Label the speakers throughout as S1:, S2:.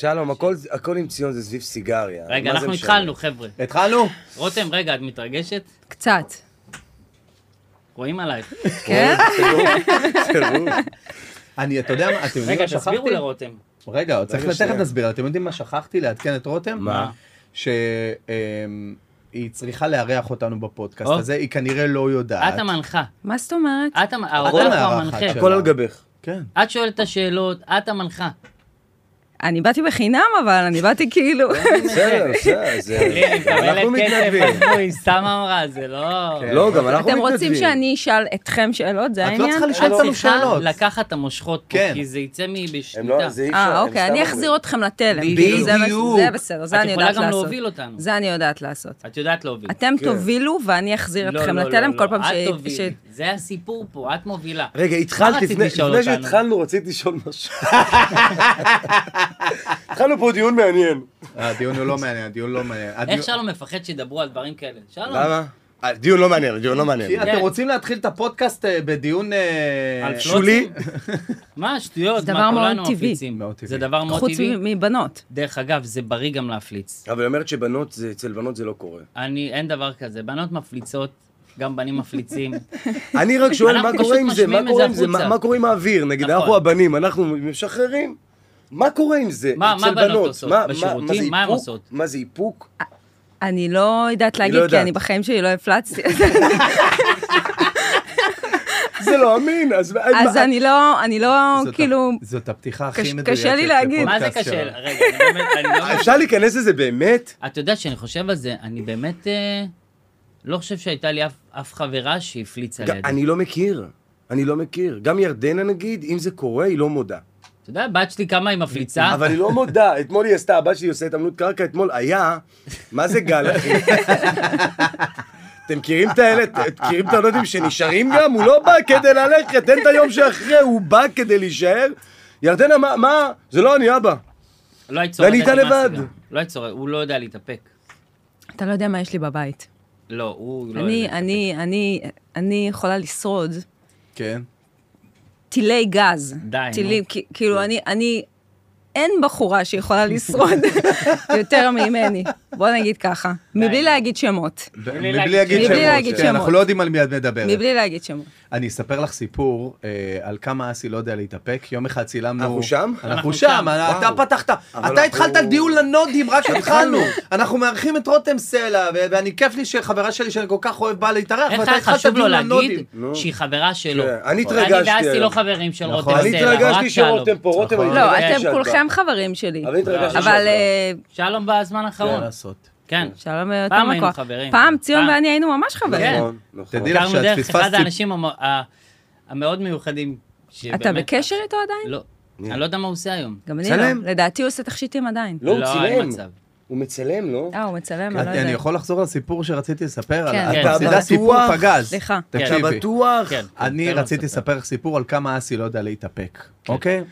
S1: שלום, הכל עם ציון זה סביב סיגריה.
S2: רגע, אנחנו התחלנו, חבר'ה.
S3: התחלנו?
S2: רותם, רגע, את מתרגשת?
S4: קצת.
S2: רואים עלייך.
S4: כן?
S3: אני, אתה יודע מה, אתם יודעים
S2: רגע,
S3: מה שכחתי?
S2: תסבירו לרותם.
S3: רגע, צריך
S1: רגע,
S3: לתכף
S1: שנייה.
S3: נסביר, אתם יודעים מה שכחתי לעדכן את רותם?
S1: מה?
S3: שהיא צריכה לארח אותנו בפודקאסט
S2: או.
S3: הזה, היא כנראה לא יודעת.
S2: את המנחה.
S4: מה זאת אומרת?
S2: את המ- האורח הוא
S3: המארחת
S2: המנחה.
S3: שלנו.
S1: הכל על גבך.
S3: כן.
S2: את שואלת את השאלות, את המנחה.
S4: אני באתי בחינם, אבל אני באתי כאילו...
S1: בסדר, בסדר, זה...
S2: כן, היא מקבלת
S1: אנחנו מתנדבים.
S2: כסף, עזבו, היא סתם אמרה, זה לא...
S3: כן.
S1: לא, גם אנחנו
S4: אתם
S1: מתנדבים.
S4: רוצים שאני אשאל אתכם שאלות? זה
S3: את לא
S4: העניין?
S3: צריכה לשאול
S2: את
S3: אותנו
S2: צריכה
S3: שאלות.
S2: לקחת את המושכות פה,
S3: כן.
S2: כי זה יצא מבשליטה.
S1: הם לא, זה אי אפשר.
S4: אה,
S1: הם
S4: אוקיי, אני
S1: סתם אומרים.
S4: אחזיר אתכם לתלם.
S3: בדיוק.
S4: זה בס- זה בסדר, זה
S2: את
S4: אני
S2: יכולה
S4: יודעת
S2: גם
S4: לעשות.
S2: להוביל אותנו.
S4: זה אני יודעת לעשות.
S2: את יודעת להוביל.
S4: אתם
S1: כן.
S4: תובילו ואני אחזיר
S2: לא,
S4: אתכם
S2: לא,
S4: לתלם
S2: לא,
S4: כל
S2: לא,
S4: פעם
S2: את
S4: ש-
S2: תובילי.
S4: ש...
S2: זה הסיפור פה, את מובילה.
S1: רגע, התחלת
S2: מה רצית
S1: לפני,
S2: לשאול
S1: לפני
S2: אותנו?
S1: שהתחלנו, רציתי לשאול משהו. התחלנו פה דיון מעניין.
S3: הדיון הוא לא מעניין, הדיון לא מעניין. הדיון-
S2: איך שלום מפחד שידברו על דברים כאלה? שלום.
S1: למה? דיון לא מעניין, דיון לא מעניין.
S3: כי
S2: כן.
S3: אתם רוצים להתחיל את הפודקאסט אה, בדיון... אה,
S2: על פלוט?
S1: שולי,
S2: מה, שטויות,
S4: זה
S2: מה,
S4: דבר מאוד
S2: כולנו
S4: טבעי.
S2: מפליצים.
S3: מאוד טבעי.
S2: זה דבר מאוד
S4: חוץ
S2: טבעי.
S4: מ- מבנות.
S2: דרך אגב, זה בריא גם להפליץ.
S1: אבל היא אומרת שבנות, זה- אצל בנות זה לא קורה.
S2: אני, אין דבר כזה. בנות מפליצות, גם בנים מפליצים.
S1: אני רק שואל
S2: אנחנו
S1: מה קורה
S2: פשוט
S1: עם זה, מה
S2: משמיעים את
S1: קורה
S2: זה
S1: עם זה, מה
S2: החוצה.
S1: מה קורה עם האוויר, נגיד
S2: נכון.
S1: אנחנו הבנים, אנחנו משחררים. מה קורה עם זה?
S2: מה-
S1: אצל
S2: מה בנות
S1: בנות?
S2: עושות?
S1: מה- מה-
S2: בשירותים?
S1: מה זה
S2: מה הן
S1: איפוק?
S2: עושות?
S1: מה זה איפוק?
S4: אני לא יודעת להגיד, כי
S1: יודעת.
S4: אני בחיים שלי לא הפלצתי.
S1: זה לא אמין, אז...
S4: אז
S1: מה-
S4: אני לא, אני לא,
S3: זאת ה-
S4: כאילו...
S3: זאת הפתיחה
S4: קש-
S3: הכי מדויקת.
S4: קשה לי להגיד.
S2: מה זה
S3: לפודקאסט
S2: קשה?
S3: שלנו.
S2: רגע, אני באמת, אני לא... מבין.
S1: אפשר להיכנס לזה באמת?
S2: אתה יודע, שאני חושב על זה, אני באמת אה, לא חושב שהייתה לי אף- אף חברה שהפליצה
S1: ג-
S2: לידי.
S1: אני לא מכיר. אני לא מכיר. גם ירדנה נגיד, אם זה קורה, היא לא מודה.
S2: אתה יודע, הבת שלי כמה היא מפליצה.
S1: אבל היא לא מודה. אתמול היא עשתה, הבת שלי עושה התעמלות קרקע, אתמול היה, מה זה גל, אחי? אתם מכירים את האלה, את- מכירים את הנודים שנשארים גם? הוא לא בא כדי ללכת, אין את היום שאחרי, הוא בא כדי להישאר. ירדנה, מה, מה? זה לא אני, אבא.
S2: לא היית שורדת
S1: ואני איתה
S2: עם
S1: לבד.
S2: הסיגר. לא היית שורדת, הוא לא יודע להתאפק.
S4: אתה לא יודע מה יש לי בבית.
S2: לא, הוא לא
S4: אני,
S2: יודע.
S4: אני, אני, אני יכולה לשרוד
S3: כן.
S4: טילי גז.
S2: די, נו.
S4: טילים, כ- כאילו, אני, אני, אין בחורה שיכולה לשרוד יותר ממני, בוא נגיד ככה, מבלי
S2: נו.
S4: להגיד שמות.
S3: מבלי
S2: להגיד
S4: שמות.
S3: להגיד שמות.
S4: מבלי להגיד
S3: כן,
S4: שמות.
S3: אנחנו לא יודעים על מי את מדברת.
S4: מבלי להגיד שמות.
S3: אני אספר לך סיפור אה, על כמה אסי לא יודע להתאפק. יום אחד צילמנו...
S1: אנחנו שם?
S2: אנחנו
S3: אנחנו שם,
S1: שם.
S3: אתה
S1: וואו.
S3: פתחת,
S1: אבל
S3: אתה
S1: אנחנו-
S3: התחלת על דיון לנודים, רק התחלנו. אנחנו מארחים את רותם סלע, ו- ואני כיף לי שחברה שלי שאני כל כך אוהב באה להתארח,
S2: איך
S3: ואתה
S2: היה
S3: התחלת
S2: חשוב לו
S3: דיון
S2: להגיד כן.
S3: לנודים.
S1: נו.
S2: שהיא חברה שלו?
S1: כן, אני התרגשתי
S2: אני ואסי
S1: היום.
S2: לא חברים של
S3: נכון.
S2: רותם סלע.
S1: אני התרגשתי
S2: רק שלום.
S1: שרותם פה, רותם, אני
S3: נכון.
S4: לא,
S1: התרגשתי
S4: אתם
S1: שאת
S4: כולכם
S1: באה.
S4: חברים שלי.
S1: אבל התרגשתי שאת
S4: אבל
S1: באה.
S4: אה,
S2: שלום בזמן
S3: מה
S2: האחרון.
S3: לעשות?
S2: כן.
S4: שלום
S2: פעם
S4: יותר
S2: היינו
S4: מקור.
S2: חברים.
S4: פעם ציון
S2: פעם.
S4: ואני היינו ממש חברים.
S5: אה,
S2: כן.
S1: נכון, נכון.
S3: תדעי לך
S2: הכרנו
S3: שאת
S2: דרך אחד
S3: פספסת סיפ-
S2: האנשים המ- ה- המאוד מיוחדים. שבאמת-
S4: אתה בקשר איתו עדיין?
S2: כן, לא. אני לא יודע מה הוא עושה היום.
S4: גם אני
S1: צלם.
S4: לא. לדעתי הוא עושה תכשיטים עדיין.
S1: לא, הוא
S2: אין
S1: צילם.
S2: מצב.
S1: הוא מצלם, לא?
S4: אה, הוא מצלם, אני לא
S3: אני אני
S4: יודעת.
S3: יכול לחזור לסיפור שרציתי לספר?
S4: כן.
S3: על-
S2: כן.
S3: אתה-
S2: אתה
S3: זה סיפור
S1: בטוח?
S3: פגז.
S4: סליחה.
S2: כן.
S1: אתה
S3: תקשיבי.
S1: בטוח?
S2: כן.
S3: אני
S2: תן לו
S3: רציתי
S2: לספר.
S3: לספר לך סיפור על כמה אסי לא יודע להתאפק,
S2: כן.
S3: אוקיי?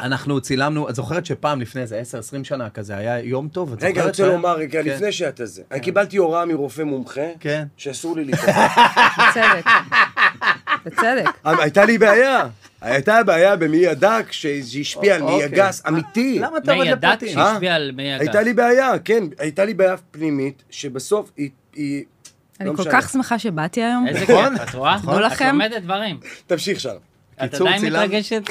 S3: אנחנו צילמנו, את זוכרת שפעם לפני איזה 10-20 שנה כזה, היה יום טוב, את זוכרת?
S1: רגע, אני רוצה לומר רגע,
S3: כן.
S1: לפני שאתה זה. אני קיבלתי הוראה מרופא מומחה,
S3: כן.
S1: שאסור לי להתאפק.
S4: בצדק.
S1: לא
S4: בצדק.
S1: הייתה לי בעיה. הייתה בעיה במעי הדק שהשפיע על מעי
S3: אוקיי.
S1: הגס, אמיתי.
S3: למה אתה
S2: מי
S3: יורד
S2: ידע
S3: לפרטים?
S1: אה?
S2: שהשפיע על מי ידע.
S1: הייתה לי בעיה, כן, הייתה לי בעיה פנימית, שבסוף היא- היא...
S4: אני
S1: לא
S4: כל
S1: משנה.
S4: כך שמחה שבאתי היום.
S2: איזה
S3: נכון?
S2: כיף, את רואה?
S3: נכון.
S4: תנו
S2: את
S4: לכם.
S2: לומדת דברים.
S1: תמשיך שם.
S2: את
S3: קיצור,
S2: עדיין
S3: צילם-
S2: מתרגשת?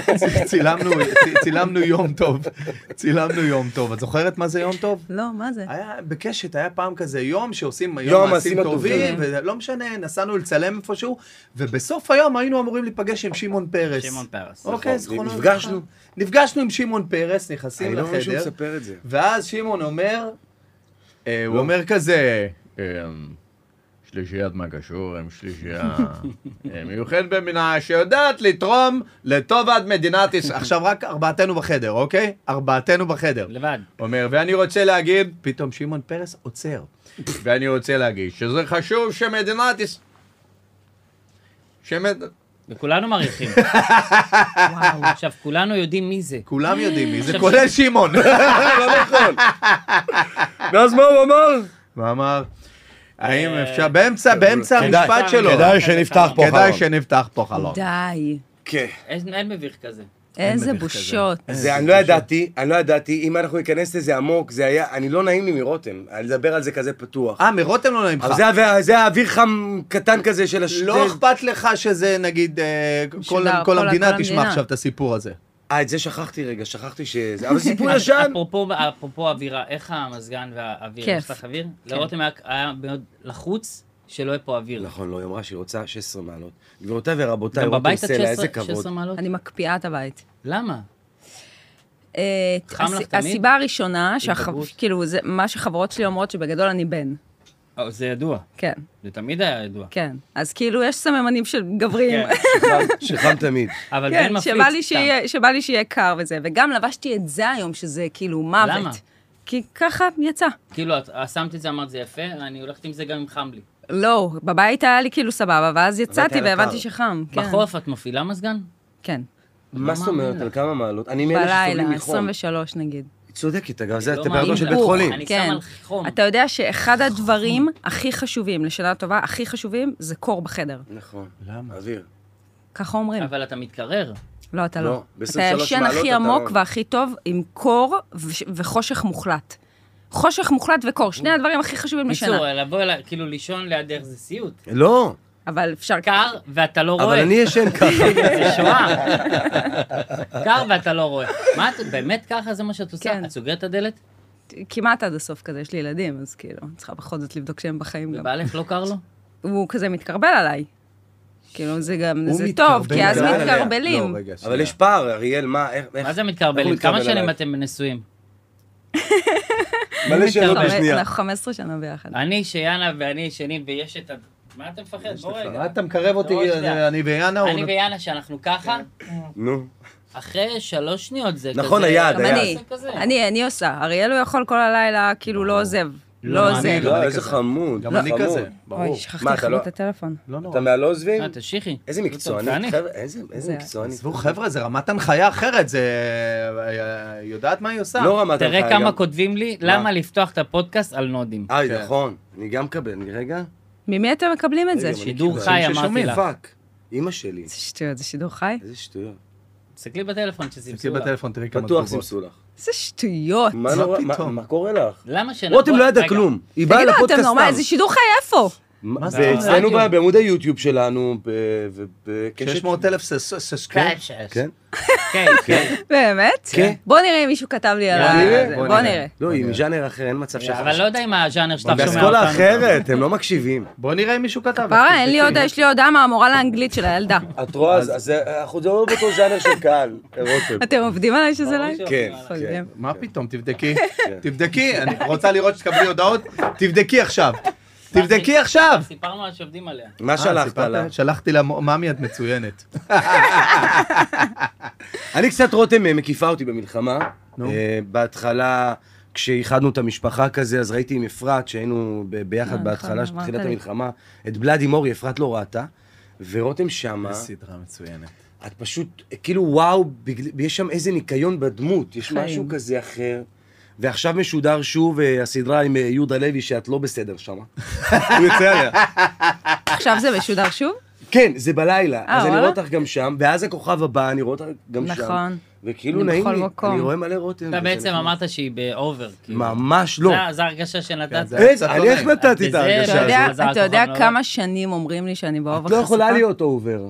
S3: צילמנו, צ- צילמנו יום טוב, צילמנו יום טוב. את זוכרת מה זה יום טוב?
S4: לא, מה
S1: אה,
S4: זה?
S3: היה בקשת, היה פעם כזה יום שעושים
S1: יום
S3: יום
S1: מעשים
S3: מעשים טובים,
S1: הטובים.
S3: ולא משנה, נסענו לצלם איפשהו, ובסוף היום היינו אמורים להיפגש עם שמעון פרס.
S2: שמעון פרס.
S3: אוקיי,
S1: נכון,
S3: זכרונו לברכה.
S1: נפגשנו.
S3: נפגשנו עם שמעון פרס,
S1: אני
S3: נכנסים
S1: לא מבין שהוא
S3: לחדר,
S1: מספר את זה. לא.
S3: ואז שמעון אומר, אה, הוא אומר כזה, אמ, שלישיית מגשור הם שלישייה אה, מיוחדת במינה שיודעת לתרום לטוב עד מדינת ישראל. עכשיו רק ארבעתנו בחדר, אוקיי? ארבעתנו בחדר.
S2: לבד.
S3: אומר, ואני רוצה להגיד, פתאום שמעון פרס עוצר. ואני רוצה להגיד שזה חשוב שמדינת ישראל... שמד...
S2: וכולנו מעריכים. עכשיו, כולנו יודעים מי זה.
S3: כולם יודעים מי זה,
S2: עכשיו-
S3: כולל שמעון.
S1: לא נכון. ואז מה הוא אמר?
S3: ואמר, האם אפשר, באמצע, באמצע
S2: אה, כן, כדאי-
S3: המשפט שלו,
S2: כדאי שנפתח
S1: לא.
S3: כדאי שנפתח פה חלום.
S4: די.
S1: כן.
S2: אין אין מביך כזה.
S5: איזה
S3: מדריך כזה.
S5: בושות.
S1: זה, אני לא ידעתי, אני לא ידעתי, אם אנחנו ניכנס לזה עמוק, זה היה, אני לא נעים לי מרותם, אני לדבר על זה כזה פתוח.
S3: אה, מרותם לא נעים לך.
S1: אבל זה היה- זה היה אוויר חם קטן כזה של הש...
S3: לא
S1: זה-
S3: אכפת לך שזה, נגיד, אה, כל-
S5: שדר,
S3: כל
S5: כל-
S3: המדינה
S5: כל
S3: תשמע
S5: המדינה.
S3: עכשיו את הסיפור הזה.
S1: אה, את זה שכחתי רגע, שכחתי שזה... אבל סיפור ישן.
S2: אפרופו, אפרופו אווירה, איך המזגן והאוויר?
S5: כיף.
S2: יש לך אוויר? לרותם היה- היה מאוד לחוץ שלא יהיה פה אוויר.
S1: נכון, לא, היא אמרה שהיא רוצה 16 מעלות. גבירותיי ורבותיי,
S2: גם
S1: רותם
S2: בבית עד
S1: סלע, איזה
S2: 16
S1: כבוד.
S2: 16 מעלות?
S5: אני מקפיאה את הבית.
S2: למה?
S5: אה,
S2: חם לך
S5: הס-
S2: תמיד?
S5: הסיבה הראשונה,
S2: התבגרות?
S5: שהח- כאילו, זה מה שחברות שלי אומרות שבגדול אני בן.
S2: אה, זה ידוע.
S5: כן,
S2: זה תמיד היה ידוע.
S5: כן. אז כאילו, יש סממנים של גברים.
S2: כן.
S1: שחם- שחם תמיד.
S2: אבל בן
S5: כן,
S2: מפליץ
S5: שבא לי
S2: סתם.
S5: שיהיה- שבא לי שיהיה קר וזה. וגם לבשתי את זה היום, שזה כאילו מוות.
S2: למה?
S5: כי ככה יצא.
S2: כאילו, את את שמת את זה, אמרת, זה יפה, אני הולכת עם זה גם אם חם לי.
S5: לא, בבית היה לי כאילו סבבה, ואז יצאתי
S1: היה
S5: והבנתי
S1: קר.
S5: שחם. כן.
S2: בחורף את מפעילה מזגן?
S5: כן.
S1: מה זאת אומרת, על כמה מעלות? אני מאלה
S5: בלילה,
S1: שסובלים מחום.
S5: 23 נגיד.
S1: היא צודקת, אגב, זה
S2: לא
S1: הטמפרטורה
S2: מאמין
S1: של
S2: לך.
S1: בית חולים.
S2: אני שם
S5: כן.
S2: על חום.
S5: אתה יודע שאחד הדברים הכי חשובים, לשנה טובה, הכי חשובים, זה קור בחדר.
S1: נכון.
S3: למה?
S1: אוויר.
S5: ככה אומרים.
S2: אבל אתה מתקרר.
S5: לא, אתה
S1: לא,
S5: לא.
S1: ב-23
S5: אתה ישן
S1: מעלות
S5: הכי
S1: אתה- לא-
S5: עמוק והכי טוב עם קור וש- וחושך מוחלט. חושך מוחלט וקור, שני הדברים הכי חשובים לשנה.
S2: בקיצור, לבוא, אליי- כאילו, לישון לידך זה סיוט.
S1: לא,
S5: אבל אפשר...
S2: קר ואתה לא
S1: אבל
S2: רואה.
S1: אני ישן ככה.
S2: זה שואה. קר ואתה לא רואה. מה את, באמת ככה זה מה שאת עושה?
S5: כן.
S2: את סוגרת את הדלת?
S5: כמעט עד הסוף כזה, יש לי ילדים, אז כאילו, אני צריכה בכל זאת לבדוק שהם בחיים גם.
S2: ובעלך לא קר לו?
S5: הוא כזה מתקרבל עליי. כאילו, זה גם,
S3: הוא
S5: זה טוב, כי
S3: מתקרבל
S5: אז
S3: עליה.
S5: מתקרבלים.
S3: לא, רגע, שנייה.
S1: אבל יש פער, אריאל, מה, איך...
S2: מה
S1: איך-
S2: זה
S1: איך הוא
S2: מתקרבלים?
S1: מתקרבל
S2: כמה שנים
S1: עלייך?
S2: אתם נשואים?
S1: מלא שאלות
S5: חמש-
S1: בשנייה.
S5: אנחנו 15 שנה ביחד.
S2: אני, שיאנה ואני ישנים ויש את ה... מה אתה מפחד? בוא רגע.
S3: מה אתה מקרב אותי,
S5: לא,
S2: בוא שנייה.
S3: אני ויאנה? לא? הוא-
S2: אני ויאנה שאנחנו ככה,
S1: נו.
S2: אחרי שלוש שניות זה כזה...
S1: כן. נכון,
S2: אה,
S1: היעד,
S5: גם
S1: דיין.
S5: אני, אני, אני עושה. אריאל הוא יכול כל הלילה, כאילו, לא עוזב. לא
S2: אני
S5: עוזב.
S3: כן, גם
S1: לא,
S3: אני
S1: איזה
S3: כזה.
S1: חמוד.
S3: גם אני
S1: חמוד.
S3: כזה,
S5: אוי,
S3: ברור.
S5: שכחתי
S1: מה, אתה
S5: לכבות
S1: לא-
S5: את הטלפון.
S3: לא
S1: אתה
S3: נורא.
S1: מהלא עוזבים?
S2: אה, תשכילי.
S1: כן. איזה
S2: הוא
S1: מקצוענית,
S2: טורפני.
S1: חבר'ה, איזה- איזה
S5: זה-
S1: מקצוענית.
S3: עזבו, חבר'ה, זה רמת הנחיה אחרת, זה... אה, יודעת מה היא עושה.
S1: לא רמת
S2: תראה
S1: הנחיה,
S2: כמה
S1: גם-
S2: כותבים לי, למה לפתוח את הפודקאסט על נודים.
S1: אה,
S3: כן.
S1: נכון, אני גם מקבל, אני- רגע.
S5: ממי אתם מקבלים את זה?
S1: רגע,
S2: שידור
S1: אני-
S2: חי,
S1: אנשים
S2: אמרתי
S1: ששומעים,
S2: לך.
S1: פאק, אימא שלי.
S5: איזה שטויות, זה שידור חי?
S1: איזה שטויות.
S2: תסתכלי בטלפון
S3: תסתכלי
S2: שסימסו לה.
S3: בטלפון, תראי כמה
S1: בטוח
S3: תגובות.
S1: סימסו לך.
S5: איזה שטויות.
S1: מה נורא- מה-
S3: פתאום?
S1: מה קורה לך?
S2: למה שנבוא...
S1: רותם לא ידע
S2: רגע,
S1: כלום, היא באה
S5: תגידו,
S1: לפודקאסט
S5: אתם
S1: סתם.
S5: נורמל, זה שידור חי איפה?
S1: מה
S3: זה?
S1: זה? אצלנו
S2: רדיו.
S1: ב- בעמוד היוטיוב שלנו, ב- ובקשת...
S3: 600 אלף ססקרים.
S2: כן,
S1: כן?
S2: כן, כן.
S5: באמת?
S1: כן.
S5: בוא נראה אם מישהו כתב לי על
S2: בוא
S5: ה...
S2: נראה,
S5: זה.
S2: בוא
S5: בוא
S3: נראה.
S5: נראה.
S1: לא, היא מז'אנר אחר, אין מצב שאחר.
S2: אבל לא יודע אם הז'אנר שאתה שומע אותנו.
S1: כן. באסכולה אחרת, הם לא מקשיבים.
S3: בוא נראה אם מישהו כתב.
S5: פרה, אין לי עוד, יש לי הודעה מהמורה לאנגלית של הילדה.
S1: את רואה, אז אז אנחנו זה לא באותו ז'אנר של קהל, רותם.
S5: אתם עובדים עליי שזה לא-
S2: ברור לא
S5: לייב?
S2: שעובדים
S1: כן,
S2: עליי.
S1: כן.
S5: פולדים.
S3: מה פתאום, תבדקי. תבדקי, אני רוצה לראות שתקבלי הודעות. תבדקי עכשיו. תבדקי עכשיו.
S2: סיפרנו על שעובדים עליה.
S1: מה
S3: אה,
S1: שלחת
S3: סיפרת?
S1: לה?
S3: שלחתי לה, ממי את מצוינת.
S1: אני קצת, רותם אה, מקיפה אותי במלחמה.
S3: נו.
S1: אה, בהתחלה, כשאיחדנו את המשפחה כזה, אז ראיתי עם אפרת, שהיינו ב-
S5: אה,
S1: ביחד
S5: נכון,
S1: בהתחלה, של
S5: אמרת
S1: תחילת
S5: לי.
S1: המלחמה, את בלאדי מורי, אפרת לא ראתה, ורותם שמה,
S3: סדרה מצוינת.
S1: את פשוט, אה, כאילו וואו, בגל- יש שם איזה ניקיון בדמות, יש
S5: חיים.
S1: משהו כזה אחר. ועכשיו משודר שוב אה, הסדרה עם אה, יהודה לוי, שאת לא בסדר שמה. הוא יוצא עליה.
S5: עכשיו זה משודר שוב?
S1: כן, זה בלילה.
S5: אה,
S1: אז אני
S5: וואלה?
S1: רואה אותך גם שם, ואז הכוכב הבא, אני רואה אותך גם שם.
S5: נכון.
S1: וכאילו
S5: אני
S1: נעים
S5: בכל
S1: לי,
S5: מקום.
S1: אני רואה מלא רותם.
S2: אתה
S1: וזה
S2: בעצם
S1: נחמד.
S2: אמרת שהיא באובר. כאילו.
S1: ממש לא. כן,
S2: זה- זה הרגשה שנתת.
S3: זה-
S1: אין,
S3: קצת לא
S1: אני איך
S3: נעים.
S1: נתתי את
S2: בזה-
S1: ההרגשה
S5: אתה
S1: הזאת?
S5: יודע-
S2: זה- לא זה
S5: אתה יודע
S2: הכוכב
S5: כמה
S2: הנולד.
S5: שנים אומרים לי שאני באובר
S1: את לא יכולה להיות אובר.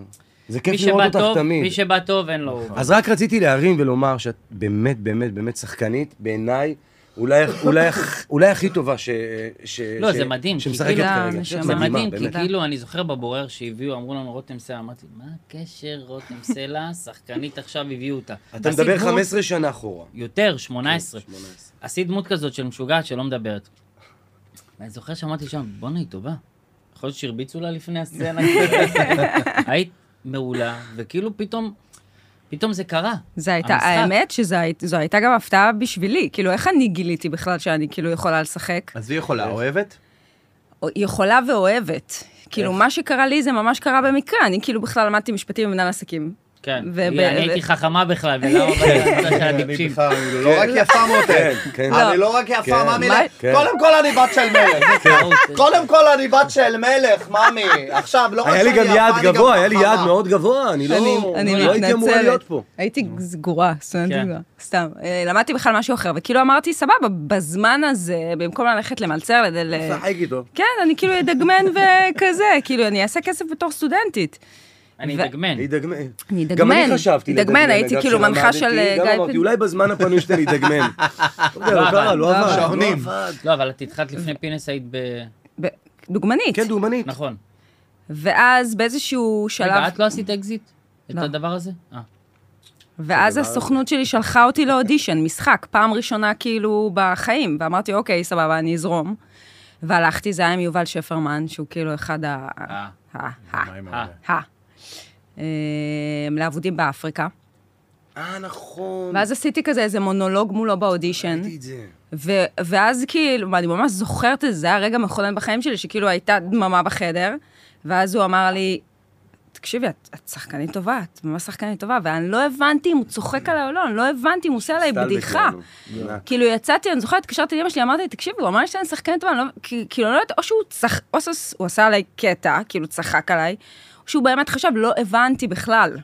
S1: זה
S2: מי
S1: כיף
S2: שבא
S1: לראות אותך
S2: טוב, מי
S1: תמיד. נכון.
S2: שבא טוב, אין לו אובר.
S1: אז רק רציתי להרים ולומר שאת באמת, באמת, באמת שחקנית, בעיניי, אולי- אולי- אולי הכי טובה ש... ש-
S2: לא,
S1: ש-
S2: זה מדהים, כי
S1: שמשחקת
S2: כאילו-
S1: כרגע.
S5: זה
S2: זה
S1: מדהימה,
S2: מדהים,
S1: באמת.
S2: כי כאילו, אני זוכר בבורר שהביאו, אמרו לנו רותם סלע, אמרתי, מה הקשר רותם סלע, שחקנית עכשיו הביאו אותה.
S1: אתה
S2: עשית
S1: מדבר כן,
S2: דמות-
S1: 15 שנה אחורה.
S2: יותר, 18.
S1: 18.
S2: עשית דמות כזאת של משוגעת שלא מדברת. ואני זוכר שאמרתי שם, בואנה, היא טובה. יכול להיות שהרביצו לה לפני הסצנה. היית מעולה, וכאילו פתאום, פתאום זה קרה.
S5: זה הייתה,
S2: המשחק.
S5: האמת שזו הייתה גם הפתעה בשבילי. כאילו, איך אני גיליתי בכלל שאני כאילו יכולה לשחק?
S3: אז היא יכולה,
S1: כן.
S3: אוהבת?
S5: או- יכולה ואוהבת. כאילו, מה שקרה לי זה ממש קרה במקרה. אני כאילו בכלל למדתי משפטים במנהל עסקים.
S2: כן.
S5: וב-
S2: היא, אני הייתי חכמה בכלל, ולמה בגלל זה של
S3: אני
S2: הטיפשים?
S3: בכלל אני לא רק יפה מותק.
S1: כן.
S3: אני לא רק יפה,
S1: כן.
S3: מאמי.
S5: מה?
S1: כן.
S3: קודם כל אני בת של מלך.
S2: טעות.
S3: קודם כל אני בת של מלך, מאמי. עכשיו, לא רק
S1: היה לי
S3: שאני
S1: גם
S3: יפה,
S1: יעד
S3: אני גם
S1: גבוה, היה לי יעד
S3: חכמה.
S1: מאוד גבוה, אני לא
S5: אני
S1: לא הייתי אמורה
S5: מתנצלת.
S1: להיות פה.
S5: הייתי סגורה, סטודנטית
S2: כן.
S5: גבוהה, סתם. אה, למדתי בכלל משהו אחר, וכאילו אמרתי, סבבה, בזמן הזה, במקום ללכת למלצר, לד- ל-
S1: שחק איתו.
S5: כן, אני כאילו אדגמן וכזה, כאילו, אני אעשה כסף בתור סטודנטית.
S2: אני
S5: ו-
S2: אדגמן.
S1: היא דגמן.
S5: אני אדגמן.
S1: אה. גם אני חשבתי
S5: אדגמן, הייתי
S1: אגב,
S5: כאילו מנחה של
S1: שלמדתי,
S5: גיא
S1: גם אמרתי,
S5: פינס.
S1: אולי בזמן הפנוי שלי אני אדגמן. לא יודע, לא קרה, לא
S5: לא
S1: עבד.
S5: עבד.
S1: לא
S3: שעונים.
S1: עבד.
S2: לא, אבל את התחלת לפני פינס היית ב...
S5: ב- דוגמנית.
S1: כן, דוגמנית.
S2: נכון.
S5: ואז באיזשהו
S2: רגע,
S5: שלב,
S2: את לא עשית אקזיט? את
S5: לא.
S2: הדבר הזה? אה.
S5: ואז הסוכנות שלי שלחה אותי לאודישן, משחק, פעם ראשונה כאילו בחיים, ואמרתי, אוקיי, סבבה, אני אזרום. והלכתי, זה היה עם יובל שפרמן, שהוא כאילו אחד ה...
S2: אה.
S5: ה- ה-
S2: אה.
S5: ה... אמ, לאבודים באפריקה.
S1: אה, נכון.
S5: ואז עשיתי כזה איזה מונולוג מולו באודישן,
S1: ראיתי את זה.
S5: ו- ואז כאילו, אני ממש זוכרת את זה, זה היה רגע מכונן בחיים שלי, שכאילו הייתה דממה בחדר, ואז הוא אמר לי, תקשיבי, את, את שחקנית טובה, את ממש שחקנית טובה, ואני לא הבנתי אם הוא צוחק עליי או לא, אני לא הבנתי אם הוא עושה עליי
S1: סטלבט
S5: בדיחה.
S1: לנו. ענק.
S5: כאילו יצאתי, אני זוכרת, התקשרתי לאמא שלי, אמרתי, תקשיבי, הוא אמר לי שאני שחקנית טובה, אני לא, כי- כאילו, אני לא יודעת, או שהוא צח... או שהוא עשה עליי קטע, כאילו צחק עליי, או שהוא באמת חשב, לא הבנתי בכלל.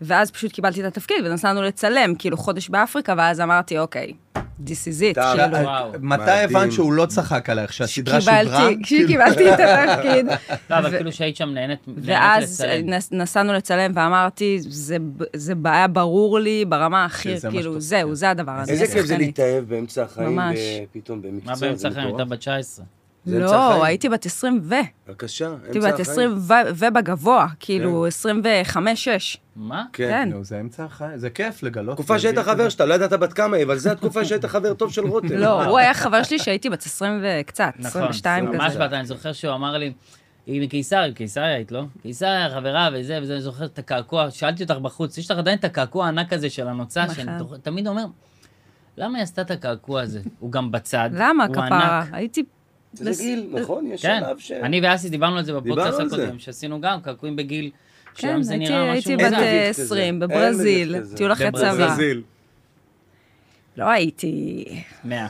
S5: ואז פשוט קיבלתי את התפקיד, ונסענו לצלם, כאילו חודש באפריקה, ואז אמרתי, אוקיי, this is it,
S1: אתה-
S5: כאילו.
S2: וואו.
S3: אה, מתי
S1: מדהים.
S3: הבנת שהוא לא צחק עלייך, שהסדרה שודרה? כאילו-
S5: קיבלתי, כשקיבלתי את התפקיד.
S2: לא, אבל
S5: ו-
S2: כאילו שהיית שם נהנית נהנית
S5: ואז
S2: לצלם.
S5: נס- נסענו לצלם ואמרתי, "זה ב- זה בעיה ברור לי ברמה הכי,
S3: שזה מה
S5: כאילו,
S3: שטוב."
S5: זהו, זה הדבר הזה.
S1: איזה כיף זה
S5: שחקנית.
S1: להתאהב באמצע החיים,
S5: ממש.
S1: ב- פתאום
S2: מה
S1: במקצוע. זה
S2: באמצע החיים?
S1: מטורף.
S2: הייתה בת 19.
S1: זה אמצע החיים.
S5: לא, הייתי בת 20 ו...
S1: בבקשה, אמצע החיים.
S5: הייתי בת 20 ו- ובגבוה, כאילו 25-6.
S2: מה?
S1: כן.
S5: כן.
S3: נו, זה אמצע החיים, זה כיף לגלות.
S1: תקופה שהיית חבר שאתה, לא ידעת בת כמה היא, אבל זו התקופה שהיית חבר טוב של רותם.
S5: לא, הוא היה חבר שלי שהייתי בת 20 וקצת,
S2: נכון.
S5: 22
S2: ממש
S5: כזה.
S2: בת, אני זוכר שהוא אמר לי, היא מקיסריה, קיסריה היית, לא? קיסריה, חברה וזה, וזה, אני זוכר את הקעקוע, שאלתי אותך בחוץ, יש לך עדיין את הקעקוע הענק הזה של הנוצה, שאני
S5: נכון.
S2: תוך- תמיד אומר, למה היא עשתה את הקעקוע הזה? הוא גם בצד,
S5: למה,
S2: הוא
S5: כפרה?
S2: ענק.
S5: הייתי...
S1: זה גיל, נכון? יש
S2: כן,
S1: שלב ש...
S2: אני ואסי דיברנו על זה בפודקאסט
S1: דיברנו על זה.
S2: הקודם, שעשינו גם קעקועים בגיל,
S5: כן,
S2: שהיום זה
S5: הייתי-
S2: נראה משהו
S5: הייתי
S1: אין
S5: בת
S2: מוזר.
S1: מגיב
S5: אה,
S1: כזה.
S5: 20,
S1: אין
S5: בברזיל,
S1: מגיב כזה.
S5: טיול אחרי
S2: בברזיל.
S5: צבא.
S1: ברזיל.
S5: לא הייתי...
S2: מאה.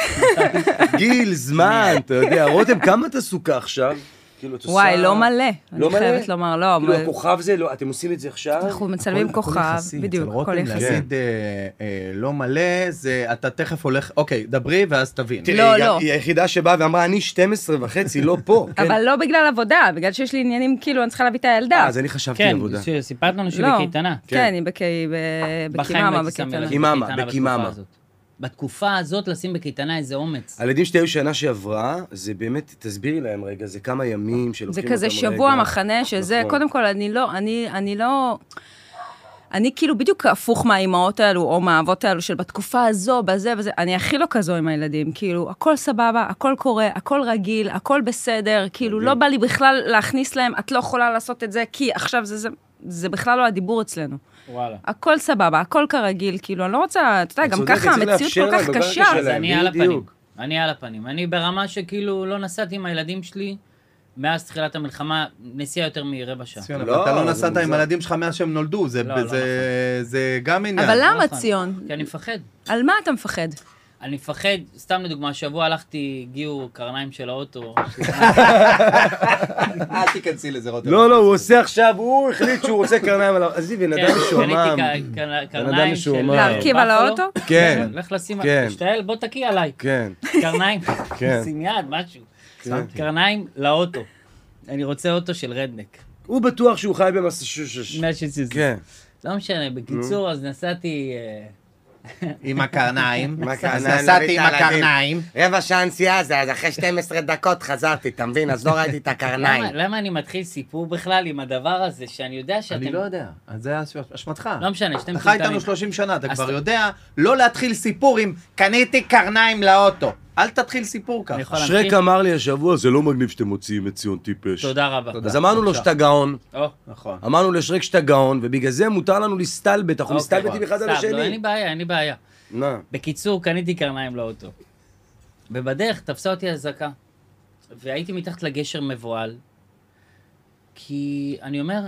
S1: גיל, זמן, אתה יודע. רותם, כמה את עסוקה עכשיו? כאילו, את עושה...
S5: וואי, לא מלא. אני
S1: לא מלא?
S5: חייבת לומר, לא.
S1: כאילו,
S5: אבל-
S1: הכוכב זה, לא, אתם עושים את זה עכשיו?
S5: אנחנו מצלמים כוכב, בדיוק, הכל
S3: אצל
S5: יחסי.
S3: רותם להגיד אה, אה, לא מלא, זה אתה תכף הולך, אוקיי, דברי ואז תבין.
S1: תראי,
S5: לא,
S1: היא גם-
S5: לא.
S1: היא היחידה שבאה ואמרה, אני 12 וחצי, לא פה. כן?
S5: אבל לא בגלל עבודה, בגלל שיש לי עניינים, כאילו, אני צריכה להביא את הילדה.
S1: אה, אז אני חשבתי
S2: כן,
S1: עבודה.
S2: סיפרת לנו
S5: לא.
S2: שבקייטנה.
S1: כן. כאילו,
S5: כן, היא בקי- ב-
S2: בחיים לא
S5: בקיממה,
S2: הייתי שם
S5: בקייטנה.
S2: ילדים
S1: קיממה,
S2: בקייטנה
S1: בקיממה.
S2: בתקופה הזאת. בתקופה הזאת לשים בקייטנה איזה אומץ.
S1: הילדים שלי היו שנה שעברה, זה באמת, תסבירי להם רגע, זה כמה ימים
S5: זה
S1: שלוקחים
S5: כזה
S1: אותם
S5: שבוע
S1: רגע.
S5: מחנה, שזה,
S1: נכון.
S5: קודם כל, אני לא, אני, אני לא... אני כאילו בדיוק הפוך מהאימהות האלו, או מהאבות האלו, של בתקופה הזו, בזה וזה, אני הכי לא כזו עם הילדים, כאילו, הכל סבבה, הכל קורה, הכל רגיל, הכל בסדר, כאילו, לא בא לי בכלל להכניס להם, את לא יכולה לעשות את זה, כי עכשיו זה, זה, זה בכלל לא הדיבור אצלנו.
S2: וואלה.
S5: הכל סבבה, הכל כרגיל, כאילו, אני לא רוצה, אתה
S1: את
S5: יודע, גם
S1: צודקת,
S5: ככה,
S1: צריך
S5: המציאות
S1: לאפשר
S5: כל כך
S1: להם, בבית
S5: קשה.
S1: שלהם.
S2: אז אני על הפנים.
S1: בדיוק.
S2: אני על הפנים. אני ברמה שכאילו לא נסעתי עם הילדים שלי מאז תחילת המלחמה, נסיעה יותר מרבע שעה.
S3: ציון, אבל
S1: לא,
S3: אתה לא
S1: זה
S3: נסעת עם
S1: מוזר.
S3: הילדים שלך מאז שהם נולדו, זה-
S2: לא, לא
S3: זה- זה גם עניין.
S5: אבל
S2: לא
S5: למה,
S2: נכון.
S5: ציון?
S2: כי אני מפחד.
S5: על מה אתה מפחד?
S2: אני מפחד, סתם לדוגמה, השבוע הלכתי, הגיעו קרניים של האוטו,
S3: אל תיכנסי לזה, רותם.
S1: לא, לא, הוא עושה עכשיו, הוא החליט שהוא רוצה קרניים עליו. עזבי, בן אדם משועמם.
S2: קניתי ק- קר-
S1: אדם
S2: קרניים של
S1: משועמם.
S5: להרכיב על
S2: בפלו.
S5: האוטו?
S1: כן,
S2: לך לשים,
S1: כן.
S2: תשתעל, בוא תקיא עליי.
S1: כן.
S2: קרניים,
S1: כן.
S2: שים יד, משהו. קרניים לאוטו. אני רוצה אוטו של רדנק.
S1: הוא בטוח שהוא חי במסשושש.
S2: מהשיציז.
S1: כן.
S2: לא משנה, בקיצור, אז נסעתי... אה,
S3: עם הקרניים.
S1: עם
S3: אז
S1: הקרניים,
S3: נסעתי עם
S1: להביא את הילדים.
S3: הקרניים.
S6: רבע שעה הנסיעה זה, אז אחרי 12 דקות חזרתי, אתה מבין? אז לא ראיתי את
S2: למה, לא
S6: הקרניים.
S2: למה אני מתחיל סיפור בכלל עם הדבר הזה, שאני יודע שאתם...
S3: אני לא יודע, אז זה אשמתך.
S2: לא משנה, שאתם
S3: אתה חי
S2: מטומטמים.
S3: איתנו 30 שנה, אתה
S2: אז
S3: כבר
S2: אתה-
S3: יודע לא להתחיל סיפור עם קניתי קרניים לאוטו. אל תתחיל סיפור
S2: אני
S3: ככה.
S2: יכול להמשיך?
S1: שרק אמר לי השבוע, זה לא מגניב שאתם מוציאים את ציון טיפש.
S2: תודה רבה.
S1: אז אמרנו לו
S3: בבקשה.
S1: שאתה גאון,
S2: או,
S3: נכון.
S1: אמרנו לשרק שאתה גאון, ובגלל זה מותר לנו להסתלבט, אנחנו
S2: אוקיי.
S1: מסתלבטים אחד על
S2: סתם, לא, אין לי לא
S1: השני.
S2: בעיה, אין לי בעיה.
S1: נא.
S2: בקיצור, קניתי קרניים לאוטו. ובדרך תפסה אותי אזעקה. והייתי מתחת לגשר מבוהל, כי אני אומר,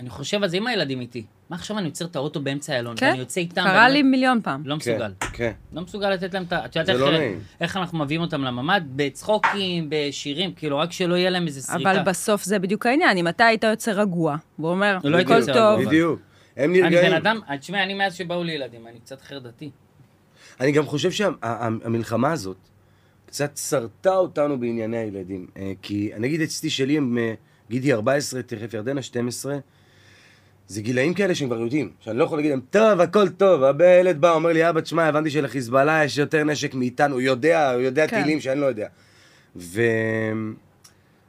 S2: אני חושב על זה עם הילדים איתי. מה עכשיו אני עוצר את האוטו באמצע איילון,
S5: כן,
S2: ואני יוצא איתם,
S5: קרה
S2: ואני-
S5: לי מיליון פעם.
S2: לא מסוגל.
S1: כן, כן.
S2: לא מסוגל לתת להם את ה... את יודעת
S1: זה
S2: איך-
S1: לא נעים.
S2: איך אנחנו מביאים אותם לממ"ד? בצחוקים, בשירים, כאילו, רק שלא יהיה להם איזה סריקה.
S5: אבל בסוף זה בדיוק העניין, אם אתה היית יוצא רגוע, ואומר,
S2: לא הייתי
S5: הכל
S2: יוצא
S5: טוב,
S2: רגוע.
S1: כן, בדיוק. הם
S2: אני בן
S1: נרגעים.
S2: אדם, תשמע, אני מאז שבאו לי ילדים, אני קצת חרדתי.
S1: אני גם חושב שהמלחמה הזאת קצת סרטה אותנו בענייני הילדים. אה, כי נגיד אצלי שלי הם, אה, גידי 14, תכף ירדנה 12, זה גילאים כאלה שהם כבר יודעים, שאני לא יכול להגיד להם, טוב, הכל טוב. הילד בא, אומר לי, אבא, תשמע, הבנתי שלחיזבאללה יש יותר נשק מאיתנו, הוא יודע, הוא יודע
S5: כן.
S1: טילים שאני לא יודע. ו...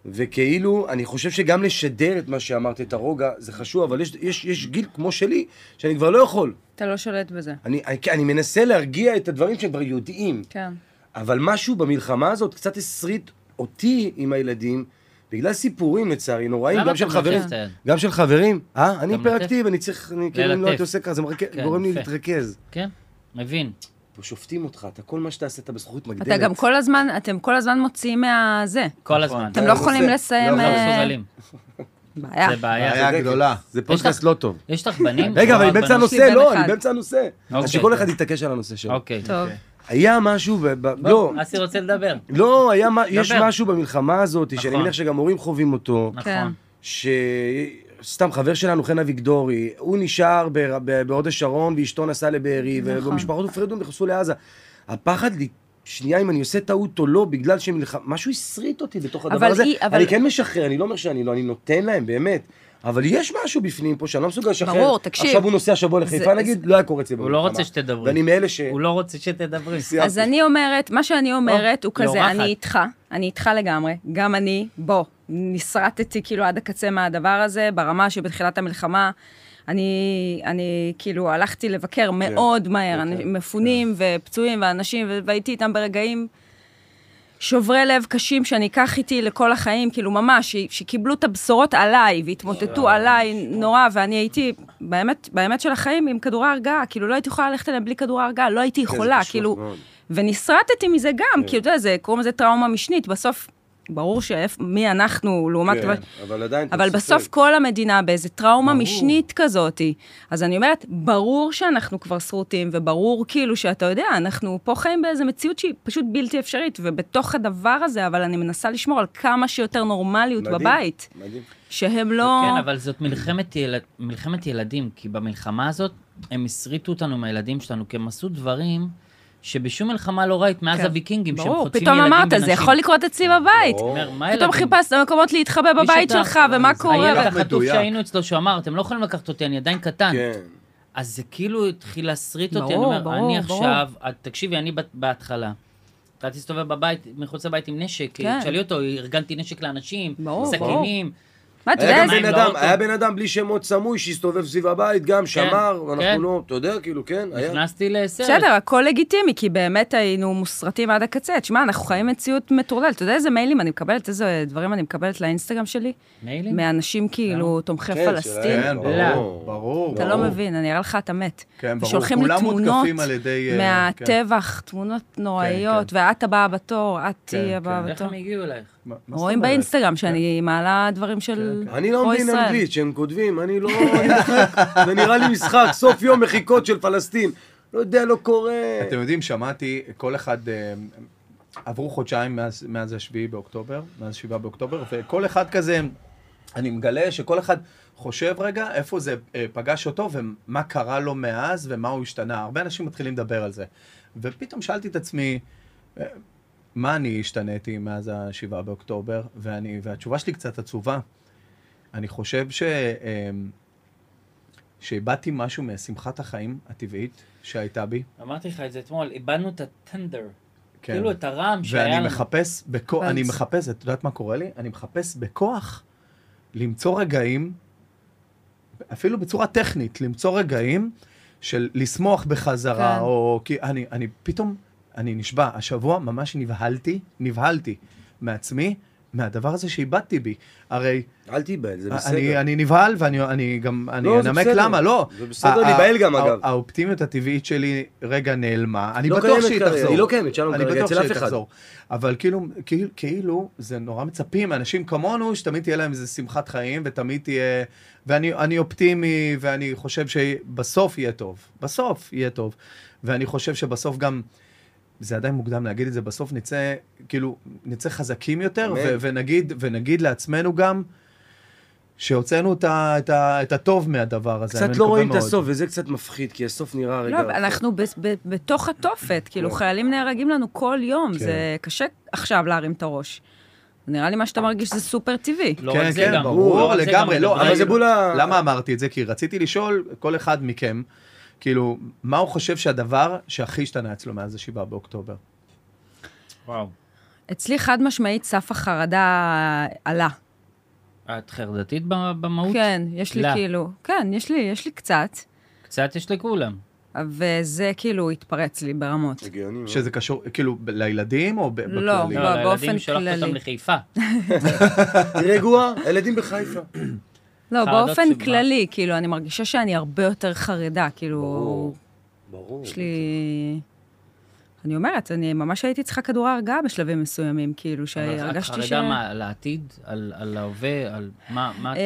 S1: וכאילו, אני חושב שגם לשדר את מה שאמרת, את הרוגע, זה חשוב, אבל יש, יש, יש גיל כמו שלי, שאני כבר לא יכול.
S5: אתה לא שולט בזה.
S1: אני, אני, כן, אני מנסה להרגיע את הדברים שכבר יודעים,
S5: כן.
S1: אבל משהו במלחמה הזאת קצת הסריט אותי עם הילדים, בגלל סיפורים לצערי נוראים,
S2: למה
S1: גם
S2: אתה
S1: של חברים,
S2: מלטף את היד?
S1: גם של חברים, אה, אני
S2: אתה
S1: היפראקטיב, אני צריך, אני כאילו, אם לא
S2: ללטף.
S1: הייתי עושה ככה, זה מרק-
S2: כן,
S1: גורם לי
S2: יפה.
S1: להתרכז.
S2: כן, מבין.
S1: פה שופטים אותך, אתה כל מה שתעשה, אתה בזכות מגדלת.
S5: אתה גם כל הזמן, אתם כל הזמן מוציאים מהזה.
S1: נכון.
S2: כל הזמן.
S5: אתם לא יכולים
S1: לא,
S5: לסיים...
S1: לא
S2: לא
S5: אה,
S2: מסוגלים.
S5: בעיה.
S2: זה
S1: אה,
S2: בעיה.
S3: בעיה גדולה.
S1: זה פודקאסט לא טוב.
S2: יש לך בנים?
S1: רגע, אבל אני
S2: בנות?
S1: באמצע
S5: יש
S1: הנושא,
S5: לי בן
S1: לא,
S5: אחד.
S1: אני באמצע הנושא. אז
S2: אוקיי.
S1: שכל אחד יתעקש על הנושא שלו.
S2: אוקיי.
S5: טוב.
S1: היה משהו, ב- ב- לא,
S2: בוא, אסי רוצה לדבר.
S5: כן.
S1: לא, היה מה- יש
S2: דבר.
S1: משהו במלחמה הזאת, שאני
S2: נכון.
S1: מניח שגם הורים חווים אותו.
S2: נכון.
S1: שסתם חבר שלנו, חן אביגדורי, הוא נשאר ב- ב- בהוד השרון ואשתו נסעה לבארי,
S5: נכון.
S1: ומשפחות הופרדו, נכנסו לעזה. הפחד לי, שנייה, אם אני עושה טעות או לא, בגלל שמלחמה, משהו הסריט אותי בתוך הדבר
S5: אבל
S1: הזה.
S5: היא- אבל-
S1: אני כן משחרר, אני לא אומר שאני לא, אני נותן להם, באמת. אבל יש משהו בפנים פה שאני לא מסוגל לשחרר.
S5: ברור, תקשיב.
S1: עכשיו הוא נוסע שבוע לחיפה,
S5: זה-
S1: נגיד, לא היה קורה אצלי
S2: הוא לא
S1: במלחמה.
S2: רוצה שתדברי.
S1: ואני מאלה ש...
S2: הוא לא רוצה שתדברי.
S5: אז אני אומרת, מה שאני אומרת הוא
S2: לא,
S5: כזה,
S2: יורחת.
S5: אני איתך, אני איתך לגמרי, גם אני, בוא, נסרטתי כאילו עד הקצה מהדבר הזה, ברמה שבתחילת המלחמה, אני, אני כאילו הלכתי לבקר מאוד מהר,
S1: כן,
S5: אנ-
S1: כן.
S5: מפונים ופצועים ואנשים, ו- והייתי איתם ברגעים שוברי לב קשים שאני אקח איתי לכל החיים, כאילו ממש, ש- שקיבלו את הבשורות עליי
S1: אה,
S5: והתמוטטו עליי נורא, ואני הייתי באמת, באמת של החיים עם כדורי הרגעה, כאילו לא הייתי יכולה ללכת אליהם בלי כדורי הרגעה, לא הייתי
S1: כן, זה
S5: יכולה,
S1: קשוח
S5: כאילו,
S1: מאוד.
S5: ונסרטתי מזה גם,
S1: כן.
S5: כאילו, אתה יודע, זה, קוראים לזה טראומה משנית, בסוף, ברור שאיפ- מי אנחנו לעומת...
S1: כן, אבל עדיין... אתה
S5: אבל
S1: מסתכל.
S5: בסוף כל המדינה באיזה טראומה משנית כזאת. אז אני אומרת, ברור שאנחנו כבר שרוטים, וברור כאילו שאתה יודע, אנחנו פה חיים באיזו מציאות שהיא פשוט בלתי אפשרית, ובתוך הדבר הזה, אבל אני מנסה לשמור על כמה שיותר נורמליות
S1: מדהים,
S5: בבית,
S1: מדהים.
S5: שהם לא...
S2: כן, אבל זאת מלחמת, יל... מלחמת ילדים, כי במלחמה הזאת הם הסריטו אותנו עם הילדים שלנו, כי הם עשו דברים שבשום מלחמה לא ראית מאז
S5: כן.
S2: הוויקינגים, שהם
S5: ברור,
S2: חוטפים
S5: פתאום
S2: ילדים
S5: אמרת,
S2: ונשים.
S5: זה יכול לקרות אצלי בבית.
S1: ברור.
S2: אומר, מה
S5: פתאום
S2: ילדים?
S5: חיפשת מקומות להתחבא
S2: מי
S5: בבית
S2: שאתה-
S5: שלך, ומה קורה.
S2: הילד
S5: ו-
S2: החטוף
S3: מדויק.
S2: שהיינו אצלו, שהוא אמר, אתם לא יכולים לקחת אותי, אני עדיין קטן.
S1: כן.
S2: אז זה כאילו התחיל להסריט אותי,
S5: ברור,
S2: אני אומר,
S5: ברור,
S2: אני
S5: ברור.
S2: עכשיו, את- תקשיבי, אני בת- בהתחלה. אתה תסתובב בבית, מחוץ לבית עם נשק,
S5: כן.
S2: תשאלי אותו, ארגנתי נשק לאנשים,
S5: ברור, ברור.
S2: סכינים.
S5: מה, אתה יודע
S1: היה גם
S5: איזה...
S1: בן
S2: זה-
S1: אדם,
S2: לאוטו.
S1: היה בן אדם בלי שמות סמוי שהסתובב סביב הבית, גם שמר,
S2: כן.
S1: אנחנו לא, אתה יודע, כאילו, כן, היה.
S2: נכנסתי לסרט.
S5: בסדר, הכל לגיטימי, כי באמת היינו מוסרטים עד הקצה. תשמע, אנחנו חיים מציאות מטורללת. אתה יודע איזה מיילים אני מקבלת, איזה דברים אני מקבלת לאינסטגרם שלי?
S2: מיילים?
S5: מאנשים כאילו תומכי
S1: כן,
S5: פלסטין.
S1: שלהם.
S3: כן, ברור, ברור.
S5: אתה לא
S3: ברור.
S5: מבין, אני אראה לך, אתה מת.
S3: כן, ברור.
S5: ושולחים לי
S3: כולם
S5: תמונות
S3: מותקפים על ידי... אה, כן.
S5: מהטבח, תמונות נוראיות, ואת הבאה בתור, את תהיי הבאה
S2: איך
S5: בתור.
S2: הם הגיעו אלייך?
S3: מה- כן. מה זאת
S5: רואים
S3: אומרת? כן.
S5: באינסטגרם שאני מעלה דברים של
S1: אני לא מבין
S5: פרו-ישראל.
S1: אנגלית שהם כותבים, אני לא... אני משחק, זה נראה לי משחק, סוף יום מחיקות של פלסטין. לא יודע, לא קורה.
S3: אתם יודעים, שמעתי, כל אחד, אה, עברו חודשיים מאז- מאז השביעי באוקטובר, מאז שבעה באוקטובר, וכל אחד כזה, אני מגלה שכל אחד חושב רגע איפה זה אה, פגש אותו ומה קרה לו מאז ומה הוא השתנה. הרבה אנשים מתחילים לדבר על זה. ופתאום שאלתי את עצמי, אה, מה אני השתניתי מאז השבעה באוקטובר? ואני, והתשובה שלי קצת עצובה. אני חושב ש... אה, שאיבדתי משהו משמחת החיים הטבעית שהייתה בי.
S2: אמרתי לך את זה אתמול, איבדנו את הטנדר. כאילו את הרעם שהיה
S3: כן. ואני
S2: לנו.
S3: מחפש, בכו...
S5: הבנתי.
S3: אני מחפש, את יודעת מה קורה לי? אני מחפש בכוח למצוא רגעים, אפילו בצורה טכנית, למצוא רגעים של לשמוח בחזרה,
S5: כן.
S3: כן. או כי אני, אני פתאום, אני נשבע, השבוע ממש נבהלתי, נבהלתי מעצמי, מהדבר הזה שאיבדתי בי. הרי
S1: אל תיבהל, זה
S3: אני,
S1: בסדר.
S3: אני נבהל ואני אני גם, אני
S1: לא, זה
S3: אנמק
S1: בסדר.
S3: למה, לא.
S1: זה בסדר,
S3: ה- ה-
S1: להיבהל גם,
S3: ה-
S1: אגב.
S3: האופטימיות הטבעית שלי רגע נעלמה, אני
S1: לא
S3: בטוח
S1: קיימת
S3: שהיא
S1: כרגע,
S3: תחזור.
S1: היא לא קיימת, שלום,
S3: אני
S1: כרגע,
S3: בטוח
S1: אצל אף
S3: שהיא
S1: אחד.
S3: תחזור. אבל כאילו, כאילו, כאילו, זה נורא מצפים מאנשים כמונו, שתמיד תהיה להם איזה שמחת חיים, ותמיד תהיה... ואני אני אופטימי, ואני חושב שבסוף יהיה טוב. בסוף יהיה טוב. ואני חושב שבסוף גם... זה עדיין מוקדם להגיד את זה, בסוף נצא, כאילו, נצא חזקים יותר,
S1: אמן.
S3: ו- ונגיד, ונגיד לעצמנו גם, שהוצאנו את, ה- את, ה- את הטוב מהדבר הזה.
S1: קצת
S3: אני
S1: לא
S3: מקווה
S1: רואים את
S3: מאוד.
S1: הסוף, וזה קצת מפחיד, כי הסוף נראה רגע...
S5: לא,
S2: אוקיי.
S5: אבל אנחנו ב- ב- בתוך התופת, כאילו
S2: כן.
S5: חיילים נהרגים לנו כל יום,
S3: כן.
S5: זה קשה עכשיו להרים את הראש. נראה לי מה שאתה מרגיש זה סופר טבעי.
S2: לא רק
S3: כן,
S2: זה
S3: כן,
S2: גם,
S3: ברור,
S2: רק זה
S3: לגמרי,
S2: גם,
S3: לא,
S1: אבל זה בול ה-
S3: למה אמרתי את זה? כי רציתי לשאול כל אחד מכם, כאילו, מה הוא חושב שהדבר שהכי השתנה אצלו מאז השבעה באוקטובר?
S2: וואו,
S5: אצלי חד משמעית סף החרדה עלה.
S2: את חרדתית ב- במהות?
S5: כן, יש לי
S2: לה.
S5: כאילו, כן, יש לי, יש לי קצת,
S2: קצת יש לכולם.
S5: וזה כאילו התפרץ לי ברמות.
S1: הגיוני. מאוד.
S3: שזה קשור, כאילו, ב- לילדים או ב- בכללי? אה,
S5: לא,
S2: לא,
S5: ב-
S2: לילדים
S5: באופן
S2: שלחת אותם
S5: כללי.
S2: לחיפה.
S1: רגוע, הילדים בחיפה.
S5: לא,
S2: חרדות
S5: באופן
S2: שמה?
S5: כללי, כאילו, אני מרגישה שאני הרבה יותר חרדה, כאילו,
S1: ברור. ברור.
S5: יש לי... אני אומרת, אני ממש הייתי צריכה כדור הרגעה בשלבים מסוימים, כאילו,
S2: אבל את
S5: שהרגשתי ש...
S2: חרדה מה, על העתיד? על על ההווה? על מה? מה?
S5: אה,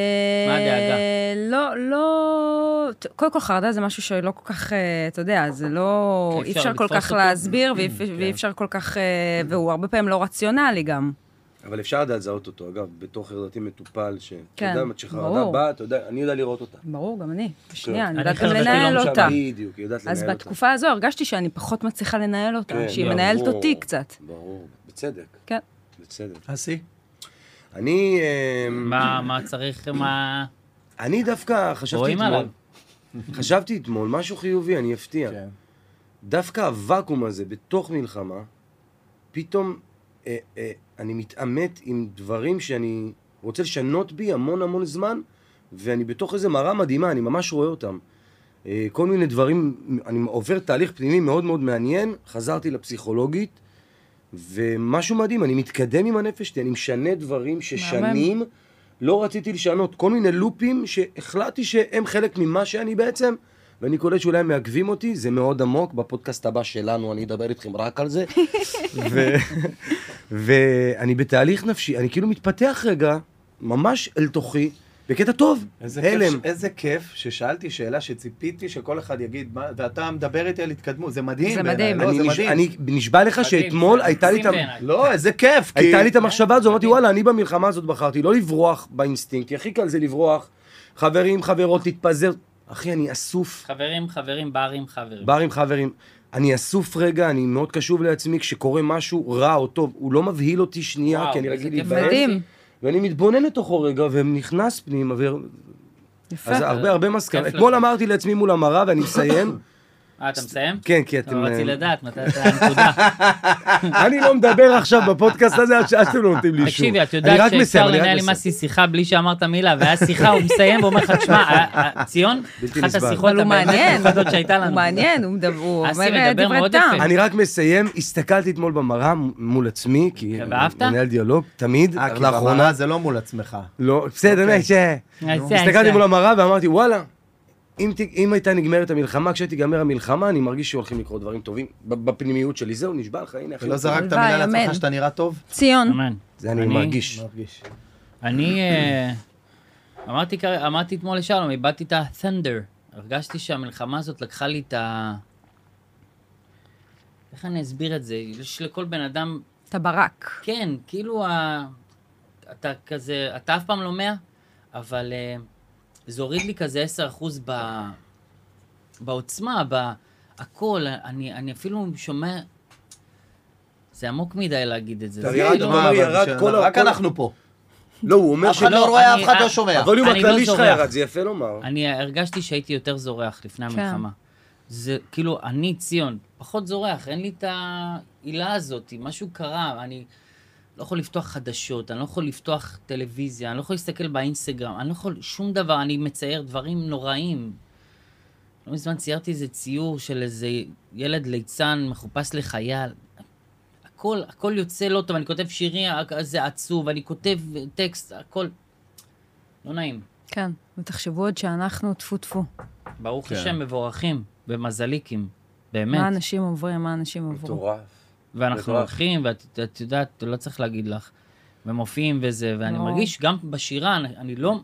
S2: מה הדאגה?
S5: לא, לא... ת- קודם כל, חרדה זה משהו שלא כל כך, אה, אתה יודע, זה לא...
S2: כי
S5: אי
S2: אפשר
S5: אפשר כל
S2: לתפוס
S5: כך
S2: אותו. Mm, כן.
S5: להסביר, ואי אפ- ואי אפשר כל כך... אה, והוא הרבה פעמים לא רציונלי גם.
S1: אבל אפשר לדעת לזהות אותו, אגב, בתור חרדתי מטופל, שאתה
S5: כן,
S1: יודע, כשחרדה
S5: ברור.
S1: באה, אתה יודע, אני יודע לראות אותה.
S5: ברור, גם אני. שנייה, אני
S2: אני
S5: יודעת גם
S2: חרדתי לא
S5: לנהל
S2: משנה.
S5: אותה.
S1: בדיוק, היא יודעת לנהל
S5: אז
S1: אותה.
S5: בתקופה הזו הרגשתי שאני פחות מצליחה לנהל אותה,
S1: כן,
S5: שהיא
S1: ברור.
S5: מנהלת אותי קצת.
S1: ברור, בצדק,
S5: כן.
S1: בצדק.
S3: אסי?
S1: אני, אמ,
S2: מה מה צריך? מה...
S1: אני דווקא חשבתי
S2: רואים
S1: אתמול,
S2: עליו.
S1: חשבתי אתמול, משהו חיובי, אני אפתיע.
S3: כן.
S1: דווקא הוואקום הזה בתוך מלחמה, פתאום אה, אה, אני מתעמת עם דברים שאני רוצה לשנות בי המון המון זמן, ואני בתוך איזה מראה מדהימה, אני ממש רואה אותם. אה, כל מיני דברים, אני עובר תהליך פנימי מאוד מאוד מעניין, חזרתי לפסיכולוגית, ומשהו מדהים, אני מתקדם עם הנפש שלי, אני משנה דברים ששנים לא רציתי לשנות, כל מיני לופים שהחלטתי שהם חלק ממה שאני בעצם, ואני קולט שאולי הם מעכבים אותי, זה מאוד עמוק, בפודקאסט הבא שלנו אני אדבר איתכם רק על זה. ו- ואני בתהליך נפשי, אני כאילו מתפתח רגע, ממש אל תוכי, בקטע טוב,
S3: איזה
S1: הלם.
S3: כיף, איזה כיף ששאלתי שאלה שציפיתי שכל אחד יגיד, מה- ואתה מדבר איתי על התקדמות, זה מדהים.
S5: זה
S3: בעיניי,
S5: מדהים.
S3: לא,
S1: אני
S3: זה
S1: נש-
S3: מדהים.
S1: אני נשבע לך שאתמול
S2: זה כן.
S1: הייתה לי את ה...
S2: מקסים בעיניי.
S3: לא, איזה כיף, כי...
S1: הייתה לי את המחשבה הזו, אמרתי, וואלה, אני במלחמה הזאת בחרתי לא לברוח באינסטינקט, כי הכי קל זה לברוח. חברים, חברות, להתפזר. אחי, אני אסוף.
S2: חברים, חברים, ברים, חברים.
S1: בר עם חברים. אני אסוף רגע, אני מאוד קשוב לעצמי, כשקורה משהו רע או טוב, הוא לא מבהיל אותי שנייה,
S2: וואו,
S1: כי אני
S2: איזה
S1: רגיל
S2: כיף.
S1: להתבאס.
S5: מדהים,
S1: ואני מתבונן לתוכו רגע, ונכנס פנימה, ו...
S5: יפה.
S1: אז הרבה הרבה מסקנה.
S2: כיף
S1: אתמול
S2: לך.
S1: אמרתי לעצמי מול המראה, ואני מסיים.
S2: אה, אתה מסיים?
S1: כן, כי אתם...
S2: אבל לא רציתי
S1: אה,
S2: לדעת מתי אתה הנקודה.
S1: אני לא מדבר עכשיו בפודקאסט הזה עד ש- עד שאתם לא נותנים לי אישור.
S2: תקשיבי, את
S1: אני
S2: יודעת
S1: רק מסיים,
S2: שאפשר
S1: אני רק
S2: לנהל
S1: מסיים.
S2: עם אסי שיחה בלי שאמרת מילה, והיה שיחה, הוא מסיים ואומר לך, תשמע, ה- ה- ציון,
S1: בלתי
S2: אחת
S1: נסבל.
S2: השיחות
S5: אבל הוא
S2: הבאמת
S5: מעניין,
S2: מיוחדות שהייתה לנו.
S5: הוא מעניין, הוא מדבר- הוא
S2: אסי
S5: אומר אה,
S2: מדבר
S5: דברי
S2: מאוד
S5: טעם.
S2: יפה.
S1: אני רק מסיים, הסתכלתי אתמול במראה מ- מול עצמי, כי
S2: כן, ואהבת?
S1: אני מנהל דיאלוג, תמיד,
S3: אה, כי
S1: לאחרונה,
S3: במראה זה לא מול עצמך.
S1: לא, בסדר, באמת, ש...
S2: אז זה, אז
S1: הסתכלתי
S2: זה.
S1: מול המראה ואמרתי, וואלה, אם ת- אם הייתה נגמרת המלחמה, כשתיגמר המלחמה, אני מרגיש שהולכים לקרות דברים טובים ב- בפנימיות שלי, זהו, נשבע לך, הנה, אחי.
S3: ולא זרקת
S5: הלוואי,
S3: מילה
S5: אמן.
S3: לעצמך שאתה נראה טוב?
S5: ציון,
S2: אמן.
S1: זה אני מרגיש.
S3: מרגיש.
S2: אני אה, אמרתי כר- אמרתי אתמול לשלום, איבדתי את ה-thunder. הרגשתי שהמלחמה הזאת לקחה לי את ה... איך אני אסביר את זה? יש לכל בן אדם
S5: אתה ברק.
S2: כן, כאילו, ה... אתה כזה, אתה אף פעם לא מאה, אבל אה, זה הוריד לי כזה 10% ב... בעוצמה, בהכל, אני, אני אפילו שומע... זה עמוק מדי להגיד את זה.
S1: אתה
S2: זה
S1: ירד, אתה
S2: לא-
S1: אומר, ירד כל ה-
S3: רק
S1: כל-
S3: אנחנו פה.
S1: לא, הוא אומר
S3: אף
S1: ש...
S3: אחד לא רואה,
S2: אני-
S3: אף אחד
S2: אה,
S3: לא שומע.
S1: הווליום
S2: אני לא
S1: הכללי שלך
S2: זורח.
S1: ירד, זה יפה לומר.
S2: אני הרגשתי שהייתי יותר זורח לפני
S5: כן.
S2: המלחמה. זה כאילו, אני ציון, פחות זורח, אין לי את העילה הזאת, משהו קרה, אני לא יכול לפתוח חדשות, אני לא יכול לפתוח טלוויזיה, אני לא יכול להסתכל באינסטגרם, אני לא יכול, שום דבר, אני מצייר דברים נוראים. לא מזמן ציירתי איזה ציור של איזה ילד ליצן מחופש לחייל. הכל, הכל יוצא לא טוב, אני כותב שירים, זה עצוב, אני כותב טקסט, הכל. לא נעים.
S5: כן, ותחשבו עוד שאנחנו, טפו טפו.
S2: ברוך
S3: כן.
S2: השם, מבורכים ומזליקים,
S5: מה
S2: באמת.
S5: אנשים עוברים, מה אנשים עברו.
S1: מטורף.
S2: ואנחנו
S1: מטורף.
S2: הולכים, ואת את יודעת, לא צריך להגיד לך. ומופיעים וזה, ואני
S5: ברור.
S2: מרגיש גם בשירה, אני אני לא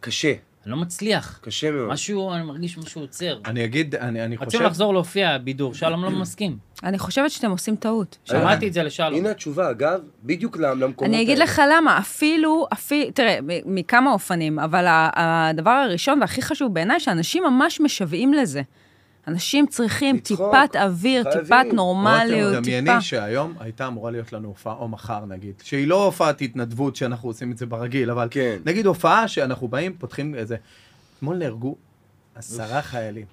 S1: קשה,
S2: אני לא מצליח.
S1: קשה מאוד.
S2: משהו, אני מרגיש משהו עוצר.
S3: אני אגיד, אני אני חושב...
S2: רצינו לחזור להופיע בידור, שלום לא מסכים.
S5: אני חושבת שאתם עושים טעות.
S2: שמעתי את זה לשלום.
S1: אה, הנה התשובה, אגב, בדיוק למ- למקומות
S5: אני אגיד
S1: האלה.
S5: לך למה, אפילו, אפילו, תראה, מ- מכמה אופנים, אבל ה- הדבר הראשון והכי חשוב בעיניי, שאנשים ממש משוועים לזה. אנשים צריכים
S1: לצחוק,
S5: טיפת אוויר,
S1: חייבים.
S5: טיפת
S3: רותם,
S5: נורמליות, טיפה.
S3: דמייני שהיום הייתה אמורה להיות לנו הופעה, או מחר נגיד, שהיא לא הופעת התנדבות שאנחנו עושים את זה ברגיל, אבל
S1: כן.
S3: נגיד הופעה שאנחנו באים, פותחים איזה... אתמול נהרגו עשרה חיילים.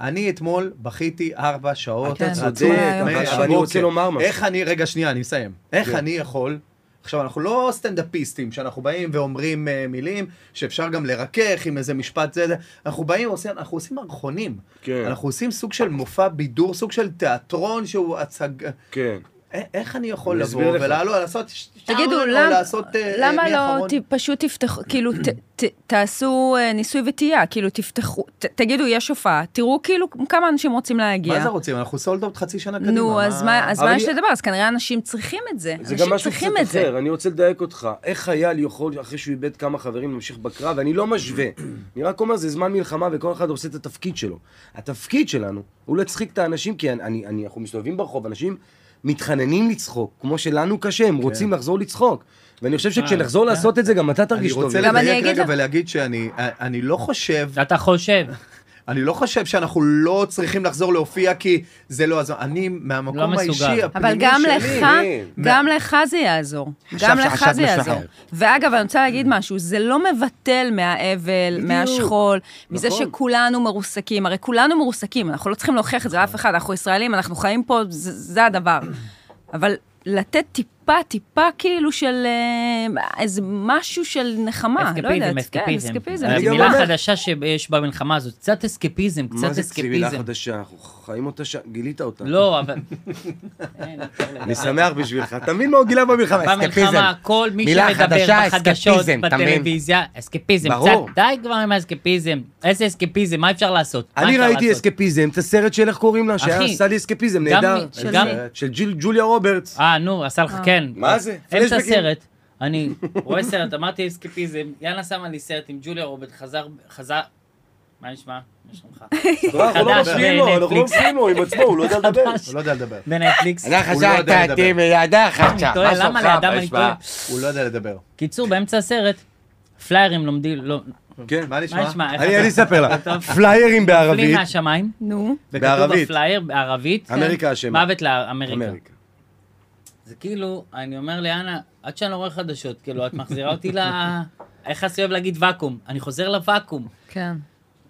S3: אני אתמול בכיתי ארבע שעות.
S5: אתה
S3: רצוף.
S5: צודק, אבל-
S3: מהבוקר.
S1: אבל אני רוצה לומר משהו.
S3: איך אני, רגע, שנייה, אני מסיים. איך
S1: כן.
S3: אני יכול... עכשיו, אנחנו לא סטנדאפיסטים, שאנחנו באים ואומרים אה, מילים שאפשר גם לרכך עם איזה משפט זה, זה. אנחנו באים, עושים, אנחנו עושים מערכונים.
S1: כן.
S3: אנחנו עושים סוג של מופע בידור, סוג של תיאטרון שהוא הצג...
S1: כן.
S3: א- איך אני יכול
S1: אני
S3: לבוא
S1: אסביר לך.
S3: ולעלות, לעשות...
S5: תגידו,
S3: או
S5: למ-
S3: לא לעשות, אה,
S5: למה
S3: מי
S5: לא
S3: האחרון?
S5: ת- פשוט תפתחו, כאילו, ת- ת- תעשו אה, ניסוי וטעייה, כאילו, תפתחו, ת- תגידו, יש הופעה, תראו כאילו כמה אנשים רוצים להגיע.
S3: מה זה רוצים? אנחנו סולד אאוט חצי שנה קדימה.
S5: נו, אז מה אז
S1: אבל
S5: מה
S1: אני-
S5: יש לדבר? אז כנראה אנשים צריכים את זה.
S1: זה גם
S5: אנשים
S1: משהו
S5: צריכים
S1: קצת
S5: את זה.
S1: אחר, אני רוצה לדייק אותך. איך חייל יכול, אחרי שהוא איבד כמה חברים, להמשיך בקרב? אני לא משווה. אני רק אומר, זה זמן מלחמה וכל אחד עושה את התפקיד שלו. התפקיד שלנו הוא להצחיק את האנשים, כי אני, אני, אני, אנחנו מסתובבים ברחוב, אנשים מתחננים לצחוק, כמו שלנו קשה, הם רוצים לחזור לצחוק. ואני חושב שכשנחזור לעשות את זה, גם אתה
S3: אני
S1: תרגיש טוב.
S3: רוצה
S5: גם אני
S3: לדייק
S5: אגיד
S3: רגע
S5: לך-
S3: ולהגיד שאני אני לא חושב
S2: אתה חושב,
S3: אני לא חושב שאנחנו לא צריכים לחזור להופיע כי זה לא הזמן. אני, מהמקום
S2: לא מסוגל.
S3: האישי,
S5: אבל
S3: הפנימי
S5: גם
S3: שלי,
S5: לך,
S1: כן.
S5: גם לך זה יעזור. גם לך
S7: עכשיו
S5: זה יעזור.
S7: משחרר.
S5: ואגב, אני רוצה
S1: Mm.
S5: להגיד משהו, זה לא מבטל מהאבל, מהשכול, מזה
S1: נכון.
S5: שכולנו מרוסקים. הרי כולנו מרוסקים, אנחנו לא צריכים להוכיח את זה לאף אחד, אנחנו ישראלים, אנחנו חיים פה, זה זה הדבר. אבל לתת טיפה, טיפה כאילו של אה, איזה משהו של נחמה, לא יודעת.
S2: אסקפיזם,
S5: כן,
S2: אסקפיזם.
S1: אני גם
S2: מילה
S1: אומר-
S2: חדשה שיש במלחמה הזאת, קצת אסקפיזם,
S1: מה
S2: קצת
S1: זה מילה
S2: אסקפיזם.
S1: חדשה? אנחנו חיים אותה ש... גילית אותה.
S2: לא, אבל... אין, אפשר
S1: אני שמח בשבילך. אתה מבין מה הוא גילה במלחמה?
S2: במלחמה, כל מי
S7: מילה
S2: שמדבר
S7: חדשה,
S2: בחדשות,
S7: אסקפיזם, אתה מבין?
S2: בטלוויזיה, אסקפיזם,
S1: ברור.
S2: קצת, די כבר עם האסקפיזם. איזה אסקפיזם, מה אפשר לעשות? מה
S1: אני
S2: אפשר
S1: ראיתי
S2: לעשות?
S1: אסקפיזם, את הסרט של איך קוראים לה, שהיה
S2: אחי,
S1: עשה לי אסקפיזם,
S2: גם
S1: נהדר.
S2: מי- גם-
S1: של ג'יל ג'וליה רוברטס.
S2: אה, נו, עשה לך, כן.
S1: מה זה?
S2: אמצע
S1: פלשבקים.
S2: הסרט, אני רואה סרט, אמרתי אסקפיזם, יאנה שמה לי סרט עם ג'וליה רוברט, חזר, חזר, מה נשמע? מה שלומך?
S1: לא, אנחנו לא
S2: חדש
S1: מפריעים לו, אנחנו לא
S2: בנטפליקס.
S1: מפריעים לו עם עצמו, הוא לא יודע לדבר.
S3: הוא לא יודע לדבר.
S2: בנטפליקס.
S7: אני
S3: לא
S7: חשבת
S3: יודע
S7: אותי
S3: לדבר.
S7: מידה חשבת.
S2: אני טועה, למה לאדם אני טועה?
S3: הוא לא יודע לדבר.
S2: קיצור, באמצע הסרט, פליירים לומדים, לא,
S1: כן.
S3: מה
S2: מה
S3: נשמע?
S2: נשמע? איך
S1: אני
S2: אתה-
S1: אני אספר לה,
S2: טוב.
S1: פליירים
S2: נופלים
S1: בערבית,
S2: מהשמיים,
S5: נו,
S2: וכתוב
S1: בערבית.
S2: בפלייר בערבית, כן.
S1: אמריקה אשמה.
S2: מוות לאמריקה.
S1: אמריקה.
S2: זה כאילו, אני אומר ליאנה, עד שאני לא רואה חדשות, כאילו, את מחזירה אותי ל... איך אסי אוהב להגיד ואקום? אני חוזר לוואקום.
S5: כן.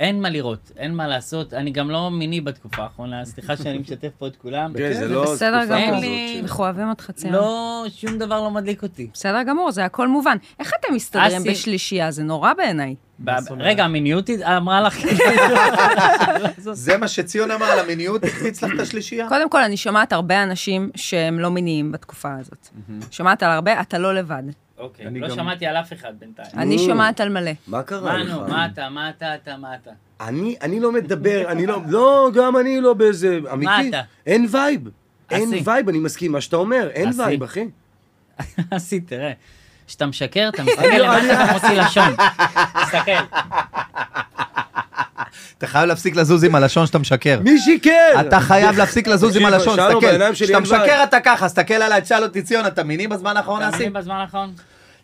S2: אין מה לראות, אין מה לעשות. אני גם לא מיני בתקופה האחרונה, סליחה שאני משתף פה את כולם.
S1: כן, זה לא
S5: בסדר
S1: תקופה
S5: גמור.
S1: כזאת
S2: אין לי-
S1: של-
S5: אנחנו אוהבים אותך ציון.
S2: לא, שום דבר לא מדליק אותי.
S5: בסדר גמור, זה הכל מובן. איך אתם מסתדרים
S2: אסי-
S5: בשלישייה? זה נורא בעיניי.
S2: ב- רגע, המיניות היא- אמרה לך...
S3: זה מה שציון אמר על המיניות, הקפיץ לך את השלישייה.
S5: קודם כל, אני שומעת הרבה אנשים שהם לא מיניים בתקופה הזאת. שומעת על הרבה, אתה לא לבד.
S2: אוקיי,
S3: אני
S2: לא
S3: גם-
S2: שמעתי על אף אחד בינתיים.
S5: אני שומעת על מלא.
S1: מה קרה
S2: מה נו, מה
S1: לך?
S2: אתה, מה אתה, אתה, מה אתה?
S1: אני אני לא מדבר, אני לא, לא, גם אני לא באיזה, אמיתי.
S2: אתה?
S1: אין וייב. אין
S2: אסי.
S1: וייב, אני מסכים עם מה שאתה אומר, אין
S2: אסי.
S1: וייב, אחי.
S2: אסי, תראה, כשאתה משקר, אתה מסתכל למטה, אתה מוציא לשון. תסתכל.
S3: אתה חייב להפסיק לזוז עם הלשון שאתה משקר.
S1: מי שיקר?
S3: אתה חייב להפסיק לזוז עם
S1: תקשיב,
S3: הלשון,
S1: שלום,
S3: תסתכל.
S1: בעיניים שלי
S3: כשאתה
S1: אין בעיה.
S3: משקר אתה ככה, תסתכל עליי, תשאל אותי ציון, אתה מיני בזמן האחרון
S2: אתה
S3: אסי?
S2: מבין בזמן האחרון?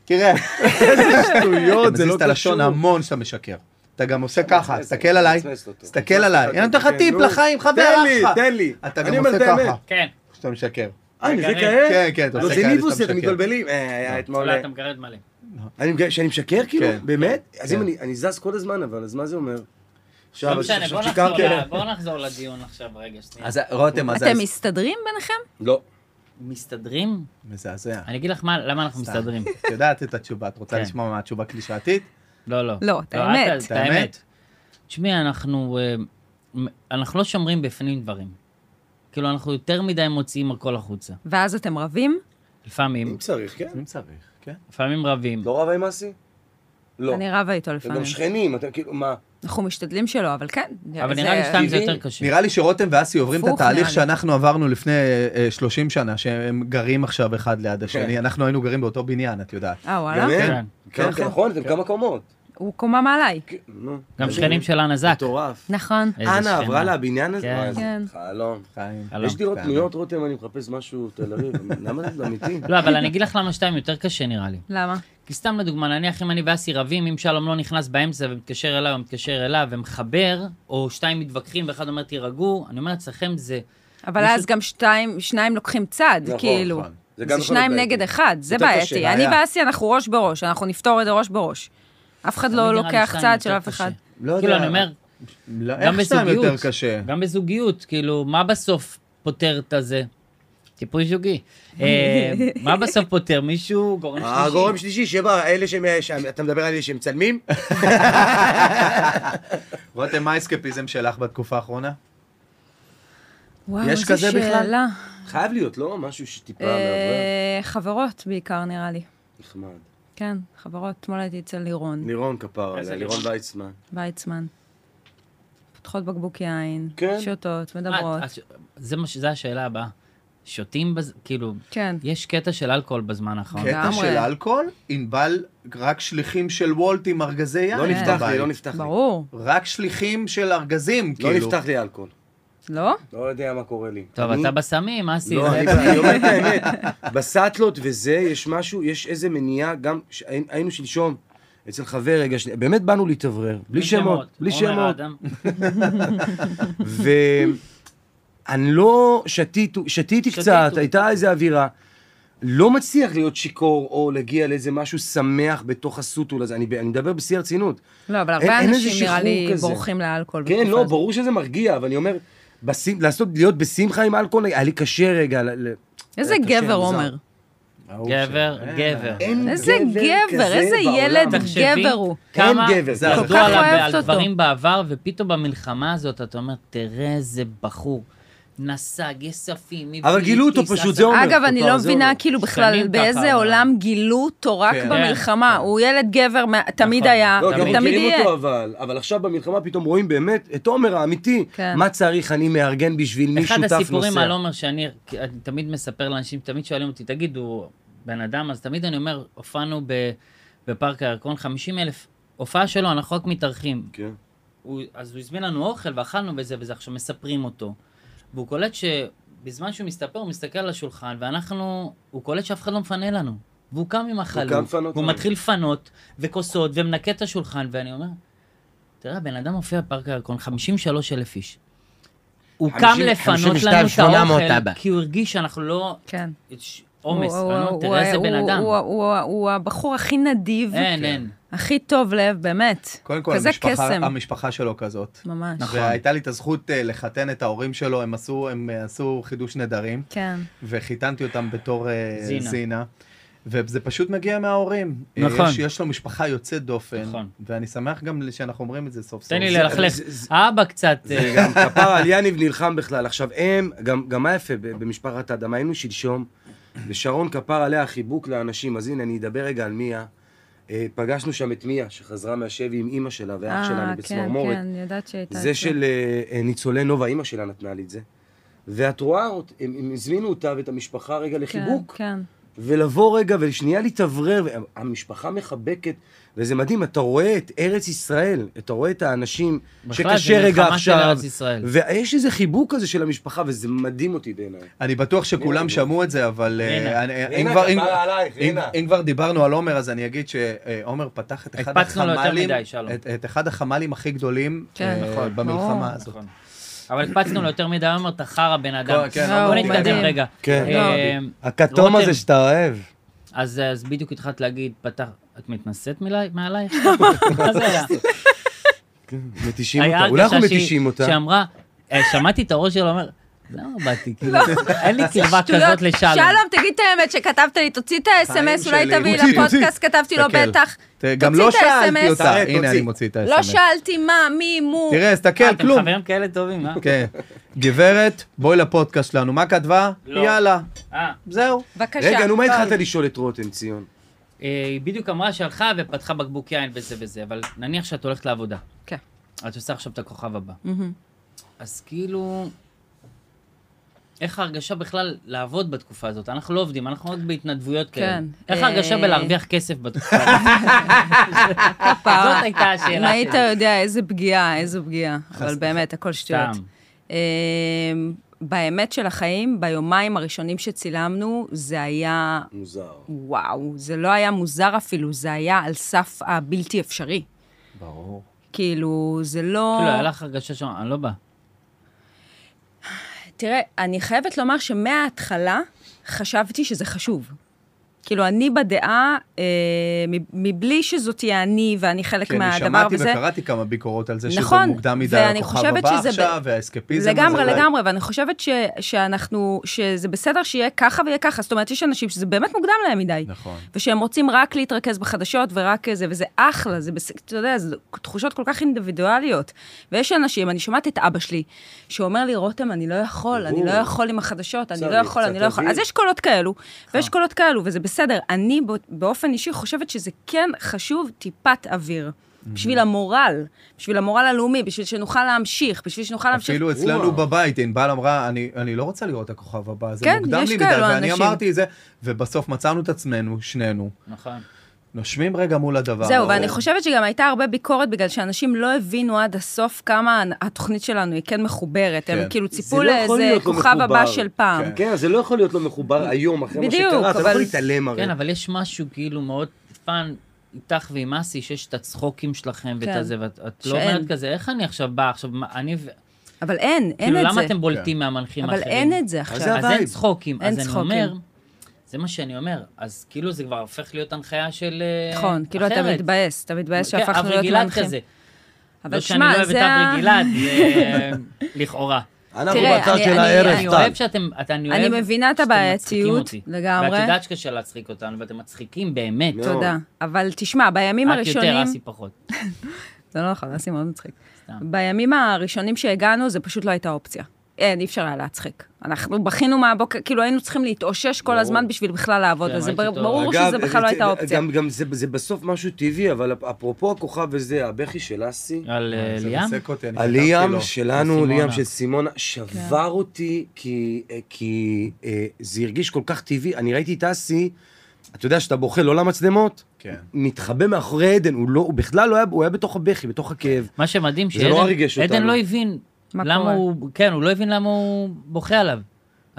S3: תראה.
S1: אה, שטויות,
S3: אתה מזיז את הלשון המון שאתה משקר. אתה גם עושה ככה, תסתכל עליי,
S1: מצמץ אותו.
S3: תסתכל עליי. אני נותן לך טיפ
S1: כן, נו.
S3: לחיים, חבר
S1: תן לי,
S3: שלך.
S1: תן לי.
S3: אתה גם
S1: אני אומר
S3: עושה
S1: את האמת.
S3: ככה,
S2: כן.
S3: כשאתה משקר.
S1: אה, אני זה
S2: מגרד.
S1: כאלה?
S3: כן, כן, אתה
S1: לא,
S3: עושה
S1: זה
S3: כאלה
S1: ניבוס,
S3: שאתה
S1: אתם
S3: משקר. לא.
S1: מתבלבלים. אה, היה אתמול...
S2: אולי לא, אתה מגרד מלא.
S1: אני מגרד- שאני משקר כאילו?
S3: כן.
S1: באמת? אז אם
S3: כן.
S1: אני- אני זז כל הזמן, אבל אז מה זה אומר? עכשיו,
S2: לא
S1: אז
S2: משנה,
S1: עכשיו
S2: בוא
S1: שיקרתי כן.
S2: נחזור ל-
S1: עליה.
S2: בוא נחזור לדיון עכשיו רגע, שנייה.
S3: אז רותם, אז
S5: אתם מסתדרים ביניכם?
S1: לא.
S2: מסתדרים?
S3: מזעזע.
S2: אני אגיד לך מה- למה אנחנו מסתדרים.
S3: את יודעת את התשובה, את רוצה
S2: כן.
S3: לשמוע מה התשובה קלישאתית?
S2: לא, לא.
S5: לא, את
S2: את-
S5: האמת.
S2: את האמת. תשמעי, אנחנו אה, מ- אנחנו לא שומרים בפנים דברים. כאילו, אנחנו יותר מדי מוציאים הכל החוצה.
S5: ואז אתם רבים?
S2: לפעמים,
S1: אם צריך, כן.
S3: אם צריך, כן.
S2: לפעמים רבים.
S1: לא רבה עם אסי? לא.
S5: אני רבה
S1: אתם
S5: איתו
S1: גם
S5: לפעמים.
S1: שכנים, אתם כאילו, מה?
S5: אנחנו משתדלים שלא, אבל כן.
S2: אבל
S5: זה-
S2: נראה לי שתיים זה
S3: טבעי.
S2: יותר קשה.
S3: נראה לי שרותם ואסי עוברים את
S5: הפוך,
S3: התהליך
S5: נראה לי.
S3: שאנחנו עברנו לפני אה, 30 שנה, שהם גרים עכשיו אחד ליד
S7: כן.
S3: השני. אנחנו היינו גרים באותו בניין, את יודעת.
S5: אה, וואלה?
S1: באמת?
S2: כן.
S1: כן, כן, נכון, אתם כמה קומות.
S5: הוא קומה מעליי.
S1: כן, נו.
S2: גם שכנים של אנה זק.
S1: מטורף.
S5: נכון.
S2: איזה
S1: אנה
S2: שכנה.
S1: עברה לבניין הזה?
S2: כן.
S1: וואי, זה
S5: כן.
S1: חלום.
S3: חיים.
S2: חלום.
S1: יש דירות
S3: חלום.
S1: פנויות, רותם, אני מחפש משהו תל אביב. למה זה אמיתי?
S2: לא, אבל אני אגיד לך למה שתיים יותר קשה נראה לי.
S5: למה?
S2: כי סתם לדוגמה, נניח אם אני ואסי רבים, אם שלום לא נכנס באמצע ומתקשר אליי או מתקשר אליו ומחבר, או שתיים מתווכחים ואחד אומר תירגעו, אני אומר אצלכם זה...
S5: אבל
S2: מישהו-
S5: אז גם שתיים, שניים לוקחים צד,
S1: נכון,
S5: כאילו.
S3: נכון.
S1: זה גם
S5: זה
S1: יכול
S5: שניים
S1: להיות
S5: נגד
S1: בעייתי.
S5: אחד, זה
S1: יותר
S5: בעייתי.
S1: קשה,
S5: אני
S1: בעיה.
S5: ואסי, אנחנו ראש בראש, אנחנו נפתור את זה ראש בראש. אף אחד לא
S2: תמיד נראה לי
S5: לוקח
S2: שתיים
S5: צד
S2: יותר
S5: של אף
S2: קשה.
S5: אחד.
S3: לא יודע.
S2: כאילו, אני אומר,
S3: לא,
S2: גם
S3: איך סתם
S2: בזוגיות.
S3: יותר קשה?
S2: גם בזוגיות, כאילו, מה בסוף פותר את הזה? טיפול זוגי. אה, מה בסוף פותר? מישהו, גורם
S3: אה,
S2: שלישי?
S7: הגורם שלישי שבא, אלה שהם... שם- אתה מדבר על אלה שמצלמים?
S3: רותם, מה האסקפיזם שלך בתקופה האחרונה?
S5: וואו,
S3: יש
S5: איזו
S3: כזה בכלל?
S5: שאלה.
S1: חייב להיות, לא? משהו שטיפה מעבר.
S5: אה, חברות בעיקר, נראה לי.
S1: נחמד.
S5: כן, חברות. אתמול הייתי אצל לירון
S1: לירון כפר
S2: איזה
S1: עליה, לירון
S2: לירון?
S1: ויצמן.
S5: ויצמן. פותחות בקבוק יין,
S1: כן.
S5: שותות,
S2: אה,
S5: מדברות.
S2: אז זה מה ש- זה השאלה הבאה. שותים, בז- כאילו,
S5: כן.
S2: יש קטע של אלכוהול בזמן האחרון.
S3: קטע
S5: לגמרי.
S3: של אלכוהול? ענבל, רק שליחים של וולט עם ארגזי יין.
S1: לא נפתח לי,
S3: בבית.
S1: לא נפתח לי.
S5: אה, ברור.
S3: רק שליחים של ארגזים,
S1: לא
S3: כאילו.
S1: נפתח לי אלכוהול.
S5: לא?
S1: לא יודע מה קורה לי.
S2: טוב,
S1: אני-
S2: אתה בסמים, אסי.
S1: לא,
S2: זה-
S1: אני אני אומר את האמת. בסאטלות וזה, יש משהו, יש איזה מניעה, גם ש- היינו שלשום אצל חבר, רגע, שנייה, באמת באנו להתאוורר, בלי שמות, בלי
S2: עומר
S1: שמות.
S2: האדם.
S1: ואני לא, שתיתו, שתיתי
S2: שתיתו.
S1: קצת, הייתה איזו אווירה. לא מצליח להיות שיכור או להגיע לאיזה משהו שמח בתוך הסוטול הזה, אני, ב- אני מדבר בשיא הרצינות.
S5: לא, אבל
S1: אין-
S5: הרבה
S1: אין איזה
S5: אנשים נראה לי
S1: שחרור כזה.
S5: בורחים לאלכוהול.
S1: כן,
S5: בתקופה
S1: לא,
S5: הזאת.
S1: ברור שזה מרגיע, אבל אני אומר, בשים, לעשות, להיות בשמחה עם אלכוהול, היה לי קשה רגע. ל- ל-
S5: איזה
S1: היה קשה,
S5: גבר
S1: מוזר.
S5: עומר.
S1: Oh,
S2: גבר, גבר.
S1: אין
S5: איזה גבר,
S1: כזה
S5: איזה
S1: בעולם.
S5: ילד
S2: תחשבי
S5: גבר הוא.
S2: כמה
S1: אין גבר, זה
S2: למדו
S1: כל
S5: כך
S2: עליו
S5: אוהבת
S2: על
S5: אותו.
S2: דברים בעבר, ופתאום במלחמה הזאת אתה אומר, תראה איזה בחור, נסע, גספים, מבלי...
S1: אבל גילו אותו פשוט, זה עומר.
S5: אגב, אני
S1: אותו,
S5: לא
S1: זה
S5: מבינה
S1: עומר.
S5: כאילו
S2: שנים
S5: בכלל
S2: ככה,
S5: באיזה עולם גילו אותו רק
S3: כן.
S5: במלחמה. הוא ילד גבר, מה- תמיד
S2: נכון.
S5: היה,
S1: לא, גם
S2: תמיד
S5: אה, תמיד
S1: מכירים
S5: יהיה.
S1: אותו אבל, אבל עכשיו במלחמה פתאום רואים באמת את עומר האמיתי.
S5: כן.
S1: מה צריך, אני מארגן בשביל מי שותף
S2: אחד
S1: נוסע.
S2: הסיפורים על עומר שאני כי אני תמיד מספר לאנשים, תמיד שואלים אותי, תגיד, הוא בן אדם, אז תמיד אני אומר, הופענו ב- בפארק הירקון 50 אלף. הופעה שלו, אנחנו רק מתארחים.
S1: כן.
S2: הוא, אז הוא הזמין לנו אוכל ואכלנו וזה וזה, עכשיו מספרים אותו. והוא קולט שבזמן שהוא מסתפר, הוא מסתכל על השולחן, ואנחנו, הוא קולט שאף אחד לא מפנה לנו. והוא קם עם
S1: קם
S2: החלום,
S1: לפנות
S2: והוא
S1: לנו.
S2: מתחיל לפנות, וכוסות, ומנקה את השולחן, ואני אומר, תראה, הבן אדם הופיע בפארק הירקון, 53 אלף איש. הוא קם
S7: 50
S2: לפנות
S7: 52,
S2: לנו את
S7: 800
S2: האוכל,
S7: אבא.
S2: כי הוא הרגיש שאנחנו לא...
S5: כן.
S2: יש עומס,
S5: הוא-
S2: אני אומר,
S5: הוא-
S2: תראה איזה
S5: הוא-
S2: בן
S5: הוא-
S2: אדם.
S5: הוא- הוא- הוא הבחור הכי נדיב,
S2: אין, אין.
S5: הכי טוב לב, באמת.
S3: קודם כל,
S5: כזה
S3: המשפחה,
S5: קסם.
S3: המשפחה שלו כזאת.
S5: ממש.
S2: נכון.
S3: והייתה לי את הזכות אה, לחתן את ההורים שלו, הם עשו, הם אה, עשו חידוש נדרים,
S5: כן.
S3: וחיתנתי אותם בתור אה,
S2: זינה.
S3: זינה. וזה פשוט מגיע מההורים. אה,
S2: נכון.
S3: יש, יש לו משפחה יוצאת דופן,
S2: נכון.
S3: ואני שמח גם שאנחנו אומרים את זה סוף סוף.
S2: תן לי
S3: זה-
S2: ללכלך.
S1: זה- זה-
S2: האבא קצת... אה,
S1: גם כפר על יניב נלחם בכלל. עכשיו, הם, גם, גם מה יפה ב- במשפחת אדם, היינו שלשום, ושרון כפר עליה החיבוק לאנשים, אז הנה, אני אדבר רגע על מיה. אה, פגשנו שם את מיה, שחזרה מהשבי עם אימא שלה
S5: אה,
S1: ואח שלה
S5: כן,
S1: מבצמרמורת.
S5: כן, אני יודעת שהייתה...
S1: זה
S5: את
S1: של אה, אה, ניצולי נובה, אימא שלה נתנה לי את זה. ואת רואה, אות- הם הם הזמינו אותה ואת המשפחה רגע
S5: כן,
S1: לחיבוק.
S5: כן.
S1: ולבוא רגע ולשנייה להתאוורר, והמשפחה מחבקת, וזה מדהים, אתה רואה את ארץ ישראל, אתה רואה את האנשים
S2: בכלל, זה
S1: שקשה רגע
S2: מלחמה של
S1: עכשיו,
S2: ארץ ישראל.
S1: ויש איזה חיבוק כזה של המשפחה, וזה מדהים אותי בעיניי.
S3: אני בטוח שכולם שמעו את זה, אבל אה,
S2: רינה.
S3: אני- אם
S1: רינה,
S3: כבר- אם-
S1: כפרה עלייך,
S3: אם-
S1: רינה.
S3: אם כבר דיברנו על עומר, אז אני אגיד שעומר פתח את אחד
S2: הקפצנו לו יותר
S3: החמ"לים,
S2: מדי, שלום.
S3: את- את אחד החמ"לים הכי גדולים
S5: כן,
S3: אה,
S5: נכון.
S3: במלחמה
S5: ברור.
S3: הזאת.
S2: נכון. אבל הקפצנו לו יותר מדי, אמר, אתה חרא בן אדם.
S3: כן, כן,
S2: בוא
S5: אמרתי.
S2: נתקדם
S5: מדהים.
S2: רגע.
S1: כן.
S2: אה,
S1: הכתום
S2: רותם,
S1: הזה שאתה אוהב.
S2: אז אז בדיוק התחלת להגיד, פתח... את מתנשאת מלי- מעלייך? מה זה היה?
S1: מתישים
S2: היה
S1: אותה, אולי אנחנו
S2: הרגשה שהיא-
S1: מתישים אותה.
S2: שאמרה, אה, שמעתי את הראש שלה אומר, למה באתי?
S1: לא.
S2: כאילו, אין לי קרבה
S5: שטויות.
S2: כזאת לשלום.
S5: שלום, תגיד את האמת שכתבת לי, תוציא את האס.אם.אס, אולי
S3: שלי.
S5: תביא
S3: תוציא,
S5: לפודקאסט, כתבתי לו
S3: תסתכל.
S5: בטח.
S3: ת- גם
S5: תוציא
S3: לא
S5: את
S3: שאלתי
S5: ה-SMS.
S3: אותה,
S1: תראה,
S3: הנה
S1: תוציא.
S3: אני מוציא את
S5: לא
S3: ה-SMS.
S5: שאלתי מה, מי, מו.
S3: תראה,
S2: אה,
S3: הסתכל,
S2: אתם
S3: כן, כלום.
S2: חברים כאלה טובים, אה?
S3: כן. גברת, בואי לפודקאסט שלנו, מה כתבה?
S2: לא.
S3: יאללה,
S2: אה,
S3: זהו.
S5: בבקשה. לא.
S1: רגע, נו, מה התחלת לשאול את רותם, ציון?
S2: אה, היא בדיוק אמרה שהלכה ופתחה בקבוק יין וזה וזה, אבל נניח שאת הולכת לעבודה.
S5: כן.
S2: את עושה עכשיו את הכוכב הבא.
S5: מהמם.
S2: אז כאילו, איך ההרגשה בכלל לעבוד בתקופה הזאת? אנחנו לא עובדים, אנחנו רק בהתנדבויות כאלה.
S5: כן.
S2: איך ההרגשה
S5: אה, נכון.
S2: בלהרוויח כסף בתקופה הזאת?
S5: כפרה.
S2: זאת הייתה השאלה
S5: אם היית
S2: שלי.
S5: יודע איזה פגיעה, איזו פגיעה. אבל באמת, הכל שטויות.
S2: סתם.
S5: אמ, באמת של החיים, ביומיים הראשונים שצילמנו, זה היה
S1: מוזר.
S5: וואו, זה לא היה מוזר אפילו, זה היה על סף הבלתי אפשרי.
S2: ברור.
S5: כאילו, זה לא...
S2: כאילו, היה לך הרגשה שם, אני לא בא.
S5: תראה, אני חייבת לומר שמההתחלה חשבתי שזה חשוב. כאילו, אני בדעה, אה, מב- מבלי שזו תהיה אני ואני חלק
S3: כן, אני
S5: מהדבר
S3: שמעתי
S5: וזה...
S3: וקראתי כמה ביקורות על זה, שזה
S5: נכון,
S3: מוקדם מדי,
S5: ואני
S3: הכוכב
S5: חושבת
S3: הבא
S5: שזה ב-
S3: עכשיו, והאסקפיזם הזה.
S5: לגמרי,
S3: אולי.
S5: לגמרי, ואני חושבת ש, שאנחנו, שזה בסדר שיהיה ככה ויהיה ככה. זאת אומרת, יש אנשים שזה באמת מוקדם להם מדי.
S3: נכון.
S5: ושהם רוצים רק להתרכז בחדשות ורק זה, וזה אחלה, זה בסדר, אתה יודע, זה תחושות כל כך אינדיבידואליות. ויש אנשים, אני שומעת את אבא שלי, שאומר לי, רותם, אני לא יכול, אני לא יכול עם החדשות, אני
S1: צריך,
S5: לא יכול,
S1: צריך
S5: אני לא יכול.
S1: להבין.
S5: אז יש קולות כאלו,
S3: אה.
S5: ויש קולות כאלו, וזה בסדר. אני בא- באופן אישי חושבת שזה כן חשוב טיפת אוויר. בשביל המורל, בשביל המורל הלאומי, בשביל שנוכל להמשיך, בשביל שנוכל להמשיך.
S3: אפילו אצלנו בבית, ענבל אמרה, "אני- אני לא רוצה לראות את הכוכב הבא, זה
S5: כן,
S3: מוקדם
S5: יש
S3: לי מדי,
S5: כאלו
S3: ואני
S5: אנשים.
S3: אמרתי את זה, ובסוף מצאנו את עצמנו, שנינו,
S2: נכון.
S3: נושמים רגע מול הדבר.
S5: זהו,
S3: הזה.
S5: ואני חושבת שגם הייתה הרבה ביקורת, בגלל שאנשים לא הבינו עד הסוף כמה התוכנית שלנו היא כן מחוברת. הם
S3: כן.
S5: כאילו
S1: זה
S5: ציפו
S1: לא יכול
S5: לאיזה
S1: להיות לא
S5: כוכב הבא
S1: מחובר.
S5: של פעם.
S3: כן.
S1: כן, זה לא יכול להיות לא מחובר היום, אחרי מה
S5: בדיוק,
S1: שקרה, אתה לא
S5: אבל-
S1: יכול להתעלם הרי.
S2: כן, אבל יש משהו כאילו מאוד פאן איתך ועם אסי, שיש את הצחוקים שלכם ואת
S5: כן.
S2: הזה, ואת את לא
S5: שאין.
S2: אומרת כזה, איך אני עכשיו בא, עכשיו, מה, אני... ו-
S5: אבל אין, אין
S2: כאילו,
S5: את
S2: למה
S5: זה.
S2: אתם בולטים מהמנחים
S5: אבל
S2: האחרים?
S5: אין את זה
S1: זה
S5: עכשיו.
S2: אז אין
S1: הווייב.
S2: צחוקים.
S5: אין
S2: אז אני
S5: צחוקים.
S2: אומר, זה מה שאני אומר. אז כאילו זה כבר הופך להיות הנחיה של אה,
S5: נכון, כאילו אתה
S2: אחרת.
S5: מתבאס, אתה מתבאס
S2: כן,
S5: שהפכנו
S2: אברי
S5: להיות
S2: גלעד
S5: מנחים.
S2: כזה.
S5: אבל
S2: לא שאני
S5: שמע,
S2: לא אוהב את
S5: זה ה-
S2: אברי גלעד, זה, אה, לכאורה.
S1: אנחנו
S5: תראה,
S1: בצד
S5: אני-
S1: של
S5: אני-
S1: הערב,
S2: אני
S1: טל.
S2: אוהב שאתם, את- אני
S5: אני
S2: אוהב
S5: מבינה את
S2: שאתם מצחיקים
S5: הבעייתיות,
S2: אותי.
S5: לגמרי.
S2: ואת יודעת שקשה להצחיק אותנו, ואתם מצחיקים באמת.
S1: מאוד.
S5: תודה. אבל תשמע, בימים
S2: את יותר,
S5: הראשונים...
S2: אסי פחות.
S5: זה לא נכון, אסי מאוד מצחיק.
S2: סתם.
S5: בימים הראשונים שהגענו, זה פשוט לא הייתה אופציה. אין, אי אפשר היה להצחיק. אנחנו בכינו מהבוקר, כאילו היינו צריכים להתאושש כל הזמן בשביל בכלל לעבוד,
S2: כן,
S5: אז זה
S2: ראיתי אותו.
S5: ברור שזה בכלל לא
S1: זה-
S5: הייתה
S1: אה,
S5: אופציה.
S1: גם, גם זה, זה בסוף משהו טבעי, אבל אפ- אפרופו הכוכב הזה, הבכי של אסי,
S2: על אה,
S3: זה
S2: ליאם?
S3: ריסק אותי, אני כתבתי לו.
S1: הליאם שלנו,
S2: וסימונה.
S1: ליאם של סימונה,
S2: כן.
S1: שבר אותי, כי, כי אה, זה הרגיש כל כך טבעי. אני ראיתי את אסי, אתה יודע שאתה בוכה לא למצלמות?
S3: כן.
S1: מתחבא מאחורי עדן, הוא, לא, הוא בכלל לא היה, הוא היה בתוך הבכי, בתוך הכאב.
S2: מה שמדהים,
S1: זה נורא ריגש
S2: שעדן
S1: אותנו.
S2: לא הבין
S5: מה
S2: למה
S5: קורה?
S2: הוא, כן, הוא לא הבין למה הוא בוכה עליו.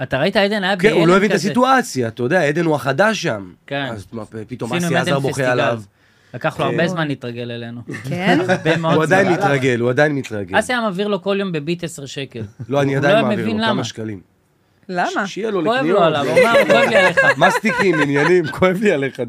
S2: אתה ראית, עדן היה
S1: כן,
S2: בהלם כזה.
S1: הוא לא הבין את הסיטואציה, אתה יודע, עדן הוא החדש שם.
S2: כן.
S1: אז מה, פתאום
S2: עשינו עם
S1: אסי
S2: עדן
S1: עזר
S2: פסטיגל.
S1: בוכה עליו.
S2: לקח לו
S1: אה,
S2: הרבה זמן להתרגל אלינו.
S5: כן?
S2: הרבה מאוד
S1: הוא עדיין
S2: זמן.
S1: מתרגל, הוא עדיין מתרגל.
S2: אסי היה מעביר לו כל יום בביט 10 שקל.
S1: לא, אני
S2: הוא
S1: עדיין
S2: לא
S1: מעביר
S2: מבין
S1: לו
S2: למה.
S1: כמה שקלים.
S5: למה?
S1: שיהיה לו
S2: כואב
S1: לקניות.
S2: לו עליו, הוא אמר, כואב לי עליך.
S1: מסטיקים, עניינים, כואב לי עליך.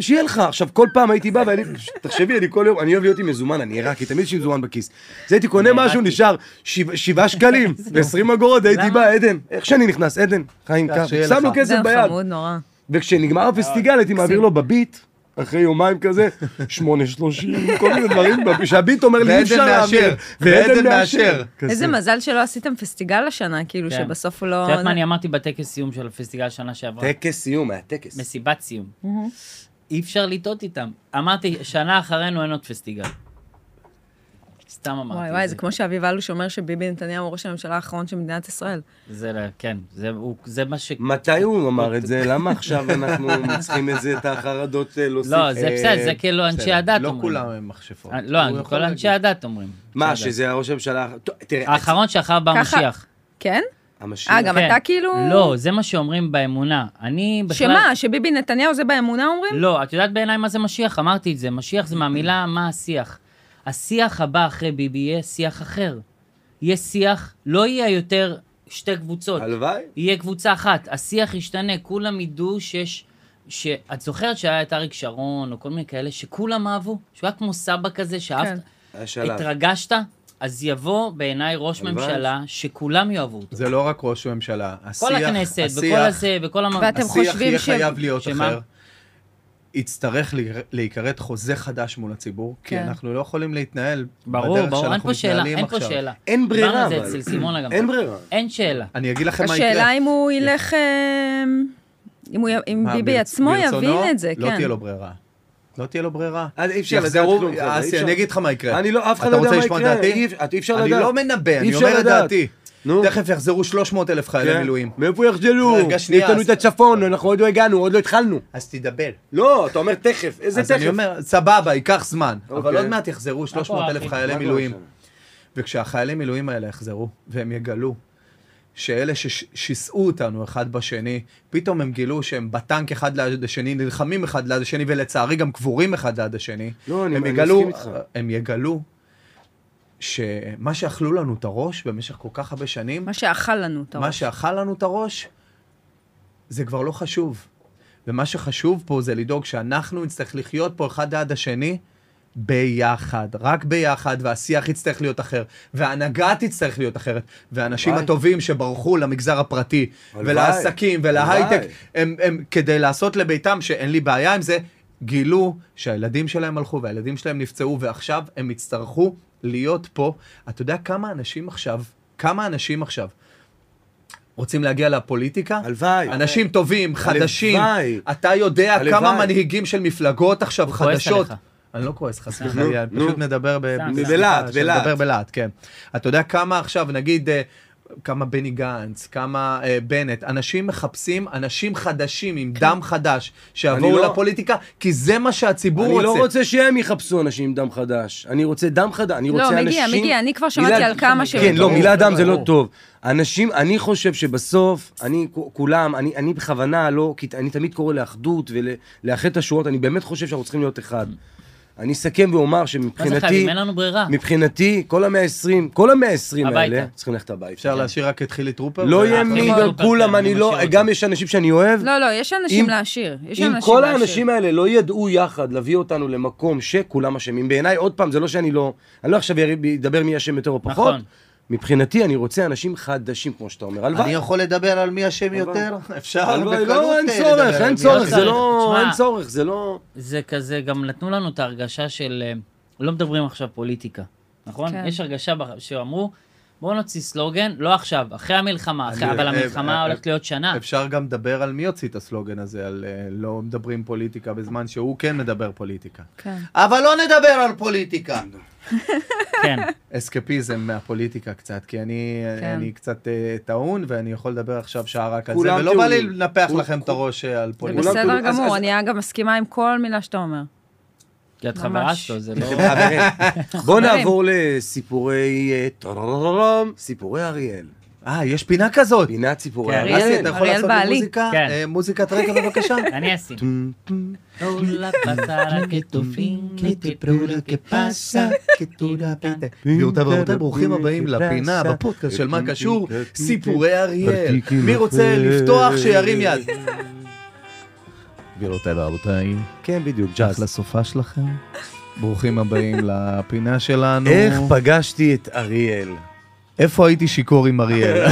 S1: שיהיה לך, עכשיו כל פעם הייתי בא ואני, תחשבי, אני כל יום, אני אוהב להיות עם מזומן, אני עיראקי, תמיד יש לי מזומן בכיס. אז הייתי קונה משהו, נשאר שבע- שבעה שקלים, ו-20 אגורות, הייתי בא, עדן, איך שאני נכנס, עדן, חיים
S3: כך
S1: ככה,
S3: שיהיה
S1: שם לו
S3: לך.
S1: כסף
S5: זה
S1: ביד.
S5: חמוד נורא.
S1: וכשנגמר הפסטיגל הייתי מעביר לו בביט, אחרי יומיים כזה, שמונה שלושים, כל מיני דברים, שהביט אומר לי, אי
S3: ועדן
S1: אפשר להעביר.
S3: מאשר, ועדן מאשר.
S1: כזה.
S5: איזה מזל שלא עשיתם פסטיגל השנה, כאילו
S2: כן.
S5: שבסוף הוא לא...
S2: את יודעת מה אני אמרתי בטקס סיום של הפסטיגל שנה שעברה?
S1: טקס סיום, היה טקס.
S2: מסיבת סיום. אי אפשר לטעות איתם. אמרתי, שנה אחרינו אין עוד פסטיגל. סתם אמרתי.
S5: וואי
S2: את
S5: וואי, זה כמו שאביב אלוש אומר שביבי נתניהו הוא ראש הממשלה האחרון של מדינת ישראל.
S2: זה, לא- כן, זה, הוא, זה מה ש...
S1: מתי הוא אמר את זה? למה עכשיו אנחנו צריכים את זה, את החרדות אה, להוסיף?
S2: לא, זה בסדר, זה כאילו אנשי
S3: בסדר,
S2: הדת אומרים.
S3: לא כולם הם מכשפות.
S2: אה,
S3: הוא
S2: לא,
S3: יכול
S2: כל
S3: להגיד.
S2: אנשי הדת אומרים.
S1: מה,
S2: אנשי הדת.
S1: שזה ראש הממשלה... טוב, תראה,
S2: האחרון שאחריו בא
S5: ככה-
S2: המשיח.
S5: כן?
S1: המשיח.
S5: אה, גם
S2: כן.
S5: אתה כאילו...
S2: לא, זה מה שאומרים באמונה. אני בכלל...
S5: שמה, שביבי נתניהו זה באמונה אומרים?
S2: לא, את יודעת בעיניי מה זה משיח? אמרתי את זה. משיח זה מהמילה מה השיח. השיח הבא אחרי ביבי יהיה שיח אחר. יהיה שיח, לא יהיה יותר שתי קבוצות.
S1: הלוואי.
S2: יהיה קבוצה אחת, השיח ישתנה, כולם ידעו שיש... שאת זוכרת שהיה את אריק שרון, או כל מיני כאלה, שכולם אהבו? שהוא היה כמו סבא כזה, שאהבת,
S5: כן.
S1: היה שלב.
S2: התרגשת? אז יבוא בעיניי ראש
S3: הלוואי.
S2: ממשלה שכולם יאהבו אותו.
S3: זה לא רק ראש ממשלה.
S2: כל
S3: השיח,
S2: הכנסת, וכל
S3: השיח-
S2: הזה, וכל המ...
S5: ואתם
S3: השיח
S5: חושבים
S3: יהיה
S5: ש-
S3: חייב להיות
S2: שמה?
S3: אחר. יצטרך להיקר- להיכרת חוזה חדש מול הציבור, כי
S5: כן.
S3: אנחנו לא יכולים להתנהל
S2: ברור,
S3: בדרך
S2: ברור, אין
S3: שאנחנו
S2: פה שאלה,
S3: מתנהלים
S2: אין פה
S3: עכשיו.
S2: שאלה.
S1: אין ברירה,
S2: דיברנו על זה
S1: אבל.
S2: אצל סימונה גם.
S1: אין ברירה.
S2: אין שאלה.
S3: אני אגיד לכם מה יקרה.
S5: השאלה אם הוא ילך... אה, אם הוא י- אם
S3: מה,
S5: ביבי
S3: ברצ-
S5: עצמו
S3: ברצונו,
S5: יבין את זה,
S3: לא
S5: כן.
S3: תהיה לו ברירה. לא תהיה לו ברירה.
S1: אז אי אפשר לדעת
S3: יחזרו-
S1: כלום, חבר'ה, אי
S3: אסי,
S1: אפשר.
S3: אני אגיד לך מה יקרה.
S1: אני לא, אף אחד לא
S3: אתה
S1: יודע
S3: רוצה
S1: מה
S3: לשמוע את
S1: יקרה.
S3: דעתי?
S1: אי אפ- את- אי אפשר לדעת.
S3: אני לא מנבא,
S1: אי
S3: אני
S1: אפשר
S3: אומר את
S1: לדעת.
S3: דעתי.
S1: נו.
S3: תכף יחזרו 300 אלף חיילי
S1: כן.
S3: מילואים.
S1: מאיפה יחדלו?
S3: רגע,
S1: יש
S3: שנייה,
S1: לנו את
S3: אז-
S1: הצפון, אנחנו עוד לא הגענו, עוד לא התחלנו.
S3: אז תדבר.
S1: לא, אתה אומר תכף, איזה
S3: אז אני
S1: תכף?
S3: אומר, סבבה, ייקח זמן. אבל
S1: אוקיי.
S3: עוד מעט יחזרו 300 אלף
S2: אחי?
S3: חיילי
S1: מה קורה
S3: מילואים.
S1: שם?
S3: וכשהחיילי מילואים האלה יחזרו, והם יגלו שאלה ששיסעו אותנו אחד בשני, פתאום הם גילו שהם בטנק אחד ליד השני, נלחמים אחד ליד השני, ולצערי גם קבורים אחד ליד השני.
S1: לא, אני-
S3: הם
S1: אני
S3: יגלו-
S1: מסכים איתך.
S3: הם יגלו שמה שאכלו לנו את הראש במשך כל כך הרבה שנים,
S5: מה שאכל לנו, אתה רואה.
S3: מה שאכל לנו את הראש, זה כבר לא חשוב. ומה שחשוב פה זה לדאוג שאנחנו נצטרך לחיות פה אחד ליד השני ביחד, רק ביחד, והשיח יצטרך להיות אחר, וההנהגה תצטרך להיות אחרת, והאנשים
S1: הלוואי.
S3: הטובים שברחו למגזר הפרטי,
S1: הלוואי.
S3: ולעסקים, ולהייטק,
S1: הלוואי.
S3: הם, הם כדי לעשות לביתם, שאין לי בעיה עם זה, גילו שהילדים שלהם הלכו והילדים שלהם נפצעו, ועכשיו הם יצטרכו להיות פה. אתה יודע כמה אנשים עכשיו, כמה אנשים עכשיו, רוצים להגיע לפוליטיקה?
S1: הלוואי.
S3: אנשים טובים, חדשים.
S1: הלוואי.
S3: אתה יודע
S1: הלוואי.
S3: כמה מנהיגים של מפלגות עכשיו
S2: כועס
S3: חדשות.
S2: עליך.
S3: אני לא כועס, חס
S2: נו,
S3: וחלילה, אני
S1: נו.
S3: פשוט מדבר ב-
S2: סתם,
S3: בשפה
S2: סתם.
S1: בלהט,
S3: שאני
S1: בלהט.
S3: מדבר בלהט, כן. אתה יודע כמה עכשיו, נגיד, אה, כמה בני גנץ, כמה אה, בנט, אנשים מחפשים אנשים חדשים עם דם חדש, שיבואו
S1: כן. אני לא-
S3: לפוליטיקה, כי זה מה שהציבור
S1: אני
S3: רוצה.
S1: לא רוצה שהם יחפשו אנשים עם דם חדש. אני רוצה דם חדש, אני רוצה
S5: לא,
S1: אנשים...
S5: מגיע, מגיע, אני כבר שמעתי
S1: מילה-
S5: על כמה ש...
S1: כן, לא,
S2: ברור,
S1: מילה דם זה לא
S2: ברור.
S1: טוב. אנשים, אני חושב שבסוף, אני, כ- כולם, אני, אני בכוונה לא, כי אני תמיד קורא לאחדות ולאחד את השורות, אני באמת חושב שאנחנו צריכים להיות אחד. אני אסכם ואומר
S2: מה זה חייבים?
S1: שמבחינתי,
S2: אין לנו ברירה.
S1: מבחינתי, כל המאה ה-20, כל המאה ה-20 האלה,
S2: הביתה.
S1: צריכים ללכת הביתה.
S3: אפשר להשאיר רק את חילי טרופר?
S1: לא
S3: ו-
S1: יהיה
S2: אף
S1: מי,
S2: אחד לא
S1: גם כולם,
S2: פרטני,
S1: אני
S2: אני
S1: לא,
S2: משאיר
S1: גם
S2: אותו.
S1: יש אנשים שאני אוהב.
S5: לא, לא, יש אנשים
S1: אם-
S5: להשאיר. יש
S1: אם
S5: אנשים
S1: כל
S5: להשאיר.
S1: האנשים האלה לא ידעו יחד להביא אותנו למקום שכולם אשמים, בעיניי, עוד פעם, זה לא שאני לא, אני לא עכשיו יריב- אדבר מי אשם יותר או פחות.
S2: נכון.
S1: מבחינתי, אני רוצה אנשים חדשים, כמו שאתה אומר.
S3: אני
S1: הלוואי.
S3: יכול לדבר על מי אשם יותר? אפשר
S1: הלוואי,
S3: בקלות
S1: לא,
S3: אה,
S1: אין
S3: לדבר על
S1: צורך, אין
S3: מי
S1: צורך,
S3: אשם.
S1: זה לא,
S2: תשמע.
S1: אין צורך, זה לא...
S2: זה כזה, גם נתנו לנו את ההרגשה של, אה, לא מדברים עכשיו פוליטיקה, נכון?
S5: כן.
S2: יש הרגשה בח- שאמרו, בואו נוציא סלוגן, לא עכשיו, אחרי המלחמה, אחרי-
S3: אני-
S2: אבל
S3: אה, אה,
S2: המלחמה
S3: אה,
S2: הולכת להיות שנה.
S3: אפשר גם לדבר על מי הוציא את הסלוגן הזה, על אה, לא מדברים פוליטיקה בזמן שהוא כן מדבר פוליטיקה.
S5: כן.
S3: אבל לא נדבר על פוליטיקה.
S2: כן,
S3: אסקפיזם מהפוליטיקה קצת, כי אני,
S5: כן.
S3: אני קצת אה, טעון, ואני יכול לדבר עכשיו שעה רק על זה,
S1: כולם
S3: ולא בא לי
S1: טעונים.
S3: לנפח
S1: כול-
S3: לכם את הראש אה, על
S5: זה
S3: פוליטיקה.
S5: בסדר
S1: אז- אז-
S5: גמור, אני אגב מסכימה עם כל מילה שאתה אומר.
S2: כי את
S5: ממש.
S2: חברה שלו, זה לא...
S1: חברים, בואו נעבור לסיפורי... אה, טררררם, סיפורי אריאל.
S3: אה, יש פינה כזאת.
S1: פינת סיפורי
S2: כן,
S1: אריאל.
S3: אסי, אתה יכול
S5: אריאל
S3: לעשות לי
S5: בעלי.
S3: מוזיקה?
S2: כן.
S3: אה, מוזיקת רקע בבקשה?
S2: אני אשים.
S8: Hola, pasará que tu fin, que te procura que pasa, que tú la pinta.
S3: גבירותיי ורבותיי, ברוכים הבאים לפינה בפודקאסט של מה קשור, סיפורי אריאל. מי רוצה לפתוח שירים יד. גבירותיי ורבותיי,
S1: כן, בדיוק,
S3: ג'אז
S1: ג'אז.
S3: לסופה שלכם. ברוכים הבאים לפינה שלנו.
S1: איך פגשתי את אריאל?
S3: איפה הייתי שיכור עם אריאל?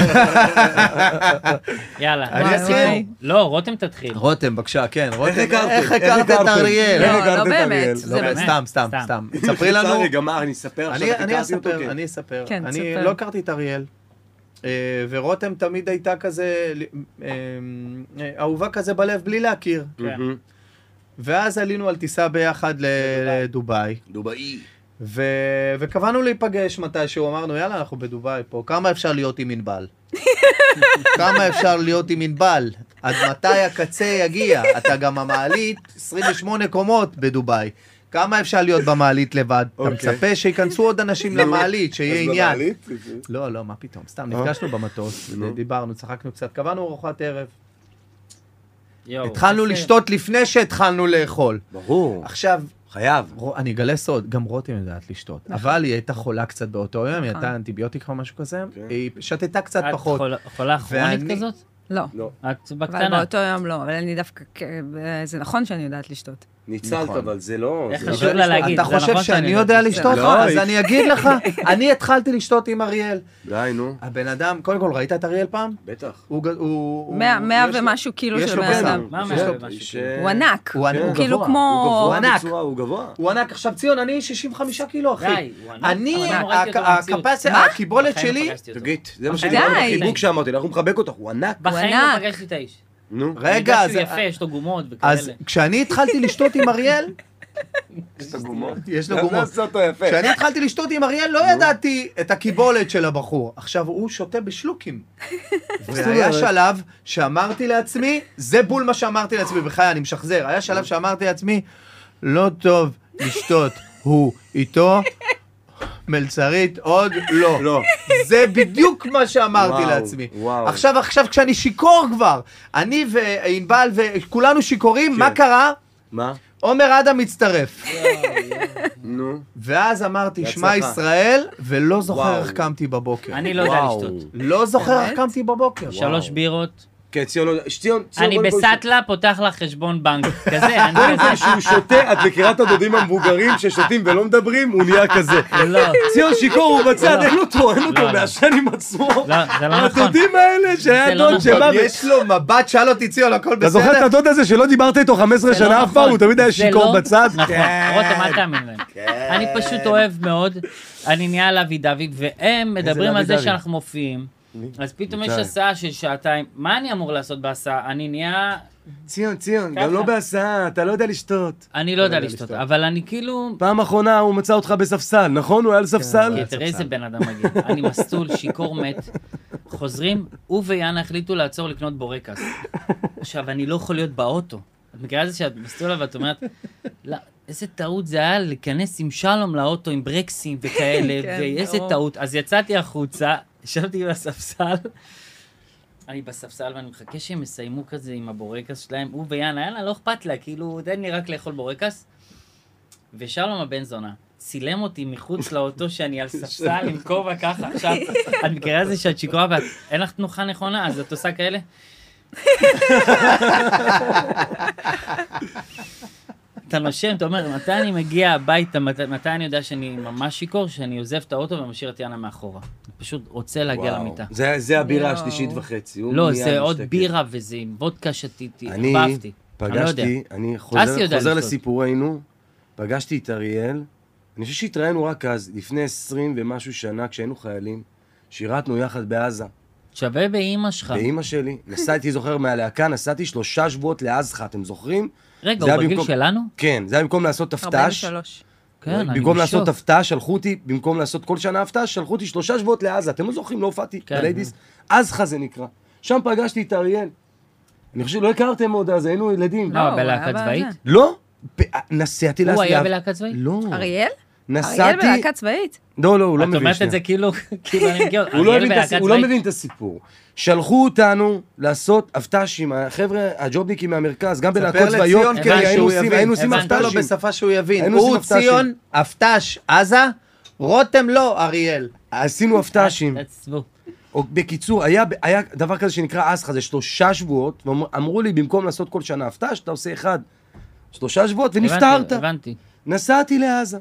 S2: יאללה.
S3: אני
S5: וואי,
S3: אסכים.
S5: וואי.
S2: לא, רותם תתחיל.
S3: רותם, בבקשה, כן, רותם,
S8: e
S3: איך
S1: איך
S3: הכרת את
S1: הכרתם?
S3: אריאל?
S1: איך
S5: לא,
S1: הכרת
S5: לא
S1: את אריאל?
S5: באמת.
S3: לא,
S5: זה
S2: באמת.
S3: סתם, סתם,
S2: סתם.
S3: סתם.
S8: e
S3: ספרי לנו.
S1: רגע, מה, אני אספר עכשיו?
S3: אני, אני
S1: הכרתי אותו,
S3: אספר,
S1: כן.
S3: אני אספר.
S5: כן,
S3: אני
S5: תספר.
S3: לא הכרתי את אריאל. אה, ורותם תמיד הייתה כזה, אה, אה, אהובה כזה בלב בלי להכיר.
S2: כן.
S1: מהמם.
S3: ואז עלינו על טיסה ביחד ל- לדובאי,
S1: דובאי.
S3: ו- וקבענו להיפגש מתישהו, אמרנו, יאללה, אנחנו בדובאי פה, כמה אפשר להיות עם ענבל? כמה אפשר להיות עם ענבל? עד מתי הקצה יגיע? אתה גם המעלית 28 קומות בדובאי. כמה אפשר להיות במעלית לבד? אתה
S1: אוקיי.
S3: מצפה שייכנסו עוד אנשים למעלית, שיהיה עניין.
S1: זה-
S3: לא, לא, מה פתאום, סתם, נפגשנו במטוס, דיברנו, צחקנו קצת, קבענו ארוחת ערב.
S2: יואו.
S3: התחלנו
S2: איזה-
S3: לשתות לפני שהתחלנו לאכול.
S1: ברור,
S3: עכשיו,
S1: חייב.
S3: רו- אני אגלה סוד, גם רותם יודעת לשתות,
S5: נכון.
S3: אבל היא הייתה חולה קצת באותו יום, היא הייתה אנטיביוטיקה או משהו כזה,
S5: כן.
S3: היא שתתה קצת
S2: את
S3: פחות.
S2: חולה- חולה כרונית
S3: ואני-
S2: כזאת?
S5: לא.
S1: לא.
S2: את
S5: אבל
S2: בקטנה.
S5: באותו יום לא, אבל אני דווקא, כ- זה נכון שאני יודעת לשתות.
S1: ניצלת,
S3: נכון.
S1: אבל זה לא...
S2: איך
S1: זה-
S2: חשוב לה להגיד,
S3: אתה
S2: זה
S3: חושב
S2: נכון
S3: שאני
S2: שאני
S3: יודע
S2: לא-
S3: לשתות לך?
S1: לא,
S3: אז
S1: אי-
S3: אני אגיד לך, אני התחלתי לשתות עם אריאל.
S1: די, נו,
S3: הבן אדם, קודם כל, ראית את אריאל פעם?
S1: בטח.
S3: הוא... ג- הוא- הוא-
S5: מאה- מאה
S3: יש לו-
S5: ומשהו קילו
S3: יש
S5: של
S3: לו
S5: בן
S3: גזע.
S5: אדם.
S2: מה
S1: יש
S2: מעל
S1: לו-
S2: ומשהו?
S1: איש,
S2: כאילו?
S1: אה,
S5: הוא ענק.
S3: הוא
S1: כן.
S3: ענק.
S5: כאילו
S1: גבוה,
S5: כמו...
S1: הוא גבוה
S3: ענק.
S1: בצורה, הוא גבוה.
S3: הוא ענק. עכשיו, ציון, אני 65 קילו, אחי.
S2: די, הוא ענק.
S3: אני,
S2: אבל לא ראיתי אותו
S3: הכ-
S2: במציאות.
S3: הקפס-
S2: מה?
S3: הקיבולת
S2: בחיים לא
S3: שלי...
S2: פגשתי אותו.
S1: תגיד, זה מה שאני
S2: בחיים לא
S1: אומר
S2: פגשתי
S1: בחיבוק
S2: אותו.
S1: שאמרתי, אנחנו מחבק אותך, הוא ענק.
S2: בחיים לא
S5: ענק.
S2: פגשתי את האיש.
S1: נו,
S3: רגע,
S2: אני יודע שהוא
S3: אז-
S2: יפה, יש לו גומות וכאלה.
S3: אז כשאני התחלתי לשתות עם אריאל,
S1: יש לו גומות.
S3: יש לו
S1: גם
S3: גומות.
S1: זה עושה אותו יפה.
S3: כשאני התחלתי לשתות עם אריאל, לא ידעתי את הקיבולת של הבחור. עכשיו, הוא שותה בשלוקים. והיה שלב שאמרתי לעצמי, זה בול מה שאמרתי לעצמי, בחיי, אני משחזר. היה שלב שאמרתי לעצמי, לא טוב לשתות הוא איתו, מלצרית עוד לא.
S1: לא.
S3: זה בדיוק מה שאמרתי
S1: וואו,
S3: לעצמי.
S1: וואו.
S3: עכשיו, עכשיו, כשאני שיכור כבר, אני וענבל וכולנו שיכורים,
S1: כן.
S3: מה קרה?
S1: מה?
S3: עומר אדם מצטרף.
S1: נו.
S3: ואז אמרתי, שמע
S1: בהצלחה.
S3: ישראל, ולא זוכר
S1: וואו.
S3: איך קמתי בבוקר.
S2: אני לא יודע
S1: וואו.
S2: לשתות.
S3: לא זוכר איך קמתי בבוקר.
S2: שלוש בירות.
S1: כן, ציון, לא- ציון, ציון,
S2: אני
S1: קודם כל,
S2: בסטלה פותח לך חשבון בנק. כזה, אני
S1: קודם כל
S2: כזה.
S1: שהוא שותה, את מכירה את הדודים המבוגרים ששותים ולא מדברים? הוא נהיה כזה.
S2: לא,
S1: ציון שיכור הוא בצד,
S2: לא.
S1: אין אותו, אין אותו,
S2: לא.
S1: מעשן עם עצמו.
S2: לא, זה לא נכון.
S1: הדודים האלה
S2: זה
S1: שהיה
S2: לא
S1: דוד
S2: נכון.
S1: שבא
S3: גם
S1: ו...
S3: יש לו מבט, שאל אותי ציון, הכל
S1: אתה זוכר את
S3: בסדר?
S1: הדוד הזה שלא דיברת איתו 15
S2: זה לא
S1: שנה אף
S2: נכון.
S1: פעם, כן. הוא תמיד היה
S2: זה
S1: שיכור
S2: לא
S1: בצד?
S2: נכון, רותם, אל תאמין להם. אני פשוט אוהב מאוד, אני נהיה על אבי דויד, והם מדברים
S1: לוי
S2: על זה
S1: דוד?
S2: שאנחנו מופיעים, אז פתאום יש
S1: מתי?
S2: הסעה של שעתיים, מה אני אמור לעשות בהסעה? אני נהיה,
S1: ציון, ציון,
S2: ככה.
S1: גם לא בהסעה, אתה לא יודע לשתות.
S2: אני לא יודע לשתות, אבל אני כאילו,
S1: פעם אחרונה הוא מצא אותך בספסל, נכון? הוא היה על ספסל?
S2: כי אוקיי, תראה איזה בן אדם מגיע, אני מסטול, שיכור מת. חוזרים, הוא ויאנה החליטו לעצור לקנות בורקס. עכשיו, אני לא יכול להיות באוטו. את מכירה את זה שאת מסטולה ואת אומרת, "לא, איזה טעות זה היה להיכנס עם שלום לאוטו, עם ברקסים וכאלה,
S5: כן,
S2: ואיזה
S5: ברור.
S2: טעות. אז יצאתי החוצה, ישבתי בספסל. אני בספסל ואני מחכה שהם יסיימו כזה עם הבורקס שלהם, הוא ויאנה, יאללה, לא אכפת לה, כאילו, תן לי רק לאכול בורקס. ושלום הבן זונה צילם אותי מחוץ לאוטו שאני על ספסל עם כובע ככה. עכשיו, את מכירה את זה שאת שיכורה ואת, אין לך תנוחה נכונה, אז את עושה כאלה? אתה נושם, אתה אומר, מתי אני מגיע הביתה, מת, מתי אני יודע שאני ממש שיכור, שאני עוזב את האוטו ומשאיר את יאנה מאחורה. אני פשוט רוצה להגיע
S1: וואו.
S2: למיטה.
S1: זה- זה הבירה
S5: יואו.
S1: השלישית וחצי. הוא
S2: לא,
S1: נהיה
S2: זה עוד
S1: משתכר.
S2: בירה וזה עם וודקה שתיתי,
S1: אני
S2: החבבתי. אני לא יודע.
S1: פגשתי, אני
S2: אסי
S1: חוזר
S2: יודע
S1: חוזר
S2: לעשות.
S1: לסיפורנו, פגשתי את אריאל, אני חושב שהתראינו רק אז, לפני 20 ומשהו שנה, כשהיינו חיילים, שירתנו יחד בעזה.
S2: שווה באימא שלך.
S1: באימא שלי, נסעתי, זוכר, מהלהקה, נסעתי שלושה שבועות לעזחה, אתם זוכרים?
S2: רגע,
S1: זה
S2: הוא
S1: היה
S2: בגיל
S1: במקום-
S2: שלנו?
S1: כן, זה היה במקום לעשות תפת"ש.
S5: 43.
S2: כן, אני
S1: במקום לעשות
S2: בשוק.
S1: הפתעה, שלחו אותי, במקום לעשות כל שנה הפתעה, שלחו אותי שלושה שבועות לעזה. אתם לא זוכרים, לא הופעתי,
S2: כן.
S1: בליידיס. עזחה זה נקרא. שם פגשתי את אריאל. אני חושב שלא הכרתם עוד אז, היינו ילדים.
S2: לא,
S5: הוא היה
S2: בלהקה
S5: בזה.
S2: צבאית?
S1: לא? פ- נסעתי
S2: הוא היה
S1: לאסלב.
S2: בלהקה צבאית?
S1: לא.
S5: אריאל? אריאל
S1: נסעתי...
S5: בלהקה צבאית?
S1: לא, לא, הוא לא
S2: את
S1: מבין.
S2: אומרת את
S1: שנייה.
S2: זה כאילו, כאילו אני מכיר,
S1: הוא לא
S2: אריאל
S1: מבין את
S2: בלהקה
S1: הסיפור, הוא לא
S2: צבאית?
S1: מבין את הסיפור. שלחו אותנו לעשות הפת"שים, החבר'ה, הג'ובניקים מהמרכז, גם בלהקות
S3: ספר
S1: צבאיות,
S3: לציון
S1: כן,
S3: כדי
S2: הבנתי,
S1: היינו
S3: שהוא
S1: עושים-
S3: יבין.
S1: היינו עושים
S2: הבנתי.
S3: הבנת לו
S1: הפת"שים.
S3: בשפה שהוא יבין.
S1: היינו
S3: הוא
S1: עושים הפתעה
S3: ציון, הפתש עזה, רותם לא, אריאל. אה,
S1: עשינו הפת"שים.
S2: אה, תעצבו.
S1: או בקיצור, היה, היה דבר כזה שנקרא אסחה, זה שלושה שבועות, ואמרו לי, במקום לעשות כל שנה הפתעה, שאתה עושה אחד. שלושה שבועות, ונפטרת.
S2: הבנתי, הבנתי.
S1: נסעתי לעזה.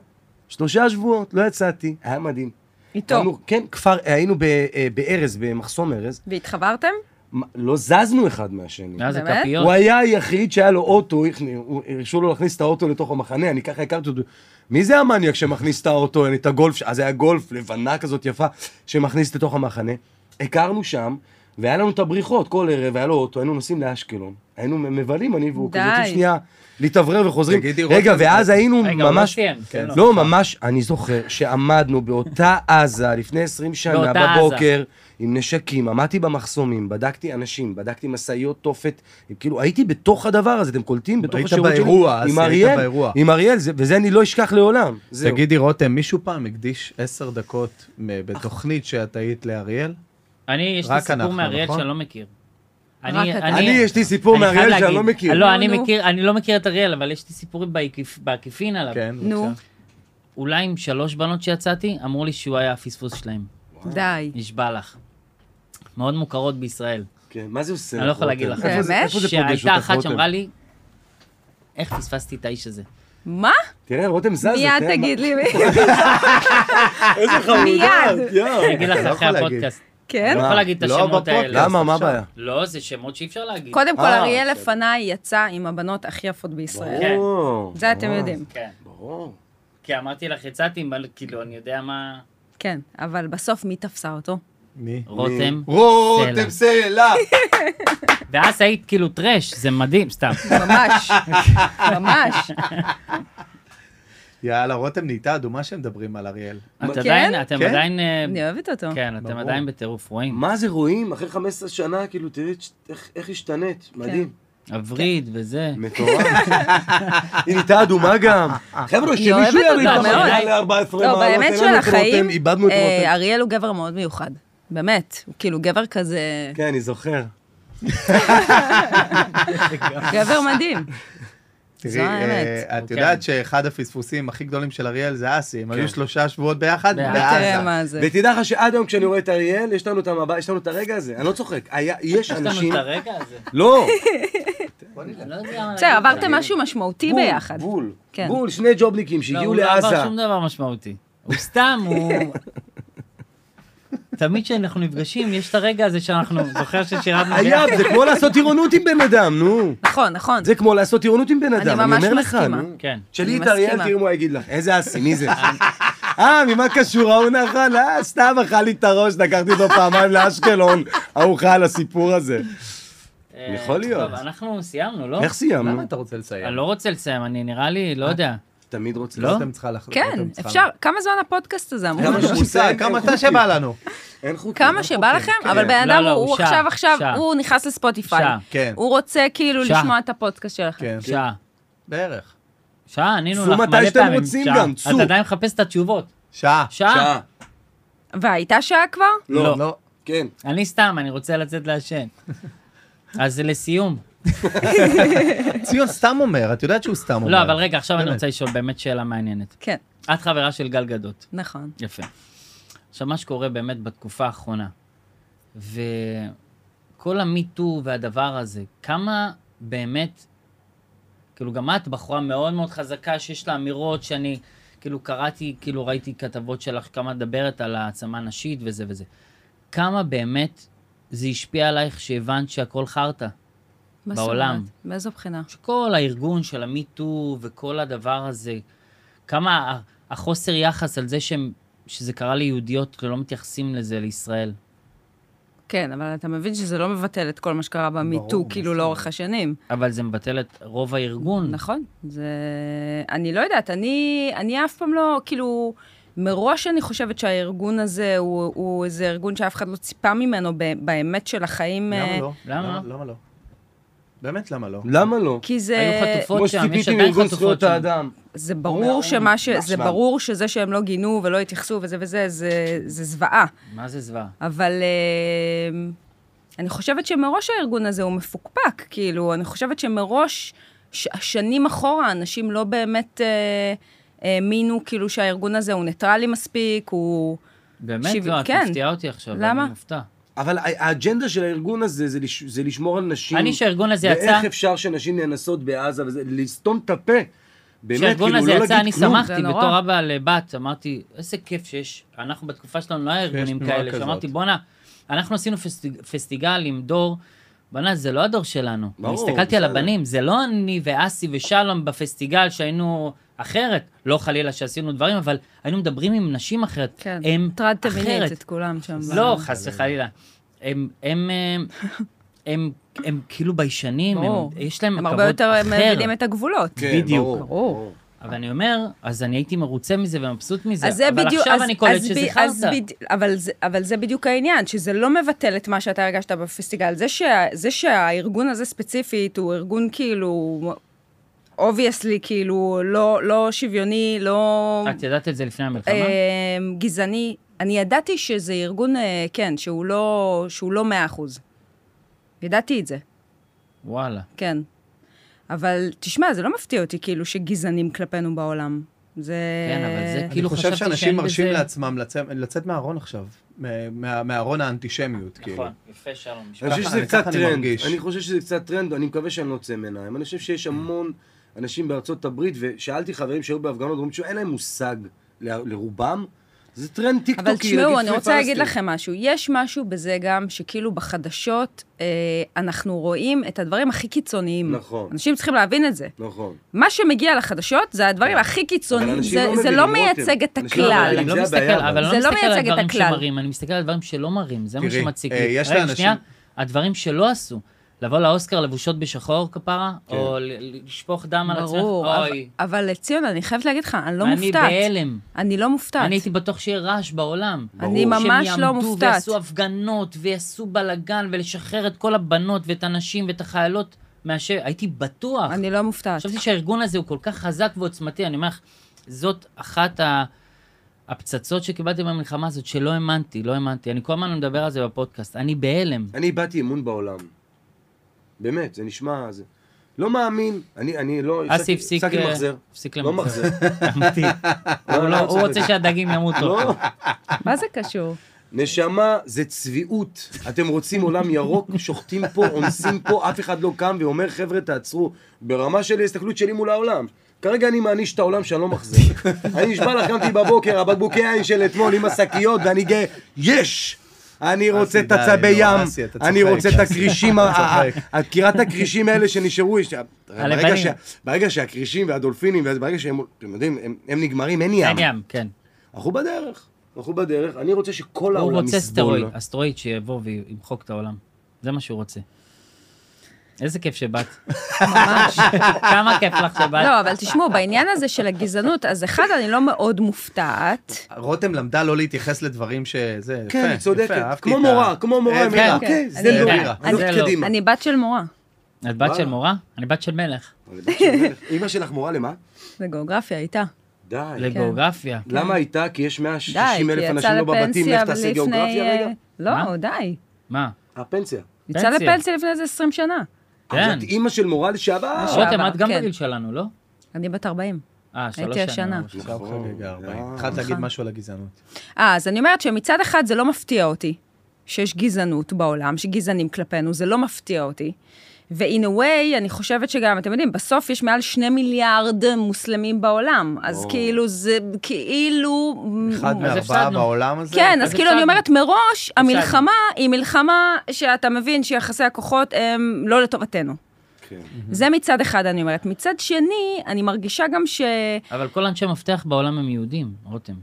S1: שלושה שבועות, לא יצאתי, היה מדהים.
S5: איתו.
S1: היינו- כן, כפר, היינו ב- אה, בארז, במחסום ארז,
S5: והתחברתם?
S1: מ- לא זזנו אחד מהשני.
S2: מאז
S5: באמת?
S2: הכפיות.
S1: הוא היה היחיד שהיה לו אוטו, הכני- הוא- הרשו לו להכניס את האוטו לתוך המחנה, אני ככה הכרתי אותו. מי זה המניאק שמכניס את האוטו, אני- את הגולף, ש- אז היה גולף לבנה כזאת יפה, שמכניס לתוך המחנה. הכרנו שם, והיה לנו את הבריחות כל ערב, היה לו אוטו, היינו נוסעים לאשקלון. היינו מ- מבלים, אני והוא,
S5: די.
S1: כזה "רוצים שנייה להתאוורר וחוזרים.
S3: תגידי,
S1: רגע,
S3: רותם, כן.
S1: ואז היינו
S2: רגע, הוא לא
S1: ממש...
S2: סיים. תן לו.
S1: לא, ממש, אני זוכר שעמדנו באותה עזה לפני 20 שנה
S2: באותה עזה.
S1: בבוקר, עם נשקים, עמדתי במחסומים, בדקתי אנשים, בדקתי משאיות תופת, כאילו הייתי בתוך הדבר הזה, אתם קולטים? בתוך
S3: היית
S1: השירות שלי,
S3: באירוע, אז
S1: עם
S3: היית
S1: אריאל,
S3: באירוע.
S1: עם אריאל, זה- וזה אני לא אשכח לעולם. זהו.
S3: תגידי, רותם, מישהו פעם הקדיש עשר דקות מ- בתוכנית שאת היית לאריאל?
S2: אני, יש לי
S3: רק
S2: סיפור
S3: אנחנו,
S2: מאריאל
S3: נכון?
S2: שאני לא מכיר.
S5: אתה.
S1: אני, יש לי סיפור
S2: אני חייב
S1: מאריאל שאני
S2: להגיד.
S1: לא מכיר.
S2: לא, אני
S5: נו, נו.
S2: מכיר, אני לא מכיר את אריאל, אבל יש לי סיפורים בעקיפ- בעקיפין עליו.
S3: כן,
S5: נו.
S3: בבקשה.
S2: אולי עם שלוש בנות שיצאתי, אמרו לי שהוא היה הפספוס שלהם.
S5: די.
S2: נשבע לך. מאוד מוכרות בישראל.
S1: כן, מה זה עושה?
S2: אני לא יכול
S1: רותם?
S2: להגיד לך.
S1: איפה זה-
S5: באמת?
S1: איפה זה פוגש אותך,
S2: שהייתה אחת
S1: רותם?
S2: שאמרה לי, איך פספסתי את האיש הזה?
S5: מה?
S1: תראה, רותם זזת.
S5: מיד
S1: תראה אה, כן, מה-
S5: תגיד לי. מי.
S1: איזה חמודה. אה,
S5: מיד.
S1: יואו.
S2: אני אגיד לך
S1: אתה לא
S2: אחרי
S1: יכול להגיד.
S2: הפודקאסט.
S5: כן?
S2: לא יכול להגיד את
S3: לא
S2: השמות
S3: בפודקאסט.
S2: האלה.
S1: למה, מה הבעיה?
S2: לא, זה שמות שאי אפשר להגיד.
S5: קודם כל,
S1: אה,
S5: אריאל לפניי יצא עם הבנות הכי יפות בישראל.
S2: כן.
S1: ברור.
S5: זה אתם יודעים.
S2: כן. ברור. כי אמרתי לך, יצאתי, אבל כאילו, אני יודע מה...
S5: כן, אבל בסוף מי תפסה אותו?
S1: מי?
S2: רותם. סלע.
S3: רותם סלע.
S2: ואז היית כאילו טרש, זה מדהים, סתם.
S5: ממש, ממש.
S3: יאללה, רותם נהייתה אדומה שמדברים על אריאל.
S2: את
S5: כן?
S2: עדיין, אתם
S3: כן.
S2: עדיין... אה,
S5: אני אוהבת אותו.
S2: כן, אתם
S3: ברור.
S2: עדיין בטירוף, רואים.
S1: מה זה רואים? אחרי 15 שנה, כאילו, תראי את ש- איך- איך
S5: כן.
S1: השתנית. מדהים.
S2: הווריד וזה.
S1: מטורף. היא נהייתה אדומה גם. חבר'ה,
S5: היא אוהבת
S1: שמישהו יריד
S5: אותה
S1: את
S5: מאוד.
S1: המעלה ל-14 מעלות.
S5: לא,
S1: אין
S5: באמת
S1: לנו
S5: של
S1: את רותם,
S5: החיים,
S1: איבדנו את
S5: אה,
S1: רותם.
S5: אריאל הוא גבר מאוד מיוחד. באמת, הוא כאילו גבר כזה,
S1: כן, אני זוכר.
S5: גבר מדהים.
S3: תראי,
S5: זו האמת.
S3: אה, את
S2: כן.
S3: יודעת שאחד הפספוסים הכי גדולים של אריאל זה אסי, הם היו שלושה שבועות ביחד
S2: בעזה.
S5: תראה
S3: בעזה.
S5: מה זה.
S1: ותדע לך שעד היום כשאני רואה את אריאל, יש לנו את המבט, יש לנו את הרגע הזה. אני לא צוחק. היה- יש
S2: יש לנו
S1: אנשים...
S2: את הרגע הזה.
S1: לא,
S2: אני לא יודע מה
S5: בסדר,
S2: להגיד.
S5: עברתם משהו משמעותי
S1: בול,
S5: ביחד.
S1: בול,
S5: כן.
S1: בול, שני ג'ובניקים
S2: לא,
S1: שהגיעו
S2: הוא לא עבר
S1: לעזה.
S2: שום דבר משמעותי. הוא סתם, הוא... תמיד כשאנחנו נפגשים, יש את הרגע הזה שאנחנו... זוכר ששירתנו
S1: היה, זה כמו לעשות טירונות עם בן אדם, נו.
S5: נכון, נכון.
S1: זה כמו לעשות טירונות עם בן
S5: אני
S1: אדם, אני
S5: ממש
S1: אומר לך,
S5: מסכימה.
S1: נו.
S2: כן.
S1: תשאלי את
S5: אני
S1: אריאל,
S5: מסכימה.
S1: תראי מה הוא יגיד לך. איזה אסי, מי זה? אה, ממה קשור ההוא נחל? אה, סתם אכל לי את הראש, לקחתי אותו פעמיים לאשקלון, ההוא חי על הסיפור הזה.
S2: אה,
S1: יכול להיות.
S2: טוב, אנחנו סיימנו, לא?
S1: איך אה? סיימנו?
S3: למה אתה רוצה לסיים?
S2: אני לא רוצה לסיים, אני נראה לי, לא יודע.
S1: תמיד רוצה.
S2: לא?
S3: רותם צריכה לח-
S5: כן,
S3: רותם צריכה
S5: אפשר,
S3: לח-
S5: כמה זמן הפודקאסט הזה אמור?
S1: כמה
S3: יש
S1: שהוא
S3: מושג,
S1: מסיים,
S3: כמה
S1: אין
S3: אתה
S1: חוקים.
S3: שבא לנו.
S1: אין חוקים.
S5: כמה
S1: אין
S5: שבא
S1: חוקים.
S5: לכם, אבל בן
S2: לא,
S5: אדם
S2: לא,
S5: הוא
S2: הוא שעה,
S5: עכשיו עכשיו,
S2: שעה.
S5: הוא נכנס לספוטיפיי.
S2: שעה.
S3: כן,
S5: הוא רוצה כאילו
S2: שעה.
S5: לשמוע את הפודקאסט שלכם.
S3: כן,
S2: שעה.
S3: בערך.
S2: שעה, ענינו לך
S1: צאו
S2: מלא פעמים.
S1: מתי שאתם רוצים
S2: שעה.
S1: גם, צאו.
S2: אתה עדיין מחפש את התשובות.
S3: שעה.
S2: שעה.
S1: שעה.
S5: כן. והייתה שעה כבר?
S2: לא.
S3: לא.
S1: כן.
S2: אני סתם, אני רוצה לצאת לעשן. אז לסיום.
S1: אוקיי.
S3: ציון סתם אומר, את יודעת שהוא סתם אומר.
S2: לא, אבל רגע, עכשיו אני
S3: באמת.
S2: רוצה לשאול באמת שאלה מעניינת.
S5: כן,
S2: את חברה של גל גדות.
S5: נכון.
S2: יפה. עכשיו, מה שקורה באמת בתקופה האחרונה, וכל המיטו והדבר הזה, כמה באמת, כאילו, גם את בחורה מאוד מאוד חזקה, שיש לה אמירות שאני, כאילו, קראתי, כאילו, ראיתי כתבות שלך, כמה את מדברת על העצמה נשית וזה וזה. כמה באמת זה השפיע עלייך שהבנת שהכל חרטא?
S5: מה זאת
S2: בעולם.
S5: אומרת? מאיזו בחינה?
S2: שכל הארגון של המיטו וכל הדבר הזה, כמה ה- החוסר יחס על זה שהם, שזה קרה ליהודיות ולא מתייחסים לזה לישראל.
S5: כן, אבל אתה מבין שזה לא מבטל את כל מה שקרה במיטו,
S3: ברור,
S5: כאילו,
S3: מסכים.
S5: לאורך השנים.
S2: אבל זה מבטל את רוב הארגון.
S5: נכון, זה... אני לא יודעת, אני, אני אף פעם לא, כאילו, מראש אני חושבת שהארגון הזה הוא, הוא איזה ארגון שאף אחד לא ציפה ממנו ב, באמת של החיים.
S3: למה
S5: אה,
S3: לא?
S2: למה?
S3: למה לא? באמת, למה לא?
S1: למה לא?
S5: כי זה...
S2: היו חטופות
S1: כמו
S2: שם, יש
S1: שציפיתי
S2: עדיין
S1: מארגון
S2: חטופות
S1: זכויות
S2: שם.
S1: האדם.
S5: זה ברור שמה ש... זה
S1: שלנו.
S5: ברור שזה שהם לא גינו ולא התייחסו וזה וזה, זה, זה זוועה.
S2: מה זה זוועה?
S5: אבל אה, אני חושבת שמראש הארגון הזה הוא מפוקפק, כאילו, אני חושבת שמראש, ש- שנים אחורה, אנשים לא באמת אה, האמינו, כאילו, שהארגון הזה הוא ניטרלי מספיק, הוא...
S2: באמת
S5: שיב-
S2: לא, את
S5: כן.
S2: מפתיעה אותי עכשיו,
S5: למה?
S2: אני מופתע.
S1: אבל ה- האג'נדה של הארגון הזה זה, לש, זה לשמור על נשים.
S2: אני, שהארגון הזה יצא,
S1: ואיך אפשר שנשים נאנסות בעזה, וזה, לסתום את הפה. באמת,
S2: כשהארגון
S1: כאילו,
S2: הזה
S1: לא
S2: יצא, אני
S1: להגיד כלום.
S5: זה
S2: שמחתי
S5: נורא.
S2: בתור אבא לבת, אמרתי, איזה כיף שיש, אנחנו בתקופה שלנו לא היה ארגונים
S3: תנועה
S2: כאלה,
S3: כזאת.
S2: שאמרתי, בואנה, אנחנו עשינו פסטיג- פסטיגל עם דור, בואנה, זה לא הדור שלנו.
S1: ברור,
S2: אני הסתכלתי על
S1: בסדר.
S2: הבנים, זה לא אני ואסי ושלום בפסטיגל שהיינו אחרת, לא חלילה שעשינו דברים, אבל היינו מדברים עם נשים אחרת.
S5: כן,
S2: הם
S5: הטרדת מינית
S2: אחרת.
S5: את כולם שם.
S2: לא, חס וחלילה. הם, הם, הם, הם, הם כאילו ביישנים, הם,
S5: ברור.
S2: יש להם
S5: הם
S2: כבוד
S5: הרבה יותר
S2: אחר.
S5: מבינים את הגבולות.
S1: כן,
S2: בדיוק.
S1: ברור.
S5: ברור.
S2: אבל אני אומר, אז אני הייתי מרוצה מזה ומבסוט מזה.
S5: אז זה
S2: אבל
S5: בדיוק,
S2: עכשיו
S5: אז-
S2: אני קולט
S5: אז
S2: שזה
S5: ב- אז
S2: חרטא.
S5: בד- אבל זה- אבל זה בדיוק העניין, שזה לא מבטל את מה שאתה הרגשת בפסטיגל. זה שה- זה שהארגון הזה ספציפית הוא ארגון כאילו, אובייסלי, כאילו, לא- לא שוויוני, לא
S2: את ידעת את זה לפני המלחמה?
S5: אה, גזעני. אני ידעתי שזה ארגון, אה, כן, שהוא לא- שהוא לא 100%. ידעתי את זה.
S2: וואלה.
S5: כן. אבל תשמע, זה לא מפתיע אותי כאילו שגזענים כלפינו בעולם. זה...
S2: כן, אבל זה
S3: אני
S2: כאילו
S3: חושב
S2: חשבתי
S3: שאנשים
S2: שאין
S3: מרשים
S2: בזה-
S3: לעצמם לצאת- לצאת מהארון עכשיו, מה- מה- מהארון האנטישמיות, כאילו.
S2: נכון, יפה שלום.
S1: אני
S2: משפט.
S1: חושב
S3: ככה
S1: שזה
S3: אני-
S1: קצת
S3: ככה אני
S1: טרנד.
S3: מרגיש.
S1: אני חושב שזה קצת טרנד, אני מקווה שאני לא יוצא מעיניים. אני חושב שיש המון אנשים בארצות הברית, ושאלתי חברים שהיו בהפגנות, אומרים שאין להם מושג ל- לרובם, זה טרנד טיקטוקי.
S5: אבל תשמעו,
S1: להגיד
S5: אני
S1: "Free
S5: רוצה להגיד
S1: Palestine".
S5: לכם משהו. יש משהו בזה גם, שכאילו בחדשות אה, אנחנו רואים את הדברים הכי קיצוניים.
S1: נכון.
S5: אנשים צריכים להבין את זה.
S1: נכון.
S5: מה שמגיע לחדשות זה הדברים הכי קיצוניים,
S1: כן. אנשים לא
S5: זה- זה
S1: מבינים,
S5: לא
S1: רותם.
S5: מייצג את
S1: אנשים לא
S5: הכלל.
S1: מבינים.
S2: אני לא
S1: זה
S2: מסתכל,
S1: הבעיה, אבל.
S2: אבל
S5: זה
S2: אני לא
S5: לא
S2: מסתכל
S5: מייצג
S2: על
S5: את
S2: הדברים
S5: הכלל.
S2: שמראים, אני מסתכל על דברים שלא מראים, זה מה
S3: תראי,
S2: שמציק
S3: אה,
S2: לי.
S3: יש
S2: רגע,
S3: לאנשים-
S2: שנייה, הדברים שלא עשו, לבוא לאוסקר לבושות בשחור כפרה,
S3: כן.
S2: או ל- לשפוך דם על עצמך,
S5: ברור, אבל-
S2: אוי.
S5: אבל לציון, אני חייבת להגיד לך, אני לא
S2: אני
S5: מופתעת.
S2: בהלם.
S5: אני לא מופתעת.
S2: אני הייתי בטוח שיהיה רעש בעולם.
S5: אני ממש
S2: שהם
S5: לא
S2: יעמדו
S5: מופתעת.
S2: ויעשו הפגנות, ויעשו בלאגן, ולשחרר את כל הבנות, ואת הנשים, ואת החיילות, מאשר... הייתי בטוח.
S5: אני לא מופתעת.
S2: חשבתי שהארגון הזה הוא כל כך חזק ועוצמתי, אני אומר לך, זאת אחת ה... הפצצות שקיבלתי במלחמה הזאת, שלא האמנתי, לא האמנתי. אני כל הזמן מדבר על זה בפודקאסט, אני בהלם.
S1: אני איבדתי אמון בעולם. באמת, זה נשמע... זה... לא מאמין, אני, אני לא... הפסקתי-
S2: אסי הפסיק...
S1: הפסקתי
S2: אה,
S1: למחזר.
S2: הפסיק
S1: לא
S2: למחזר.
S1: מחזר.
S2: אמיתי. הוא לא- הוא רוצה שהדגים ימותו.
S1: לא.
S5: מה זה קשור?
S1: נשמה, זה צביעות. אתם רוצים עולם ירוק, שוחטים פה, אונסים פה, אף אחד לא קם ואומר, חבר'ה, תעצרו. ברמה של ההסתכלות שלי מול העולם. כרגע אני מעניש את העולם שאני לא מחזיר. אני נשבע לך, קמתי בבוקר, הבקבוקי יין של אתמול עם השקיות, ואני גאה, יש! אני רוצה את
S3: די,
S1: הצבי
S3: נו,
S1: ים,
S3: אסי, אתה
S1: אני
S3: צוחק,
S1: רוצה את
S3: אסי.
S1: הכרישים, ה- ה- ה- את קירת הכרישים האלה שנשארו, יש-
S2: הלבנים.
S1: ברגע שה- ברגע שהכרישים והדולפינים, ואז ברגע שהם, אתם יודעים, הם- הם נגמרים, אין ים.
S2: אין ים, כן.
S1: אנחנו בדרך, אנחנו בדרך, אני רוצה שכל
S2: לא, הוא
S1: העולם
S2: רוצה
S1: יסבול.
S2: סטרואיד, אסטרואיד שיבוא וימחוק את העולם. זה מה שהוא רוצה. איזה כיף שבאת. ממש. כמה כיף לך שבאת.
S5: לא, אבל תשמעו, בעניין הזה של הגזענות, אז אחד, אני לא מאוד מופתעת.
S3: רותם למדה לא להתייחס לדברים שזה, יפה,
S1: כן, היא צודקת.
S3: יפה, אהבתי
S1: כמו
S3: את
S1: מורה,
S3: ה-
S1: כמו מורה,
S3: אה,
S1: היא אומרת,
S2: כן,
S1: אוקיי,
S5: כן.
S1: זה
S5: אני-
S1: לא
S3: אני-
S1: נראה.
S5: אני-
S1: הולכת קדימה.
S5: אני בת של מורה לא.
S2: את בת של
S1: וואלה.
S2: מורה? אני בת של מלך.
S1: אמא שלך מורה למה?
S5: לגיאוגרפיה, איתה.
S1: די.
S2: לגיאוגרפיה.
S1: למה הייתה? כי יש
S5: די,
S1: 160
S5: כי
S1: אלף
S5: יצא
S1: אנשים לא בבתים,
S5: לפנסיה
S1: לך תעשה
S5: לפני,
S1: גיאוגרפיה
S5: אה,
S1: רגע?
S2: מה?
S5: לא, די.
S2: מה?
S1: הפנסיה.
S5: יצא
S2: פנסיה.
S5: לפנסיה לפני איזה 20 שנה.
S2: כן.
S1: אז את אימא של מורה לשעבר.
S5: לשעבר.
S2: רותם, את גם
S5: כן.
S2: בגיל שלנו, לא?
S5: אני בת 40.
S2: אה, שלוש
S5: הייתי השנה.
S2: שנים.
S3: כן. עכשיו
S1: נכון,
S3: חגג
S1: אה.
S3: הארבעים. התחלת להגיד משהו על הגזענות.
S5: אה, אז אני אומרת שמצד אחד זה לא מפתיע אותי שיש גזענות בעולם, שגזענים כלפינו, זה לא מפתיע אותי. ו-in a way, אני חושבת שגם, אתם יודעים, בסוף יש מעל שני מיליארד מוסלמים בעולם, אז כאילו זה כאילו...
S3: אחד
S2: אז
S3: מארבעה
S2: הפסדנו.
S3: בעולם הזה?
S5: כן, אז
S2: אז
S5: כאילו אני
S2: הפסדנו.
S5: אומרת מראש,
S2: הפסדנו.
S5: המלחמה היא מלחמה שאתה מבין שיחסי הכוחות הם לא לטובתנו.
S1: כן.
S5: זה מצד אחד, אני אומרת. מצד שני, אני מרגישה גם ש...
S2: אבל כל אנשי מפתח בעולם הם יהודים, רותם.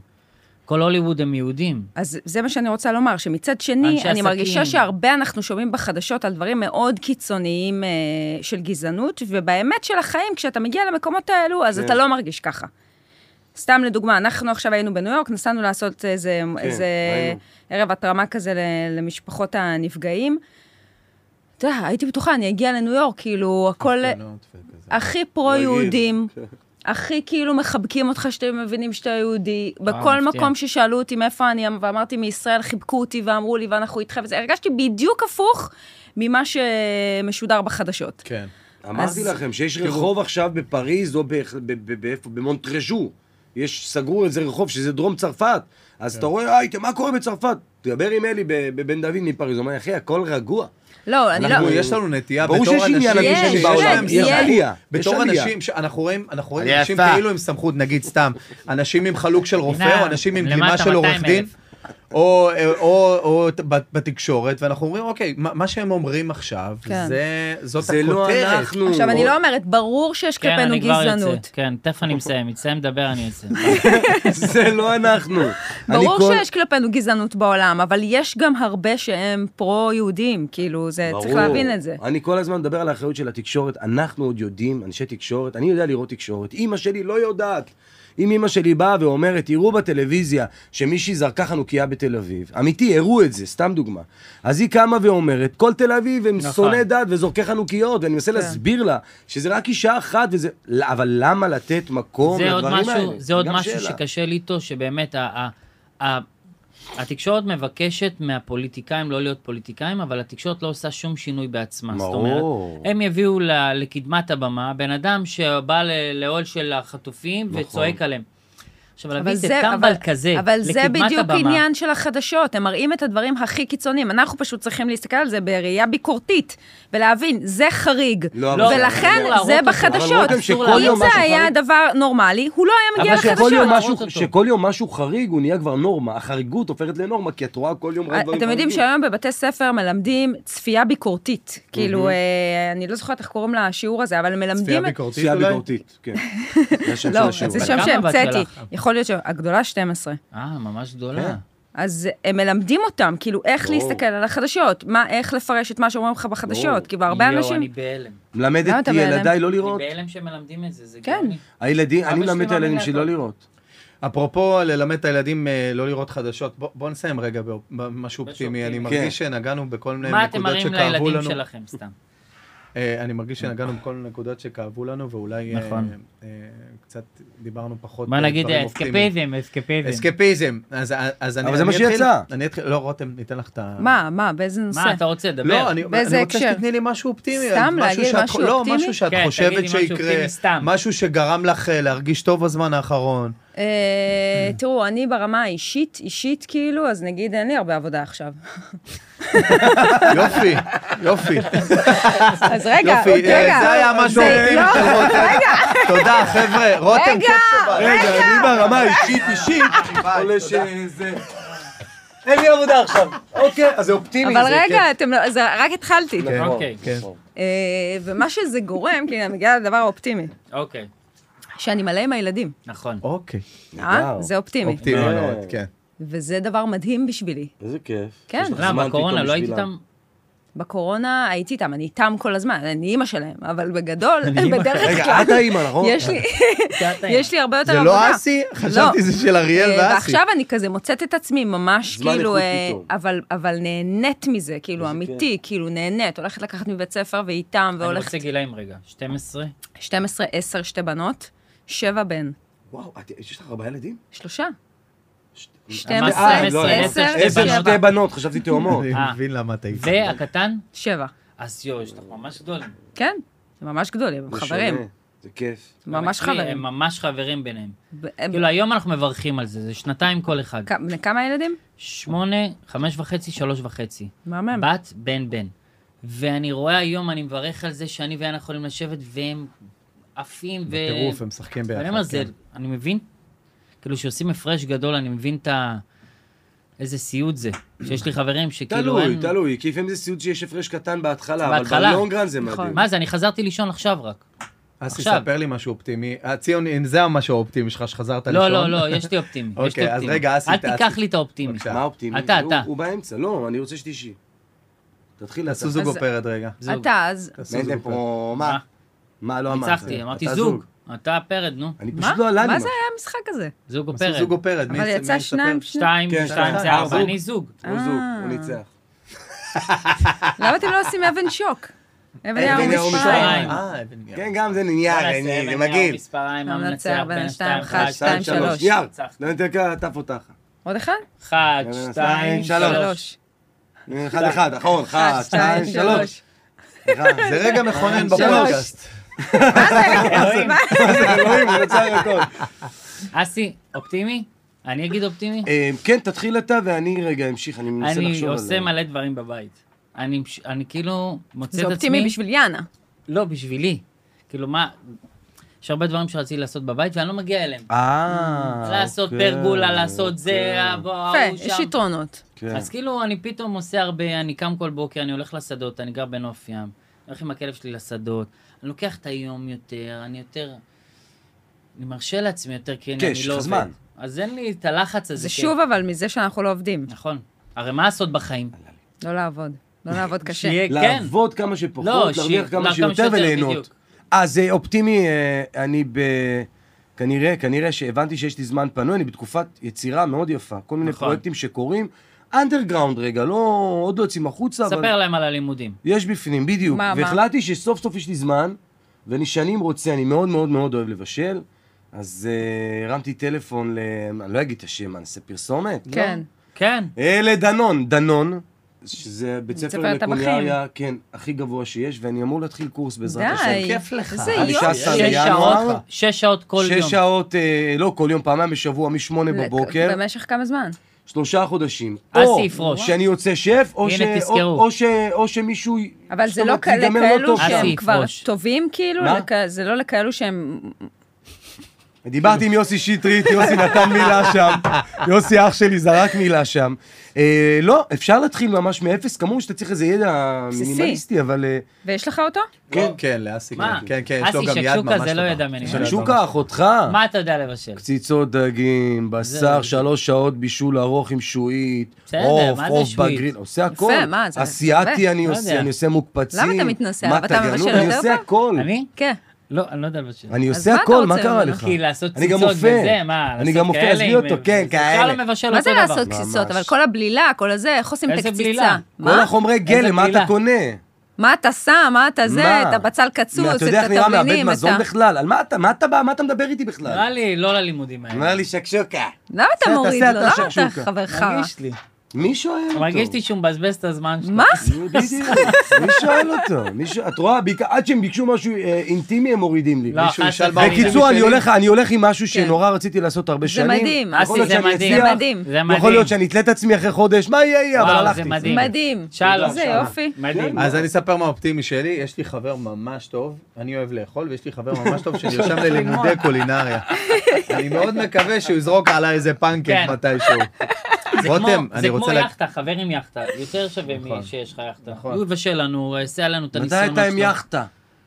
S2: כל הוליווד הם יהודים.
S5: אז זה מה שאני רוצה לומר, שמצד שני,
S2: אנשי
S5: אני מרגישה
S2: עסקים.
S5: שהרבה אנחנו שומעים בחדשות על דברים מאוד קיצוניים אה, של גזענות, ובאמת של החיים, כשאתה מגיע למקומות האלו, אז
S1: כן.
S5: אתה לא מרגיש ככה. סתם לדוגמה, אנחנו עכשיו היינו בניו יורק, נסענו לעשות איזה,
S1: כן,
S5: איזה
S1: ראינו.
S5: ערב התרמה כזה ל- למשפחות הנפגעים. אתה יודע, הייתי בטוחה, אני אגיע לניו יורק, כאילו, הכל
S3: הפגנות וכזה.
S5: הכי פרו-יהודים.
S3: כן.
S5: הכי כאילו מחבקים אותך שאתם מבינים שאתה יהודי. בכל
S2: מפתיע.
S5: מקום ששאלו אותי מאיפה אני, ואמרתי מישראל, חיבקו אותי ואמרו לי, ואנחנו איתכם וזה, הרגשתי בדיוק הפוך ממה שמשודר בחדשות.
S3: כן.
S1: אמרתי
S5: אז-
S1: לכם שיש רחוב עכשיו בפריז או באיך- ב- ב- באיפה? במונטרז'ו. יש, סגרו איזה רחוב שזה דרום צרפת. אז
S5: כן.
S1: אתה רואה, היי, מה קורה בצרפת? תדבר עם אלי ב- בבן דוד מפריז. הוא אומר, אחי, הכל רגוע.
S5: לא, אני לא...
S3: אנחנו, יש לנו נטייה
S1: ברור
S3: בתור אנשים...
S1: שיש עניין
S5: אנטישמי
S3: שיש
S5: בעולם.
S3: להם
S5: יש
S3: סמכות.
S1: עלייה. יש
S3: בתור
S1: עלייה.
S3: אנשים, שאנחנו רואים אנחנו רואים
S7: עלייה
S3: אנשים
S7: יפה.
S3: כאילו עם סמכות, נגיד סתם, אנשים עם חלוק של רופא,
S2: הנה,
S3: או אנשים עם
S2: למטה,
S3: גלימה של עורך
S2: 200,000.
S3: דין. או, או, או, או ת- בת- בתקשורת, ואנחנו אומרים, אוקיי, מה, מה שהם אומרים עכשיו,
S5: כן.
S3: זה, זאת
S1: זה
S3: הכותרת.
S1: לא אנחנו.
S5: עכשיו, אני לא אומרת, ברור שיש
S2: כן,
S5: כלפינו
S2: אני כבר
S5: גזענות.
S2: יוצא. כן, תכף אני מסיים. מצטעם לדבר, אני יוצא.
S1: זה לא אנחנו.
S5: ברור
S1: אני כל-
S5: שיש כלפינו גזענות בעולם, אבל יש גם הרבה שהם פרו-יהודים, כאילו, זה, צריך
S1: ברור.
S5: להבין את זה.
S1: אני כל הזמן מדבר על האחריות של התקשורת. אנחנו עוד יודעים, אנשי תקשורת, אני יודע לראות תקשורת. אימא שלי לא יודעת. אם אימא שלי באה ואומרת, תראו בטלוויזיה שמישהי זרקה חנוכיה בתל אביב, אמיתי, הראו את זה, סתם דוגמה. אז היא קמה ואומרת, כל תל אביב הם
S2: נכון.
S1: שונאי דת וזורקי חנוכיות, ואני מנסה להסביר לה שזה רק אישה אחת, וזה... לא, אבל למה לתת מקום
S2: זה עוד
S1: לדברים האלה?
S2: משהו, זה עוד
S1: גם
S2: משהו
S1: שאלה.
S2: שקשה לי איתו, שבאמת ה- ה- ה- התקשורת מבקשת מהפוליטיקאים לא להיות פוליטיקאים, אבל התקשורת לא עושה שום שינוי בעצמה. זאת אומרת,
S1: ברור.
S2: הם יביאו ל-
S3: נכון.
S2: לקדמת הבמה בן אדם שבא ל- לאוהל של החטופים וצועק עליהם. עכשיו, להביא איזה טמבל כזה,
S5: אבל זה
S2: לקדמת
S5: בדיוק
S2: הבמה.
S5: עניין של החדשות, הם מראים את הדברים הכי קיצוניים. אנחנו פשוט צריכים להסתכל על זה בראייה ביקורתית, ולהבין, זה חריג.
S1: לא, אבל-
S5: ולכן
S2: אסור להראות
S5: זה
S2: אותו.
S1: אבל
S5: בחדשות.
S1: רותם, שכל
S5: אם
S1: יום
S5: זה
S1: משהו
S5: היה
S1: חריג-
S5: דבר נורמלי, הוא לא היה מגיע
S2: אבל שכל
S5: לחדשות.
S2: יום משהו-
S1: משהו- שכל יום משהו חריג, הוא נהיה כבר נורמה. החריגות הופכת לנורמה, כי את רואה כל יום רק דברים
S5: אה, אתם יודעים
S1: חריגים.
S5: שהיום בבתי ספר מלמדים צפייה ביקורתית. כאילו, אה, אני לא זוכרת איך קוראים לשיעור הזה, אבל
S3: צפייה
S5: מלמדים... את-
S3: ביקורתית
S1: צפייה
S3: אולי?
S1: ביקורתית, כן. זה השם של
S5: לא,
S1: השיעור.
S5: זה
S2: אבל
S5: שם
S2: כמה הבת
S5: שהמצאתי.
S2: שלך?
S5: יכול להיות שהגדולה 12.
S2: אה, ממש
S3: כן.
S2: גדולה.
S5: אז אה, הם מלמדים אותם, כאילו, איך
S1: ברור.
S5: להסתכל על החדשות, מה, איך לפרש את מה שאומרים לך בחדשות, כאילו, הרבה
S2: יואו, אני
S5: אנשים...
S2: בהלם.
S1: מלמד
S5: למה
S1: את
S5: אתה בהלם?
S1: ילדיי לא
S2: אני
S1: לראות.
S2: בהלם שמלמדים את זה, זה
S5: כן.
S2: גאוני.
S1: הילדים,
S2: אבא
S1: אני
S2: שלי
S1: מלמד את
S2: מאמין
S1: הילדים שלי
S2: להכל.
S1: לא לראות.
S3: אפרופו ללמד את הילדים אה, לא לראות חדשות, בוא- בוא נסיים רגע ב- במשהו
S2: משהו
S1: כן.
S3: אופטימי. אני
S2: אופטימי.
S3: מרגיש שנגענו בכל מיני
S2: מה אתם
S3: נקודות
S2: מראים
S3: שכאבו
S2: לילדים
S3: לנו.
S2: שלכם, סתם?
S3: אה, אני מרגיש שנגענו בכל מיני נקודות שכאבו לנו, ואולי אה,
S2: נכון.
S3: אה, קצת דיברנו פחות
S2: בוא
S3: על
S2: נגיד
S3: דברים אופטימיים.
S2: אסקפיזם, אסקפיזם.
S3: אסקפיזם. אז- אה, אז אני...
S1: אבל זה
S3: אני
S1: מה
S3: אתחיל-
S1: שיצא.
S3: אני אתחיל... לא, רותם, ניתן לך את ה...
S5: מה, מה, באיזה נושא?
S2: מה אתה רוצה, דבר.
S3: לא, אני,
S5: באיזה
S3: אני רוצה
S5: הקשר?
S3: שתתני לי משהו אופטימי.
S5: סתם
S3: משהו
S5: להגיד
S3: שאת-
S5: משהו
S3: לא,
S5: אופטימי?
S3: משהו שאת
S2: כן, תגידי
S3: חושבת
S2: משהו
S3: שיקרה,
S2: אופטימי סתם.
S3: משהו שגרם לך אה, להרגיש טוב בזמן האחרון.
S5: אה, תראו, אני ברמה האישית, אישית כאילו, אז נגיד אין לי הרבה עבודה עכשיו.
S3: יופי, יופי,
S5: אז רגע,
S3: יופי.
S5: עוד
S3: אה,
S5: רגע.
S3: זה היה משהו אופטימי
S5: לא,
S3: של רותם. תודה, חבר'ה. רותם,
S5: רגע,
S3: כיף שבאת.
S1: רגע, אני ברמה אישית אישית,
S3: ביי,
S1: עולה
S3: תודה.
S1: שזה... אין לי עבודה עכשיו. אוקיי, אז זה אופטימי.
S5: אבל
S1: זה
S5: רגע, אתם לא, זה רק התחלתי.
S1: כן.
S2: אוקיי,
S3: כן.
S5: אה, ומה שזה גורם, כאילו, אני מגיעה לדבר האופטימי,
S2: אוקיי,
S5: שאני מלא עם הילדים,
S2: נכון.
S3: אוקיי.
S5: אה?
S1: נהדר.
S5: זה אופטימי.
S3: אופטימי
S1: אה.
S3: מאוד, כן.
S5: וזה דבר מדהים בשבילי.
S1: איזה כיף.
S5: כן.
S1: יש לך זמן
S2: למה, בקורונה
S1: פתאום
S2: לא היית
S1: בשבילם.
S2: איתם?
S5: בקורונה הייתי איתם, אני איתם כל הזמן, אני אימא שלהם, אבל בגדול, בדרך
S1: רגע,
S5: כלל,
S1: את האימא, נכון?
S5: יש לי,
S2: שאתה עם-
S5: יש לי הרבה יותר
S3: זה
S5: עבודה.
S3: לא אסי? חשבתי זה של אריאל
S5: אה,
S3: ואסי.
S5: ועכשיו אני כזה מוצאת את עצמי ממש,
S1: זמן
S5: כאילו,
S1: איכות
S5: אה,
S1: פתאום.
S5: אבל- אבל נהנית מזה, כאילו, אמיתי, כאילו, נהנית, הולכת לקחת מבית ספר ואיתם,
S2: אני
S5: והולכת
S2: רוצה גילאים רגע. 12?
S5: 12, 10, שתי בנות, שבע בן,
S1: וואו, את- יש לך ארבעה ילדים?
S5: שלושה.
S2: אה,
S5: 12,
S2: לא,
S5: 10,
S2: עשר,
S1: אה, עשר,
S2: שבע.
S1: שתי בנות, חשבתי תאומות.
S3: אני
S2: אה.
S3: מבין למה אתה איתי.
S2: והקטן?
S5: 7.
S2: אז יואו, יש לך ממש גדולים.
S5: כן, הם ממש גדולים, הם
S1: זה
S5: חברים,
S1: שונה, זה כיף.
S5: ממש
S2: אתה מכיר?
S5: חברים.
S2: הם ממש חברים ביניהם.
S5: ב- הם-
S2: כאילו, היום אנחנו מברכים על זה, זה שנתיים כל אחד.
S5: כ- בני כמה ילדים?
S2: שמונה, חמש וחצי, שלוש וחצי.
S5: מהמם.
S2: בת, בן, בן. ואני רואה היום, אני מברך על זה שאני ויאנה יכולים לשבת, והם עפים ו...
S3: בטירוף, הם משחקים ביחד.
S2: אני אומר, זה,
S3: כן.
S2: אני מבין, כאילו, שעושים הפרש גדול, אני מבין את ה... איזה סיוט זה. שיש לי חברים שכאילו...
S1: תלוי,
S2: אין-
S1: תלוי, כי לפעמים זה סיוט שיש הפרש קטן בהתחלה, אבל
S2: בהתחלה. נכון.
S1: בלונגרן זה מדהים.
S2: מה זה, אני חזרתי לישון עכשיו רק.
S3: אסי,
S2: עכשיו.
S3: ספר לי משהו אופטימי. אה, ציון, זה המשהו האופטימי שלך, שחזרת
S2: לא,
S3: לישון.
S2: לא, לא, יש לי אופטימי. יש לי
S3: אוקיי, אז
S2: אופטימי.
S3: רגע, אסי,
S2: אל
S3: אתה-
S2: תיקח
S3: אסי.
S2: לי את האופטימי.
S3: בבקשה.
S1: מה אופטימי?
S2: אתה,
S1: הוא-
S2: אתה.
S1: הוא באמצע, לא, אני רוצה שתשאי. תתחיל
S3: תעשו
S1: לעשות.
S3: זוג
S5: אז-
S3: אופרת רגע.
S2: זוג.
S5: אתה, אז...
S3: תעשו זוג
S1: נהנתם
S3: אופרת.
S1: פה, מה? מה לא אמרת?
S2: ניצחתי, אמרתי
S1: אתה
S2: זוג. אתה הפרד, נו.
S1: אני
S5: מה?
S1: פשוט לא עלה לי.
S5: מה זה היה המשחק הזה?
S2: זוג או
S3: תעשו
S2: פרד.
S3: זוג אופרת. מי
S5: אבל
S3: יצא-
S5: יצא
S3: מי יספר?
S5: שניים, שניים.
S2: שתיים,
S1: כן,
S2: שתיים
S1: שתיים,
S2: זה ארבע,
S1: זוג.
S2: אני זוג.
S1: הוא זוג, אה. הוא ניצח.
S5: למה אתם לא עושים אבן שוק? אבן
S1: יער
S5: יער
S1: ומספריים.
S5: ומספריים.
S3: אה, אבן יער.
S1: כן, גם זה נייר, אני- זה מגעיל.
S2: מספריים,
S5: המנצח
S2: המנצח
S5: בין
S2: בין
S5: השתיים,
S2: שתיים,
S5: אחת,
S2: אחד,
S5: שתיים,
S2: שתיים,
S5: שלוש.
S2: שלוש.
S1: נייר,
S2: ניצחתי.
S1: לא ניתן כאן, עטף אותך.
S5: עוד אחד?
S2: אחד,
S1: שתיים,
S2: שתיים,
S1: שלוש.
S2: שלוש.
S1: אחד אחד, אחרון, אחת, שתיים, שלוש. אחד.
S3: זה רגע מכונן
S5: שלוש.
S3: בפודקאסט.
S2: אלוהים.
S1: אלוהים, הוא יצר הכל.
S2: אסי, אופטימי? אני אגיד אופטימי?
S1: אה, כן, תתחיל אתה ואני רגע אמשיך, אני מנסה
S2: אני
S1: לחשוב על זה.
S2: עושה מלא דברים בבית. אני מש- אני כאילו מוצא את
S5: זה
S2: עצמי...
S5: אופטימי בשביל יאנה.
S2: לא, בשבילי. כאילו, מה... יש הרבה דברים שרציתי לעשות בבית ואני לא מגיע אליהם.
S1: אה,
S2: לעשות
S1: אוקיי.
S2: פרגולה, לעשות זה, הבוא, ההוא
S5: יפה,
S2: שם.
S5: יש יתרונות.
S1: כן.
S2: אז כאילו, אני פתאום עושה הרבה, אני קם כל בוקר, אני הולך לשדות, אני גר בנוף ים, אני הולך עם הכלב שלי לשדות, אני לוקח את היום יותר, אני יותר... אני מרשה לעצמי יותר, כי אני,
S1: כן,
S2: אני
S1: יש
S2: לא
S1: לך
S2: עובד.
S1: זמן.
S2: אז אין לי את הלחץ הזה.
S5: זה
S2: כן.
S5: שוב אבל מזה שאנחנו לא עובדים.
S2: נכון. הרי מה לעשות בחיים?
S5: לא לעבוד. לא לעבוד קשה.
S2: שיהיה, כן.
S1: לעבוד כמה
S2: לא,
S1: שפחות,
S2: ש-
S1: להרוויח
S2: לא,
S1: כמה שיותר וליהנות.
S2: בדיוק.
S1: אז אה, אופטימי, אה, אני ב... כנראה, כנראה שהבנתי שיש לי זמן פנוי, אני בתקופת יצירה מאוד יפה. כל מיני
S2: נכון.
S1: פרויקטים שקורים, אנדרגראונד רגע, לא, עוד לא יוצאים החוצה, אבל...
S2: ספר להם על הלימודים.
S1: יש בפנים, בדיוק.
S5: מה, מה?
S1: והחלטתי שסוף סוף יש לי זמן, ואני שנים רוצה, אני מאוד מאוד מאוד אוהב לבשל, אז אה, הרמתי טלפון ל... אני לא אגיד את השם, מה, נעשה פרסומת?
S5: כן.
S2: כן.
S1: אה, לדנון, דנון, שזה בית
S5: ספר
S1: ספר
S5: לטבחים.
S1: לקולינריה, כן, הכי גבוה שיש, ואני אמור להתחיל קורס בעזרת השם.
S5: די.
S8: כיף לך.
S5: איזה
S1: אני
S5: יופי.
S1: שש
S2: שש
S1: בינואר.
S2: שעות, שש שעות כל יום.
S1: שש שעות, אה, לא כל יום, פעמיים בשבוע, משמונה בבוקר,
S5: במשך כמה זמן?
S1: שלושה חודשים.
S2: אסי
S1: או
S2: יפרוש.
S1: שאני יוצא שף, או
S2: הנה,
S1: ש- או-
S2: תזכרו.
S1: או ש- או שמישהו...
S5: אבל
S1: זאת
S5: זה לא
S1: אומרת,
S5: כאלה
S1: ייגמר לא
S5: כאלו
S1: טוב
S2: אסי.
S1: שם.
S5: שהם כבר
S2: ראש.
S5: טובים, כאילו?
S1: מה?
S5: לכ- זה לא לכאלו שהם...
S1: דיברתי עם יוסי שטרית, יוסי נתן מילה שם, יוסי אח שלי זרק מילה שם. אה, לא, אפשר להתחיל ממש מאפס, כמובן שאתה צריך איזה ידע
S5: בסיסי.
S1: מינימליסטי, אבל... אה,
S5: ויש לך אותו?
S3: כן, כן, לאסי.
S2: מה?
S3: כן, כן, כן, יש
S2: אסי
S3: לו גם יד
S2: שקשוקה
S3: ממש
S2: זה לא
S3: טובה.
S2: ידע ממני.
S3: ידע
S1: שקשוקה, אחותך.
S2: מה אתה יודע לבשל?
S1: קציצות דגים, בשר, שלוש שעות בישול ארוך עם שועית,
S2: בסדר,
S1: עוף,
S2: מה זה
S1: עוף
S2: שועית?
S1: בגריל, עושה הכל.
S5: מה, זה-
S1: אסיאתי אני
S2: לא
S1: עושה,
S2: יודע.
S1: אני עושה מוקפצים.
S5: למה אתה מתנשא? אבל אתה
S1: מתגרנות,
S5: מבשל
S1: אני
S5: יותר
S1: עושה
S5: טוב?
S1: הכל.
S2: אני?
S5: כן.
S2: לא, אני לא יודע לבשל.
S1: אני
S5: אז
S1: עושה
S5: מה אתה
S1: הכל, מה
S5: רוצה
S1: קרה
S5: ממנו?
S1: לך?
S2: כי לעשות
S1: אני גם
S2: קציצות
S1: אופה.
S2: וזה, מה,
S1: אני גם
S2: לעשות
S1: אופה,
S2: כאלה
S1: עזבי
S2: עם-
S1: אותו, כן,
S2: אפשר
S1: כאלה.
S2: לא מבשל אותו דבר.
S5: מה זה לעשות
S1: ממש.
S5: קסיסות? אבל כל הבלילה, כל הזה, איך עושים את
S2: איזה
S5: הקציצה?
S2: בלילה?
S1: כל
S5: מה?
S1: החומרי גלם, מה אתה
S2: בלילה.
S1: קונה?
S5: מה אתה שם? מה אתה זה?
S1: מה?
S5: את הבצל
S1: מה,
S5: קצוץ, את
S1: אתה יודע איך נראה מעבד
S5: התבלינים, את
S1: מזון
S5: ה...
S1: בכלל? על מה אתה, מה אתה בא, מה אתה מדבר איתי
S2: נראה
S1: בכלל?
S2: לי לא ללימודים האלה.
S1: נראה לי שקשוקה.
S5: למה אתה
S1: תעשה
S5: מוריד
S1: אתה
S5: לו? למה אתה
S1: שקשוקה.
S5: חבר חרא?
S2: מרגיש לי.
S1: מי שואל אותו?
S2: מרגיש לי שהוא מבזבז את הזמן שלו.
S5: מה?
S1: בדיוק, מי שואל אותו? מי ש- את רואה, בעיקר- עד שהם ביקשו משהו אה, אינטימי, הם מורידים לי.
S2: לא,
S3: מישהו
S2: חס
S3: ישאל מה
S2: וחלילה.
S3: האינטימי
S1: בקיצור, אני
S3: שלי?
S1: הולך, אני הולך עם משהו
S5: כן.
S1: שנורא רציתי לעשות הרבה
S5: זה
S1: שנים.
S5: מדהים,
S1: יכול להיות
S2: אסי, זה
S1: שאני
S2: מדהים.
S1: אצליח,
S5: זה מדהים.
S2: זה
S1: יכול
S2: מדהים.
S1: להיות שאני אתלה את עצמי אחרי חודש, מה יהיה יהיה, אבל
S2: וואו, זה
S1: הלכתי.
S2: מדהים.
S5: מדהים.
S2: שלום.
S5: זה יופי.
S2: מדהים.
S1: כן.
S3: אז אני אספר מה אופטימי שלי, יש לי חבר ממש טוב, אני אוהב לאכול, ויש לי חבר ממש טוב שנרשם ללימודי קולינריה. אני מאוד מקווה שהוא יזרוק עליי איזה פנקק
S2: כן.
S3: מתישהו.
S2: זה כמו-
S3: רותם, אני רוצה...
S2: זה
S3: לה-
S2: כמו יאכטה, חבר עם יאכטה. יותר שווה מי שיש לך יאכטה.
S3: נכון.
S2: הוא יבשל לנו, יעשה לנו את
S1: מתי
S2: הניסיונות שלו.
S1: הייתה עם יאכטה?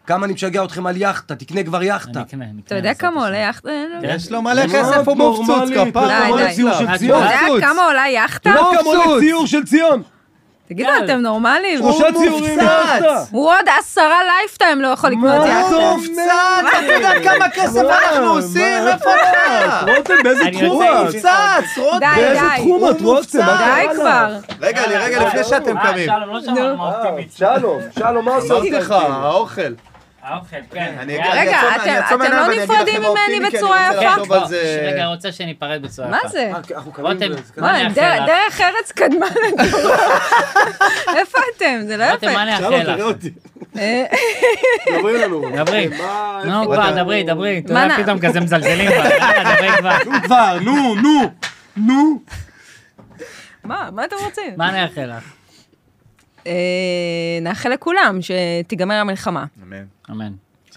S1: כמה אני משגע אתכם על יאכטה, תקנה כבר יאכטה.
S2: אני אקנה, אני
S5: אתה
S2: אקנה,
S5: יודע
S2: בעזרת
S5: כמה
S2: השם.
S5: עולה אה, לא- יאכטה?
S1: כן.
S3: יש לו מלא
S1: מאוד
S3: כסף, הוא מופצוץ
S1: נורמלי,
S3: כפר.
S1: אתה
S5: די,
S1: רואה
S5: די.
S1: ציור
S2: אתה
S1: של
S5: אתה
S1: ציון?
S5: יודע כמה עולה יאכטה?
S1: אתה רואה לא, כמה עולה
S3: מופצוץ.
S1: ציור של ציון?
S5: תגידו, אתם נורמלים?
S1: שלושה ציורים יאכטה.
S5: הוא עוד עשרה לייפטיים לא יכול לקנות
S1: מה
S5: יאכטה.
S1: אתה
S3: מופצץ, אתה יודע כמה כסף אנחנו עושים? איפה אתה?
S1: רותם, באיזה
S2: אני
S1: תחום
S2: רוצה
S1: את?
S2: איש-
S3: מופצץ, רותם.
S5: די,
S1: באיזה
S5: די.
S1: תחום את,
S3: הוא
S1: רותם? מה
S5: די
S1: קרה לך?
S5: כבר.
S3: רגע, לי, רגע, לפני שאתם
S2: אה, אה.
S3: קמים.
S2: שלום, לא שמענו מה אופטימית.
S1: שלום, שלום, מה עושה
S3: אמרתי לך, האוכל.
S2: האוכל, כן.
S3: אני
S2: יאללה.
S3: אגיד-
S5: רגע,
S3: אני אעצום- אני
S5: אתם-
S3: אעצום
S5: אתם
S3: עיניים
S5: לא
S3: ואני אגיד לכם
S5: נפרדים
S3: מה
S5: ממני
S3: אופטימי, כי אני
S5: בצורה
S3: רוצה
S5: יפה.
S2: כן,
S3: לחשוב
S2: בוא,
S3: על זה.
S2: רגע, רוצה שניפרד בצורה יפה.
S5: מה זה?
S1: אה,
S2: רותם,
S5: מה,
S2: מה נאחל
S5: דר-
S2: לך?
S5: דרך ארץ קדמה לדור. איפה אתם? זה לא
S2: רותם, מה
S5: יפה. אה,
S2: נאחל לך? לא,
S1: דברי לנו.
S2: דברי.
S5: לא.
S2: נו, כבר, דברי, דברי. אתה
S5: מה
S2: יודע,
S5: נע-
S2: פתאום כזה מזלזלים בה. יאללה, דברי כבר.
S1: כבר, נו, נו, נו.
S5: מה, מה אתם רוצים?
S2: מה נאחל לך?
S5: אה, נאחל לכולם שתיגמר המלחמה.
S3: אמן.
S2: אמן.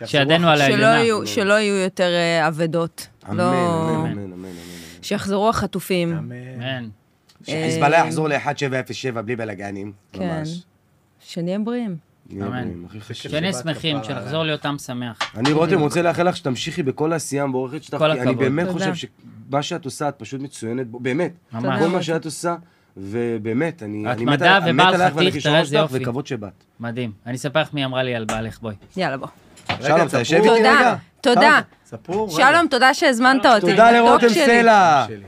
S2: שידינו על
S5: שלא
S2: העליונה.
S5: יהיו- שלא יהיו יותר אה, אבדות.
S1: אמן,
S5: לא-
S1: אמן, אמן, אמן, אמן.
S5: שיחזרו החטופים.
S2: אמן.
S1: שחיזבאללה יחזור ל-1707 בלי בלאגנים.
S5: אה, כן.
S1: ממש.
S5: שנהיה בריאים.
S1: נהיה
S2: אמן.
S1: בריאים, הכי חשוב.
S2: שנהיה שמחים, שנחזור להיות עם שמח.
S1: אני רותם רוצה לאחל לך שתמשיכי בכל העשייה המבורכת שלך,
S2: כל
S1: כי אני
S2: הכבוד.
S1: באמת
S5: תודה.
S1: חושב שמה שאת עושה, את פשוט מצוינת בו, באמת.
S2: ממש.
S1: כל מה שאת עושה, ובאמת, אני
S2: את
S1: אני מת
S2: מדע
S1: על- מת
S2: ובעל
S1: עלייך ועל
S2: חתיך, תראה
S1: הכישרון
S2: איזה
S1: שלך
S2: יופי.
S1: וכבוד שבאת.
S2: מדהים. אני אספר לך מי אמרה לי על בעלך, בואי.
S5: יאללה, בוא.
S1: שלום, אתה יושב איתי רגע?
S5: תודה, תודה.
S1: שלום,
S3: ספרו. רגע.
S5: שלום, תודה שהזמנת אותי.
S1: תודה
S5: מתוק
S1: לרותם
S2: אה.
S5: שלי.
S1: סלע.